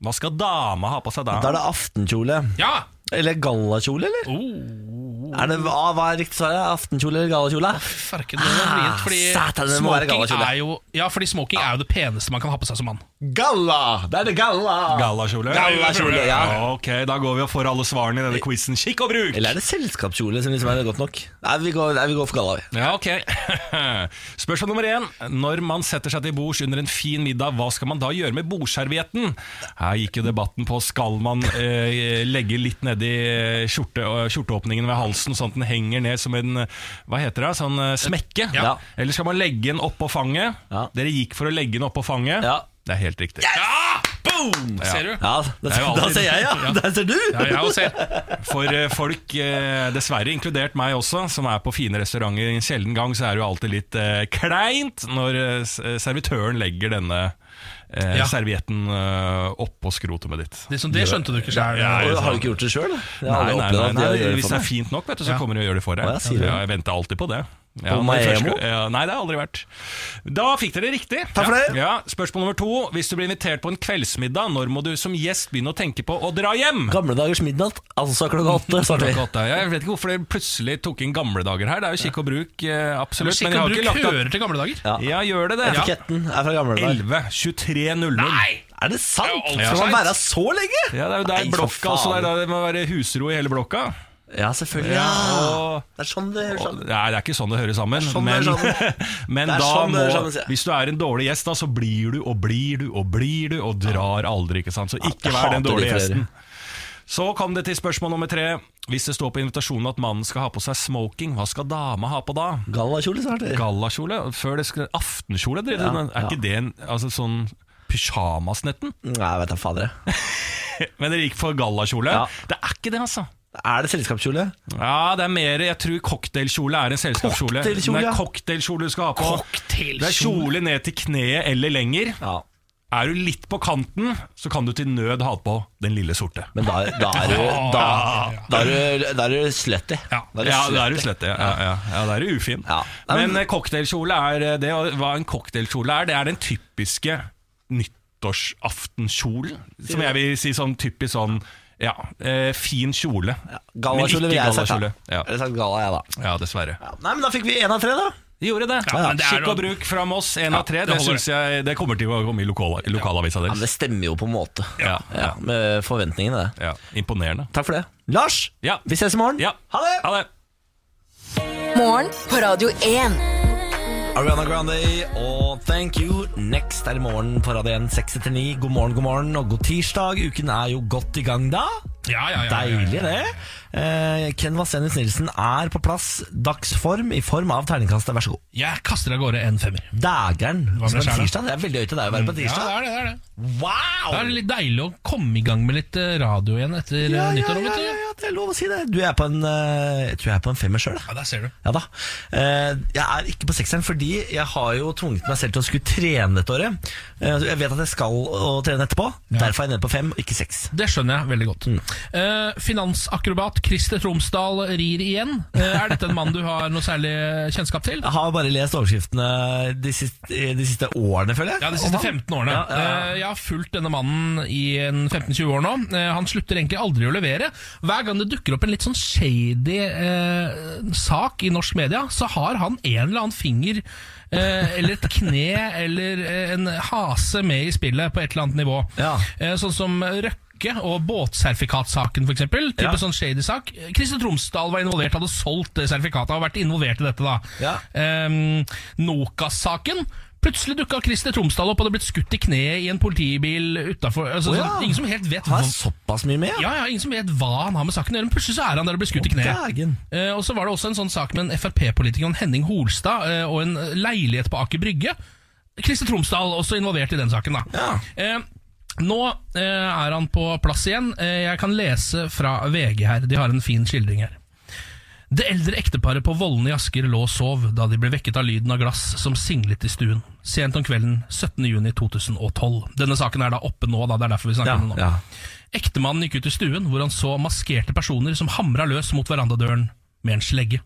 [SPEAKER 8] hva skal dama ha på seg da?
[SPEAKER 1] Da er det aftenkjole.
[SPEAKER 2] ja!
[SPEAKER 1] Eller gallakjole, eller? Er det, hva, hva er riktig svar? Aftenkjole eller gallakjole?
[SPEAKER 2] Farken, det var vrient, fordi
[SPEAKER 1] Ah, satan, det må være
[SPEAKER 2] smoking
[SPEAKER 1] gallakjole.
[SPEAKER 2] er jo Ja, fordi smoking er jo det peneste man kan ha på seg som mann.
[SPEAKER 1] Galla! Da er det galla!
[SPEAKER 8] Gallakjole?
[SPEAKER 1] Gallakjole, ja.
[SPEAKER 8] Ok, da går vi og får alle svarene i denne quizen. Kikk og bruk!
[SPEAKER 1] Eller er det selskapskjole som liksom er godt nok? Nei, vi går, nei, vi går for galla, vi.
[SPEAKER 8] Ja, ok. Spørsmål nummer én. Når man setter seg til bords under en fin middag, hva skal man da gjøre med bordservietten? Her gikk jo debatten på skal man eh, legge litt nedi eh, skjorte, og skjorteåpningen ved halsen, sånn at den henger ned som en eh, hva heter det, sånn eh, smekke?
[SPEAKER 1] Ja.
[SPEAKER 8] Eller skal man legge den oppå fanget?
[SPEAKER 1] Ja.
[SPEAKER 8] Dere gikk for å legge den oppå fanget.
[SPEAKER 1] Ja.
[SPEAKER 8] Det er helt riktig.
[SPEAKER 2] Ser du?
[SPEAKER 1] Mm, Ja, da,
[SPEAKER 8] er jo
[SPEAKER 1] da
[SPEAKER 8] alltid-
[SPEAKER 1] ser jeg, ja. Der ser du!
[SPEAKER 2] Ja, jeg også ser.
[SPEAKER 8] For eh, folk, eh, dessverre inkludert meg også, som er på fine restauranter en sjelden gang, så er det jo alltid litt eh, kleint når eh, s- eh, servitøren legger denne eh,
[SPEAKER 2] Ja.
[SPEAKER 8] servietten eh, oppå skrotumet ditt.
[SPEAKER 2] Det, er sånn, det skjønte du ikke sjøl.
[SPEAKER 8] Ja,
[SPEAKER 1] Og
[SPEAKER 8] ja,
[SPEAKER 1] har du ikke gjort det sjøl?
[SPEAKER 8] Nei, nei, nei, nei, hvis det er fint nok, vet du, så
[SPEAKER 2] Ja.
[SPEAKER 8] kommer de og gjør det for deg.
[SPEAKER 1] Å, ja, sier du.
[SPEAKER 8] ja, jeg venter alltid på det. Ja,
[SPEAKER 1] På
[SPEAKER 8] når jeg først
[SPEAKER 1] Maemo?
[SPEAKER 8] skal- ja, Nei, det har jeg aldri vært. Da fikk dere riktig.
[SPEAKER 1] Takk for det.
[SPEAKER 8] Ja, ja, spørsmål nummer to. Hvis du blir invitert på en kveldsmiddag, når må du som gjest begynne å tenke på å dra hjem?
[SPEAKER 1] Gamle dagers midnatt, altså klokka åtte. starter vi.
[SPEAKER 8] Klokka åtte. Jeg vet ikke hvorfor dere plutselig tok inn gamle dager her. Det er jo kikk og bruk, eh, absolutt.
[SPEAKER 2] Skikk og bruk hører til gamle dager.
[SPEAKER 8] Ja, gjør det det?
[SPEAKER 1] Etiketten er fra gamle dager.
[SPEAKER 8] 11.23.00.
[SPEAKER 2] Nei!
[SPEAKER 1] Er det sant?
[SPEAKER 7] Ja, alt
[SPEAKER 1] Skal man
[SPEAKER 7] sent.
[SPEAKER 1] være så lenge?
[SPEAKER 8] Ja, det er jo
[SPEAKER 1] Nei,
[SPEAKER 8] der
[SPEAKER 1] for
[SPEAKER 8] blokka også, det,
[SPEAKER 1] faen.
[SPEAKER 8] er der det må være husro i hele blokka.
[SPEAKER 1] Ja, selvfølgelig.
[SPEAKER 8] Ja, og-
[SPEAKER 1] Det er sånn det høres ut.
[SPEAKER 8] Nei, det er ikke sånn det høres sammen.
[SPEAKER 1] Sånn det
[SPEAKER 8] men
[SPEAKER 1] høres sammen.
[SPEAKER 8] men
[SPEAKER 1] Det er
[SPEAKER 8] da
[SPEAKER 1] sånn det
[SPEAKER 8] må,
[SPEAKER 1] høres sammen, sier jeg.
[SPEAKER 8] hvis du er en dårlig gjest, da, så blir du og blir du og blir du og drar aldri. ikke sant? Så ikke
[SPEAKER 1] jeg
[SPEAKER 8] vær den
[SPEAKER 1] hater de
[SPEAKER 8] dårlige
[SPEAKER 1] flere.
[SPEAKER 8] gjesten. Så kom det til spørsmål nummer tre. Hvis det står på invitasjonen at mannen skal ha på seg smoking, hva skal dama ha på da?
[SPEAKER 1] Gallakjole snart. eller?
[SPEAKER 8] Gallakjole? Før det skal Aftenkjole? Det,
[SPEAKER 1] Ja,
[SPEAKER 8] er ikke det en altså, sånn pysjamas, netten?
[SPEAKER 1] Nei, vet da fader. jeg.
[SPEAKER 8] Men dere gikk for gallakjole?
[SPEAKER 1] Ja.
[SPEAKER 8] Det er ikke det, altså.
[SPEAKER 1] Er det selskapskjole?
[SPEAKER 8] Ja, det er mer Jeg tror cocktailkjole er en selskapskjole.
[SPEAKER 1] Cocktailkjole,
[SPEAKER 8] det
[SPEAKER 1] ja.
[SPEAKER 8] er cocktailkjole du skal ha på. Det er kjole ned til kneet eller lenger.
[SPEAKER 1] Ja.
[SPEAKER 8] Er du litt på kanten, så kan du til nød ha på den lille sorte.
[SPEAKER 1] Men da, da er du Da, da er du, da er du slutty.
[SPEAKER 8] Ja,
[SPEAKER 1] Da
[SPEAKER 8] ja da er
[SPEAKER 1] slutty.
[SPEAKER 8] du slett det. Ja, ja, ja, da er du ufin.
[SPEAKER 1] Ja. Nei, men-
[SPEAKER 8] Men eh, cocktailkjole er eh, det, og hva en cocktailkjole er, det er den typiske nyttårsaftenkjolen. Som jeg vil si sånn typisk sånn ja, eh, fin kjole.
[SPEAKER 1] Gallakjole
[SPEAKER 8] Men
[SPEAKER 1] vil
[SPEAKER 8] ikke
[SPEAKER 1] jeg sagt.
[SPEAKER 8] gallakjole.
[SPEAKER 1] da.
[SPEAKER 8] Ja.
[SPEAKER 1] Eller sagt galla, jeg, da.
[SPEAKER 8] Ja, dessverre.
[SPEAKER 1] Ja. Nei, men da fikk vi én av tre, da.
[SPEAKER 8] Gjorde det.
[SPEAKER 1] ja.
[SPEAKER 8] men det er Skikk og bruk fra Moss, én av tre.
[SPEAKER 2] det
[SPEAKER 8] Det,
[SPEAKER 2] holder
[SPEAKER 8] synes jeg det kommer til å komme i lokala, lokalavisa
[SPEAKER 1] Ja, men
[SPEAKER 8] deres.
[SPEAKER 1] Det stemmer jo på en måte.
[SPEAKER 8] Ja, ja.
[SPEAKER 1] Ja, med forventningene, det.
[SPEAKER 8] Ja, Imponerende.
[SPEAKER 1] Takk for det. Lars,
[SPEAKER 8] Ja.
[SPEAKER 1] vi ses i morgen.
[SPEAKER 8] Ja.
[SPEAKER 1] Ha det!
[SPEAKER 8] Ha det!
[SPEAKER 4] Morgen på Radio 1.
[SPEAKER 1] Ariana Grande og Thank You. Next er i morgen på Radio 1 6-9. God morgen, god morgen og god tirsdag. Uken er jo godt i gang da.
[SPEAKER 2] Ja, ja, ja, ja, ja.
[SPEAKER 1] Deilig, det. Eh, Ken Vasenius Nilsen er på plass. Dagsform i form av terningkastet. Vær så god.
[SPEAKER 2] Jeg kaster av gårde en femmer.
[SPEAKER 1] Dageren
[SPEAKER 2] Hva med
[SPEAKER 1] som en
[SPEAKER 2] skjerna?
[SPEAKER 1] tirsdag. Det er veldig høyt til deg å være på
[SPEAKER 2] Ja, det
[SPEAKER 1] tirsdag.
[SPEAKER 2] er det. det, er det. Da er det
[SPEAKER 1] Wow!
[SPEAKER 2] litt deilig å komme i gang med litt eh, radio igjen etter eh,
[SPEAKER 1] Ja, ja, ja,
[SPEAKER 2] nyttår. vet du.
[SPEAKER 1] ja, ja, det er lov å si det. Du er på en, eh, jeg tror jeg er på en femmer sjøl.
[SPEAKER 2] Ja, der ser du.
[SPEAKER 1] Ja da. Eh, Jeg er ikke på sekseren fordi jeg har jo tvunget meg selv til å skulle trene dette året. Eh, Jeg vet at jeg skal å trene etterpå. Derfor er jeg nede på fem, ikke seks.
[SPEAKER 2] Det skjønner jeg veldig godt.
[SPEAKER 1] Mm.
[SPEAKER 2] Eh, finansakrobat Christer Tromsdal rir igjen. Eh, er dette en mann du har noe særlig kjennskap til?
[SPEAKER 1] Jeg har bare lest overskriftene de siste, de siste årene, føler jeg.
[SPEAKER 2] Ja, De siste
[SPEAKER 1] Om han.
[SPEAKER 2] 15 årene.
[SPEAKER 1] Ja, ja, ja.
[SPEAKER 2] Eh, Jeg har fulgt denne mannen i en 15-20 år nå. Eh, Han slutter egentlig aldri å levere. Hver gang det dukker opp en litt sånn shady eh, sak i norsk media, så har han en eller annen finger eh, eller et kne eller eh, en hase med i spillet på et eller annet nivå.
[SPEAKER 1] Ja.
[SPEAKER 2] Eh, sånn som Røkke og båtsertifikatsaken, f.eks. Type
[SPEAKER 1] Ja.
[SPEAKER 2] sånn shady sak. Christer Tromsdal var involvert, hadde solgt det sertifikatet og vært involvert i dette. da
[SPEAKER 1] Ja.
[SPEAKER 2] Ehm, Nokas-saken. Plutselig dukka Christer Tromsdal opp og hadde blitt skutt i kneet i en politibil utafor. Altså,
[SPEAKER 1] Å ja.
[SPEAKER 2] sånn, ingen som helt vet
[SPEAKER 1] Har
[SPEAKER 2] hva
[SPEAKER 1] jeg såpass mye med?
[SPEAKER 2] ja, ja, ingen som vet hva han har med saken å gjøre, men plutselig så er han der og blir skutt i kneet.
[SPEAKER 1] Dægen.
[SPEAKER 2] Eh, og så var det også en sånn sak med en Frp-politiker, Henning Holstad, eh, og en leilighet på Aker Brygge. Christer Tromsdal også involvert i den saken, da. Eh, nå eh, er han på plass igjen. Eh, jeg kan lese fra VG her. De har en fin skildring her. Det eldre ekteparet på Vollen i Asker lå og sov da de ble vekket av lyden av glass som singlet i stuen, sent om kvelden 17.6.2012. Denne saken er da oppe nå, da, det er derfor vi snakker
[SPEAKER 1] Ja,
[SPEAKER 2] om det nå.
[SPEAKER 1] ja.
[SPEAKER 2] Ektemannen gikk ut i stuen, hvor han så maskerte personer som hamra løs mot verandadøren med en slegge.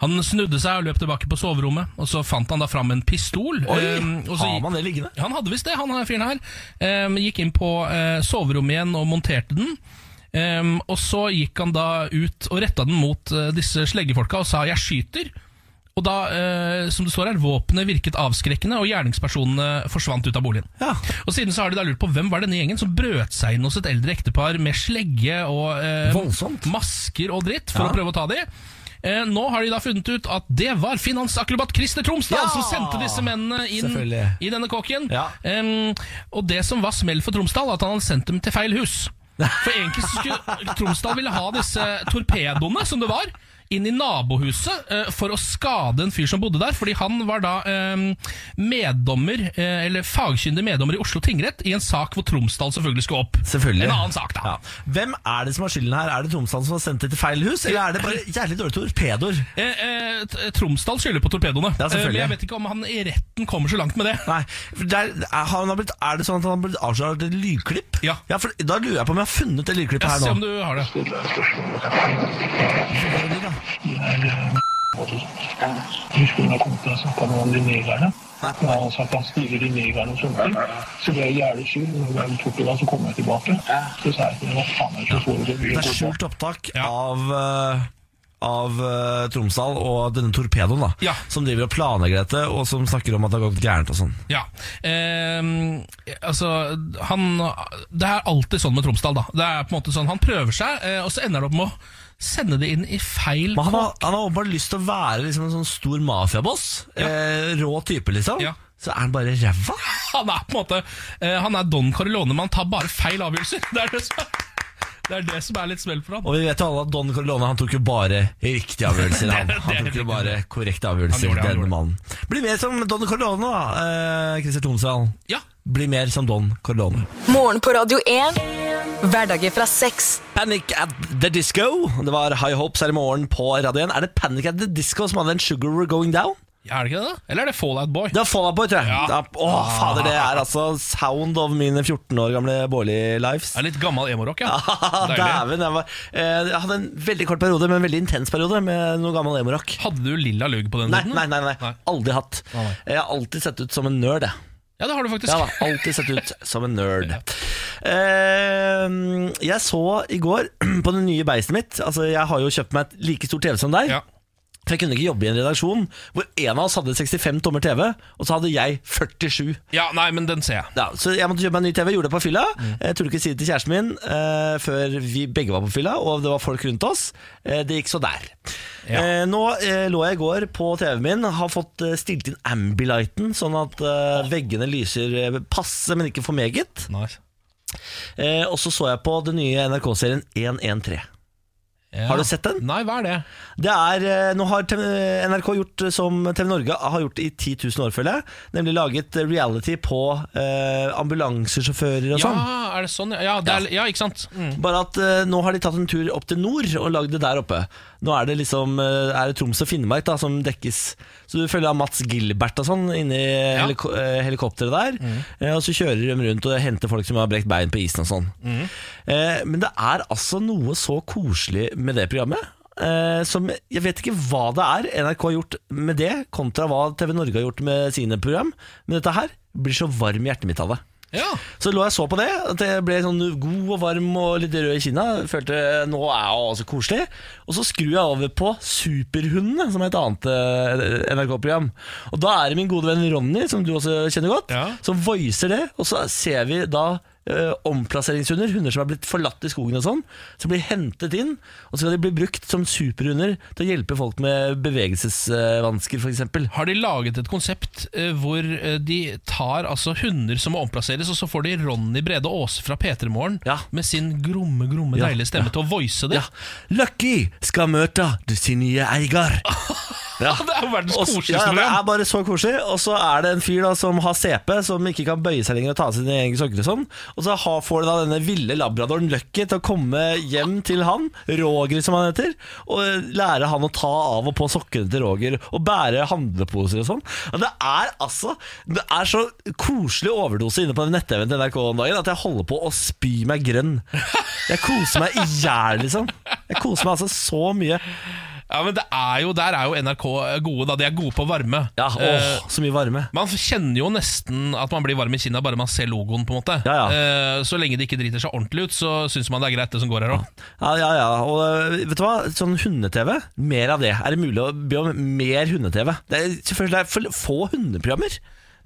[SPEAKER 2] Han snudde seg og løp tilbake på soverommet, og så fant han da fram en pistol.
[SPEAKER 1] Oi,
[SPEAKER 2] eh, og så
[SPEAKER 1] har
[SPEAKER 2] gikk-
[SPEAKER 1] man det liggende?
[SPEAKER 2] han hadde visst det, han her fyren her. Ehm, gikk inn på eh, soverommet igjen og monterte den. Ehm, og så gikk han da ut og retta den mot eh, disse sleggefolka og sa 'jeg skyter'. Og da, eh, som det står her, våpenet virket avskrekkende, og gjerningspersonene forsvant ut av boligen.
[SPEAKER 1] Ja.
[SPEAKER 2] Og siden så har de da lurt på hvem var denne gjengen som brøt seg inn hos et eldre ektepar med slegge og eh,
[SPEAKER 1] Voldsomt.
[SPEAKER 2] masker og dritt for å prøve å ta de. Eh, nå har de da funnet ut at det var finansakrobat Christer Tromsdal
[SPEAKER 1] Ja!
[SPEAKER 2] som sendte disse mennene inn
[SPEAKER 1] Selvfølgelig.
[SPEAKER 2] i denne kåken.
[SPEAKER 1] Ja.
[SPEAKER 2] Em, og det som var smell for Tromsdal, at han hadde sendt dem til feil hus. For egentlig så skulle Tromsdal ville ha disse torpedoene, som det var, inn i nabohuset eh, for å skade en fyr som bodde der. Fordi han var da em, meddommer, eh, eller fagkyndig meddommer i Oslo tingrett, i en sak hvor Tromsdal selvfølgelig skulle opp.
[SPEAKER 1] Selvfølgelig.
[SPEAKER 2] En annen sak, da.
[SPEAKER 1] Ja. Hvem er det som har skylden her? Er det Tromsdal som har sendt det til feil hus, eller er det bare jævlig dårlige torpedoer?
[SPEAKER 2] Eh, eh, t- Tromsdal skylder på torpedoene.
[SPEAKER 1] Ja,
[SPEAKER 2] eh,
[SPEAKER 1] selvfølgelig.
[SPEAKER 2] men jeg vet ikke om han i retten kommer så langt med det.
[SPEAKER 1] Nei, for der, er, han har blitt, er det sånn at han har blitt avslørt et lydklipp?
[SPEAKER 2] Ja.
[SPEAKER 1] for Da lurer jeg på om jeg har funnet det lydklippet her
[SPEAKER 2] Se
[SPEAKER 1] nå.
[SPEAKER 2] om du har det.
[SPEAKER 10] diskusjon har kommet til å snakke om de negerne. Og han sa at han stiger de negerne som kommer. Så ble jeg jævlig sur. Når jeg ble borte da, så kom jeg tilbake. Så sa jeg til ham hva faen er det som foregår?
[SPEAKER 1] Det er skjult opptak
[SPEAKER 2] Ja.
[SPEAKER 1] av eh, av eh, Tromsdal og denne torpedoen, da.
[SPEAKER 2] Ja.
[SPEAKER 1] Som driver og planlegger dette, og som snakker om at det har gått gærent og sånn.
[SPEAKER 2] Ja. Ehm, altså, han Det er alltid sånn med Tromsdal, da. Det er på en måte sånn, Han prøver seg, eh, og så ender det opp med å sende det inn i feil
[SPEAKER 1] Men han har, han har åpenbart lyst til å være liksom en sånn stor mafiaboss. Eh, rå type, liksom.
[SPEAKER 2] Ja.
[SPEAKER 1] Så er han bare ræva.
[SPEAKER 2] Han er på en måte eh, Han er Don Corleone, men han tar bare feil avgjørelser. Det er det som, det er, det som er litt smell for han.
[SPEAKER 1] Og vi vet jo alle at Don Corleone han tok jo bare riktige avgjørelser. Han,
[SPEAKER 2] Det- det er
[SPEAKER 1] han tok jo
[SPEAKER 2] riktig.
[SPEAKER 1] bare korrekte
[SPEAKER 2] Han
[SPEAKER 1] avgjørelser.
[SPEAKER 2] gjorde det, han
[SPEAKER 1] denne
[SPEAKER 2] gjorde
[SPEAKER 1] mannen Bli mer som Don Corleone, da, eh, Christer Tromsdal.
[SPEAKER 2] Ja.
[SPEAKER 1] Bli mer som Don Corleone.
[SPEAKER 4] Morgen på Radio 1. Hverdager fra seks.
[SPEAKER 1] Panic at the Disco. Det var High Hopes her i morgen på radioen. Er det Panic at the Disco som hadde en Sugar We're Going Down?
[SPEAKER 2] Er det ikke det? da? Eller er det Fallout Boy?
[SPEAKER 1] Det var Fall Out Boy, tror jeg. Ja. Åh, fader, det er altså sound of mine 14 år gamle Bårli lives.
[SPEAKER 2] Det er litt gammel emorock, ja. Deilig.
[SPEAKER 1] Dæven. Jeg, var- eh, jeg hadde en veldig kort periode, men en veldig intens periode, med noe gammel emo-rock.
[SPEAKER 2] Hadde du lilla lugg på den
[SPEAKER 1] Nei,
[SPEAKER 2] tiden?
[SPEAKER 1] nei, nei, nei, aldri hatt. Jeg har alltid sett ut som en nerd, jeg.
[SPEAKER 2] Ja, det har du faktisk.
[SPEAKER 1] Jeg har alltid sett ut som en nerd. Eh, jeg så i går på det nye beistet mitt Altså, Jeg har jo kjøpt meg et like stort TV som deg.
[SPEAKER 2] Ja.
[SPEAKER 1] For jeg kunne ikke jobbe i en redaksjon hvor en av oss hadde 65 tommer TV, og så hadde jeg 47.
[SPEAKER 2] ja, nei, men den ser jeg.
[SPEAKER 1] Ja, så jeg måtte kjøpe meg en ny TV, gjorde det på fylla. Jeg turte ikke si det til kjæresten min eh, før vi begge var på fylla, og det var folk rundt oss. Eh, det gikk så der. Eh, nå eh, lå jeg i går på TV-en min, har fått eh, stilt inn Ambilighten, sånn at eh, veggene lyser eh, passe, men ikke for meget.
[SPEAKER 2] Nice.
[SPEAKER 1] Eh, og så så jeg på den nye NRK-serien 113.
[SPEAKER 2] Ja.
[SPEAKER 1] Har du sett den?
[SPEAKER 2] Nei, hva er det?
[SPEAKER 1] Det er, eh, nå har TV, eh, NRK gjort eh, som TV Norge har gjort i 10 000 år, føler jeg. Nemlig laget eh, reality på eh, ambulansesjåfører og
[SPEAKER 2] Ja,
[SPEAKER 1] sånn.
[SPEAKER 2] er det sånn? Ja, det er, ja ikke sant?
[SPEAKER 1] Bare at eh, nå har de tatt en tur opp til nord og lagd det der oppe. Nå er det liksom eh, Er det Troms og Finnmark da som dekkes. Så du følger av Mats Gilbert og sånn inni heliko eh, helikopteret der. Eh, Og så kjører de rundt og henter folk som har brekt bein på isen og sånn. Eh, Men det er altså noe så koselig med det programmet. eh, Som Jeg vet ikke hva det er NRK har gjort med det, kontra hva TV Norge har gjort med sine program. Men dette her blir så varm i hjertet mitt av det.
[SPEAKER 2] Ja.
[SPEAKER 1] Så lå jeg og så på det, at jeg ble sånn god og varm og litt rød i kinna. Følte nå er jeg også koselig. Og så skrur jeg over på Superhundene, som er et annet eh, NRK-program. Og da er det min gode venn Ronny, som du også kjenner godt,
[SPEAKER 2] Ja.
[SPEAKER 1] som voicer det. Og så ser vi da eh, ompasseringshunder, hunder som er blitt forlatt i skogen og sånn, som blir hentet inn, og så skal de bli brukt som superhunder til å hjelpe folk med bevegelsesvansker, f.eks.
[SPEAKER 2] Har de laget et konsept eh, hvor eh, de tar altså hunder som må omplasseres, og så får de Ronny Brede Aase fra P3 Morgen
[SPEAKER 1] Ja.
[SPEAKER 2] med sin gromme, gromme,
[SPEAKER 1] Ja,
[SPEAKER 2] deilige stemme til å voice det?
[SPEAKER 1] Ja. Lucky skal møte sin nye eier. Ja.
[SPEAKER 2] Det er jo verdens
[SPEAKER 1] Og s-
[SPEAKER 2] koseligste
[SPEAKER 1] ja, Det
[SPEAKER 2] program.
[SPEAKER 1] er bare så koselig. Og så er det en fyr da som har CP, som ikke kan bøye seg lenger og ta av sine egne sokker og sånn. Og så har, får du da denne ville labradoren Lucky til å komme hjem til han, Roger som han heter, og eh, lære han å ta av og på sokkene til Roger, og bære handleposer og sånn. Og det er altså Det er så koselig overdose inne på den nettevn til NRK om dagen at jeg holder på å spy meg grønn. Jeg koser meg i hjel, liksom. Jeg koser meg altså så mye.
[SPEAKER 2] Ja, men det er jo, Der er jo NRK eh, gode, da. De er gode på varme.
[SPEAKER 1] Ja, åh,
[SPEAKER 2] Eh,
[SPEAKER 1] så mye varme.
[SPEAKER 2] man kjenner jo nesten at man blir varm i kinna bare man ser logoen. på en måte
[SPEAKER 1] Ja,
[SPEAKER 2] Eh, Så lenge det ikke driter seg ordentlig ut, så syns man det er greit, det som går her òg.
[SPEAKER 1] Ja, ja, ja. Og øh, vet du hva? Sånn hunde-TV, mer av det. Er det mulig å be om mer hunde-TV? Det er selvfølgelig det er for få hundeprogrammer.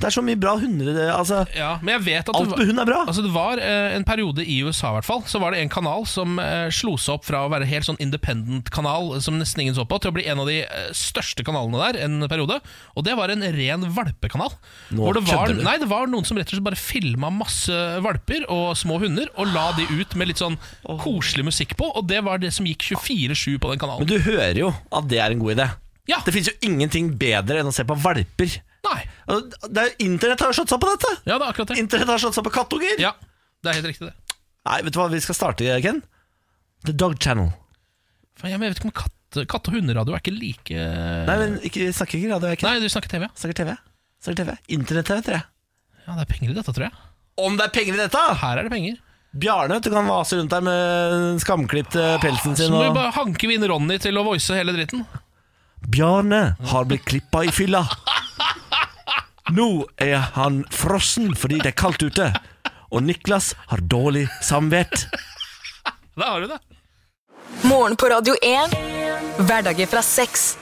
[SPEAKER 1] Det er så mye bra hunder altså,
[SPEAKER 2] Ja, men jeg vet at
[SPEAKER 1] Alt
[SPEAKER 2] det
[SPEAKER 1] med
[SPEAKER 2] var-
[SPEAKER 1] hund er bra.
[SPEAKER 2] Altså Det var eh, en periode i USA i hvert fall Så var det en kanal som eh, slo seg opp fra å være helt sånn independent kanal Som nesten ingen så på Til å bli en av de eh, største kanalene der en periode Og det var en ren valpekanal
[SPEAKER 1] Nå
[SPEAKER 2] Hvor det var,
[SPEAKER 1] kødder du.
[SPEAKER 2] Nei, det var noen som rett og slett bare filmet masse valper og små hunder Og la de ut med litt sånn koselig musikk på Og det var det som gikk 24-7 på den
[SPEAKER 1] Men
[SPEAKER 2] kanalen
[SPEAKER 1] du hører jo at det er en god idé.
[SPEAKER 2] Ja.
[SPEAKER 1] Det fins jo ingenting bedre enn å se på valper.
[SPEAKER 2] Nei,
[SPEAKER 1] Og Det er jo Internett har jo slått seg på dette!
[SPEAKER 2] ja det er akkurat det
[SPEAKER 1] Internett har slått seg på kattunger!
[SPEAKER 2] Ja, det er helt riktig det
[SPEAKER 1] Nei, vet du hva vi skal starte, Ken? The Dog Channel.
[SPEAKER 2] Faen, Jeg vet ikke om katt, katt- og hunderadio er ikke like
[SPEAKER 1] Nei, men ikke, vi snakker ikke radio, jeg, Ken.
[SPEAKER 2] Nei, du snakker TV ja
[SPEAKER 1] Snakker TV. Snakker TV. Internett-TV, tror jeg.
[SPEAKER 2] Ja, det er penger i dette, tror jeg
[SPEAKER 1] Om det er penger i dette!
[SPEAKER 2] Her er det penger
[SPEAKER 1] Bjarne vet du kan vase rundt der med skamklipt eh, pelsen
[SPEAKER 2] Så
[SPEAKER 1] sin.
[SPEAKER 2] må vi
[SPEAKER 1] Og...
[SPEAKER 2] bare hanke vi inn Ronny til å voice hele dritten.
[SPEAKER 1] Bjarne har blitt klippa i fylla. Nå er han frossen fordi det er kaldt ute. Og Niklas har dårlig samvittighet.
[SPEAKER 2] Der har du det.
[SPEAKER 4] Morgen på Radio 1. Hverdager fra seks.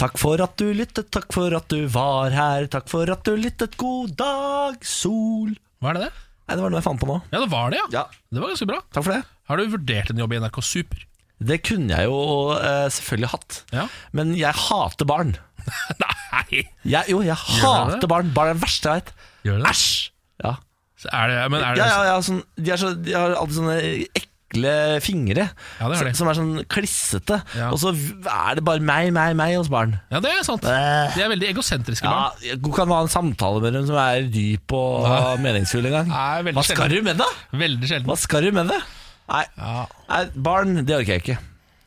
[SPEAKER 1] Takk for at du lyttet, takk for at du var her, takk for at du lyttet. God dag, sol.
[SPEAKER 2] Hva er det det?
[SPEAKER 1] Nei, det var noe jeg fant på nå.
[SPEAKER 2] Ja, det var det, ja.
[SPEAKER 1] Ja,
[SPEAKER 2] Det var ganske bra.
[SPEAKER 1] takk for det.
[SPEAKER 2] Har du vurdert en jobb i NRK Super?
[SPEAKER 1] Det kunne jeg jo eh, selvfølgelig hatt.
[SPEAKER 2] Ja.
[SPEAKER 1] Men jeg hater barn.
[SPEAKER 2] Nei!
[SPEAKER 1] Jeg, jo, jeg
[SPEAKER 2] du det?
[SPEAKER 1] hater barn. Barn er det verste jeg vet.
[SPEAKER 2] Gjør du det?
[SPEAKER 1] Æsj! Ja.
[SPEAKER 2] Så Er det, men er det
[SPEAKER 1] Ja, ja, ja, sånn, de, er så, de har alltid sånne ekle fingre
[SPEAKER 2] Ja, det har de.
[SPEAKER 1] som- som er sånn klissete.
[SPEAKER 2] Ja.
[SPEAKER 1] Og så er det bare meg, meg, meg hos barn.
[SPEAKER 2] Ja, det er sant.
[SPEAKER 1] Bæh.
[SPEAKER 2] De er veldig egosentriske
[SPEAKER 1] Ja,
[SPEAKER 2] barn.
[SPEAKER 1] Du kan ha en samtale med dem som er dyp og meningsfull en gang.
[SPEAKER 2] Nei, veldig
[SPEAKER 1] Hva skal
[SPEAKER 2] sjelden.
[SPEAKER 1] du med det?
[SPEAKER 2] Veldig sjelden.
[SPEAKER 1] Hva skal du med det? Nei,
[SPEAKER 2] Ja.
[SPEAKER 1] nei barn, det orker jeg ikke.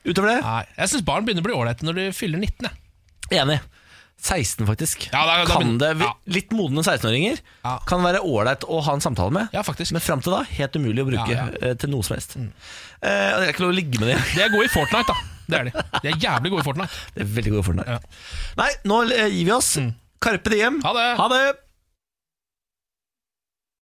[SPEAKER 1] Utover det,
[SPEAKER 2] Nei, Jeg syns barn begynner å bli ålreite når de fyller 19. Jeg.
[SPEAKER 1] enig. 16, faktisk.
[SPEAKER 2] Ja, da- da
[SPEAKER 1] kan
[SPEAKER 2] begyn-
[SPEAKER 1] det, vi-
[SPEAKER 2] ja.
[SPEAKER 1] Litt modne 16-åringer
[SPEAKER 2] Ja.
[SPEAKER 1] kan være ålreit å ha en samtale med.
[SPEAKER 2] Ja, faktisk.
[SPEAKER 1] Men fram til da helt umulig å bruke
[SPEAKER 2] Ja, Mm. ja.
[SPEAKER 1] eh, til noe som helst. Eh, og det er ikke lov å ligge med dem.
[SPEAKER 2] De er gode i Fortnite, da. Det er de. De er jævlig gode i Fortnite.
[SPEAKER 1] Det er veldig gode Fortnite.
[SPEAKER 2] Ja.
[SPEAKER 1] Nei, nå eh, gir vi oss. Karpe Diem.
[SPEAKER 2] Ha det.
[SPEAKER 1] Ha det.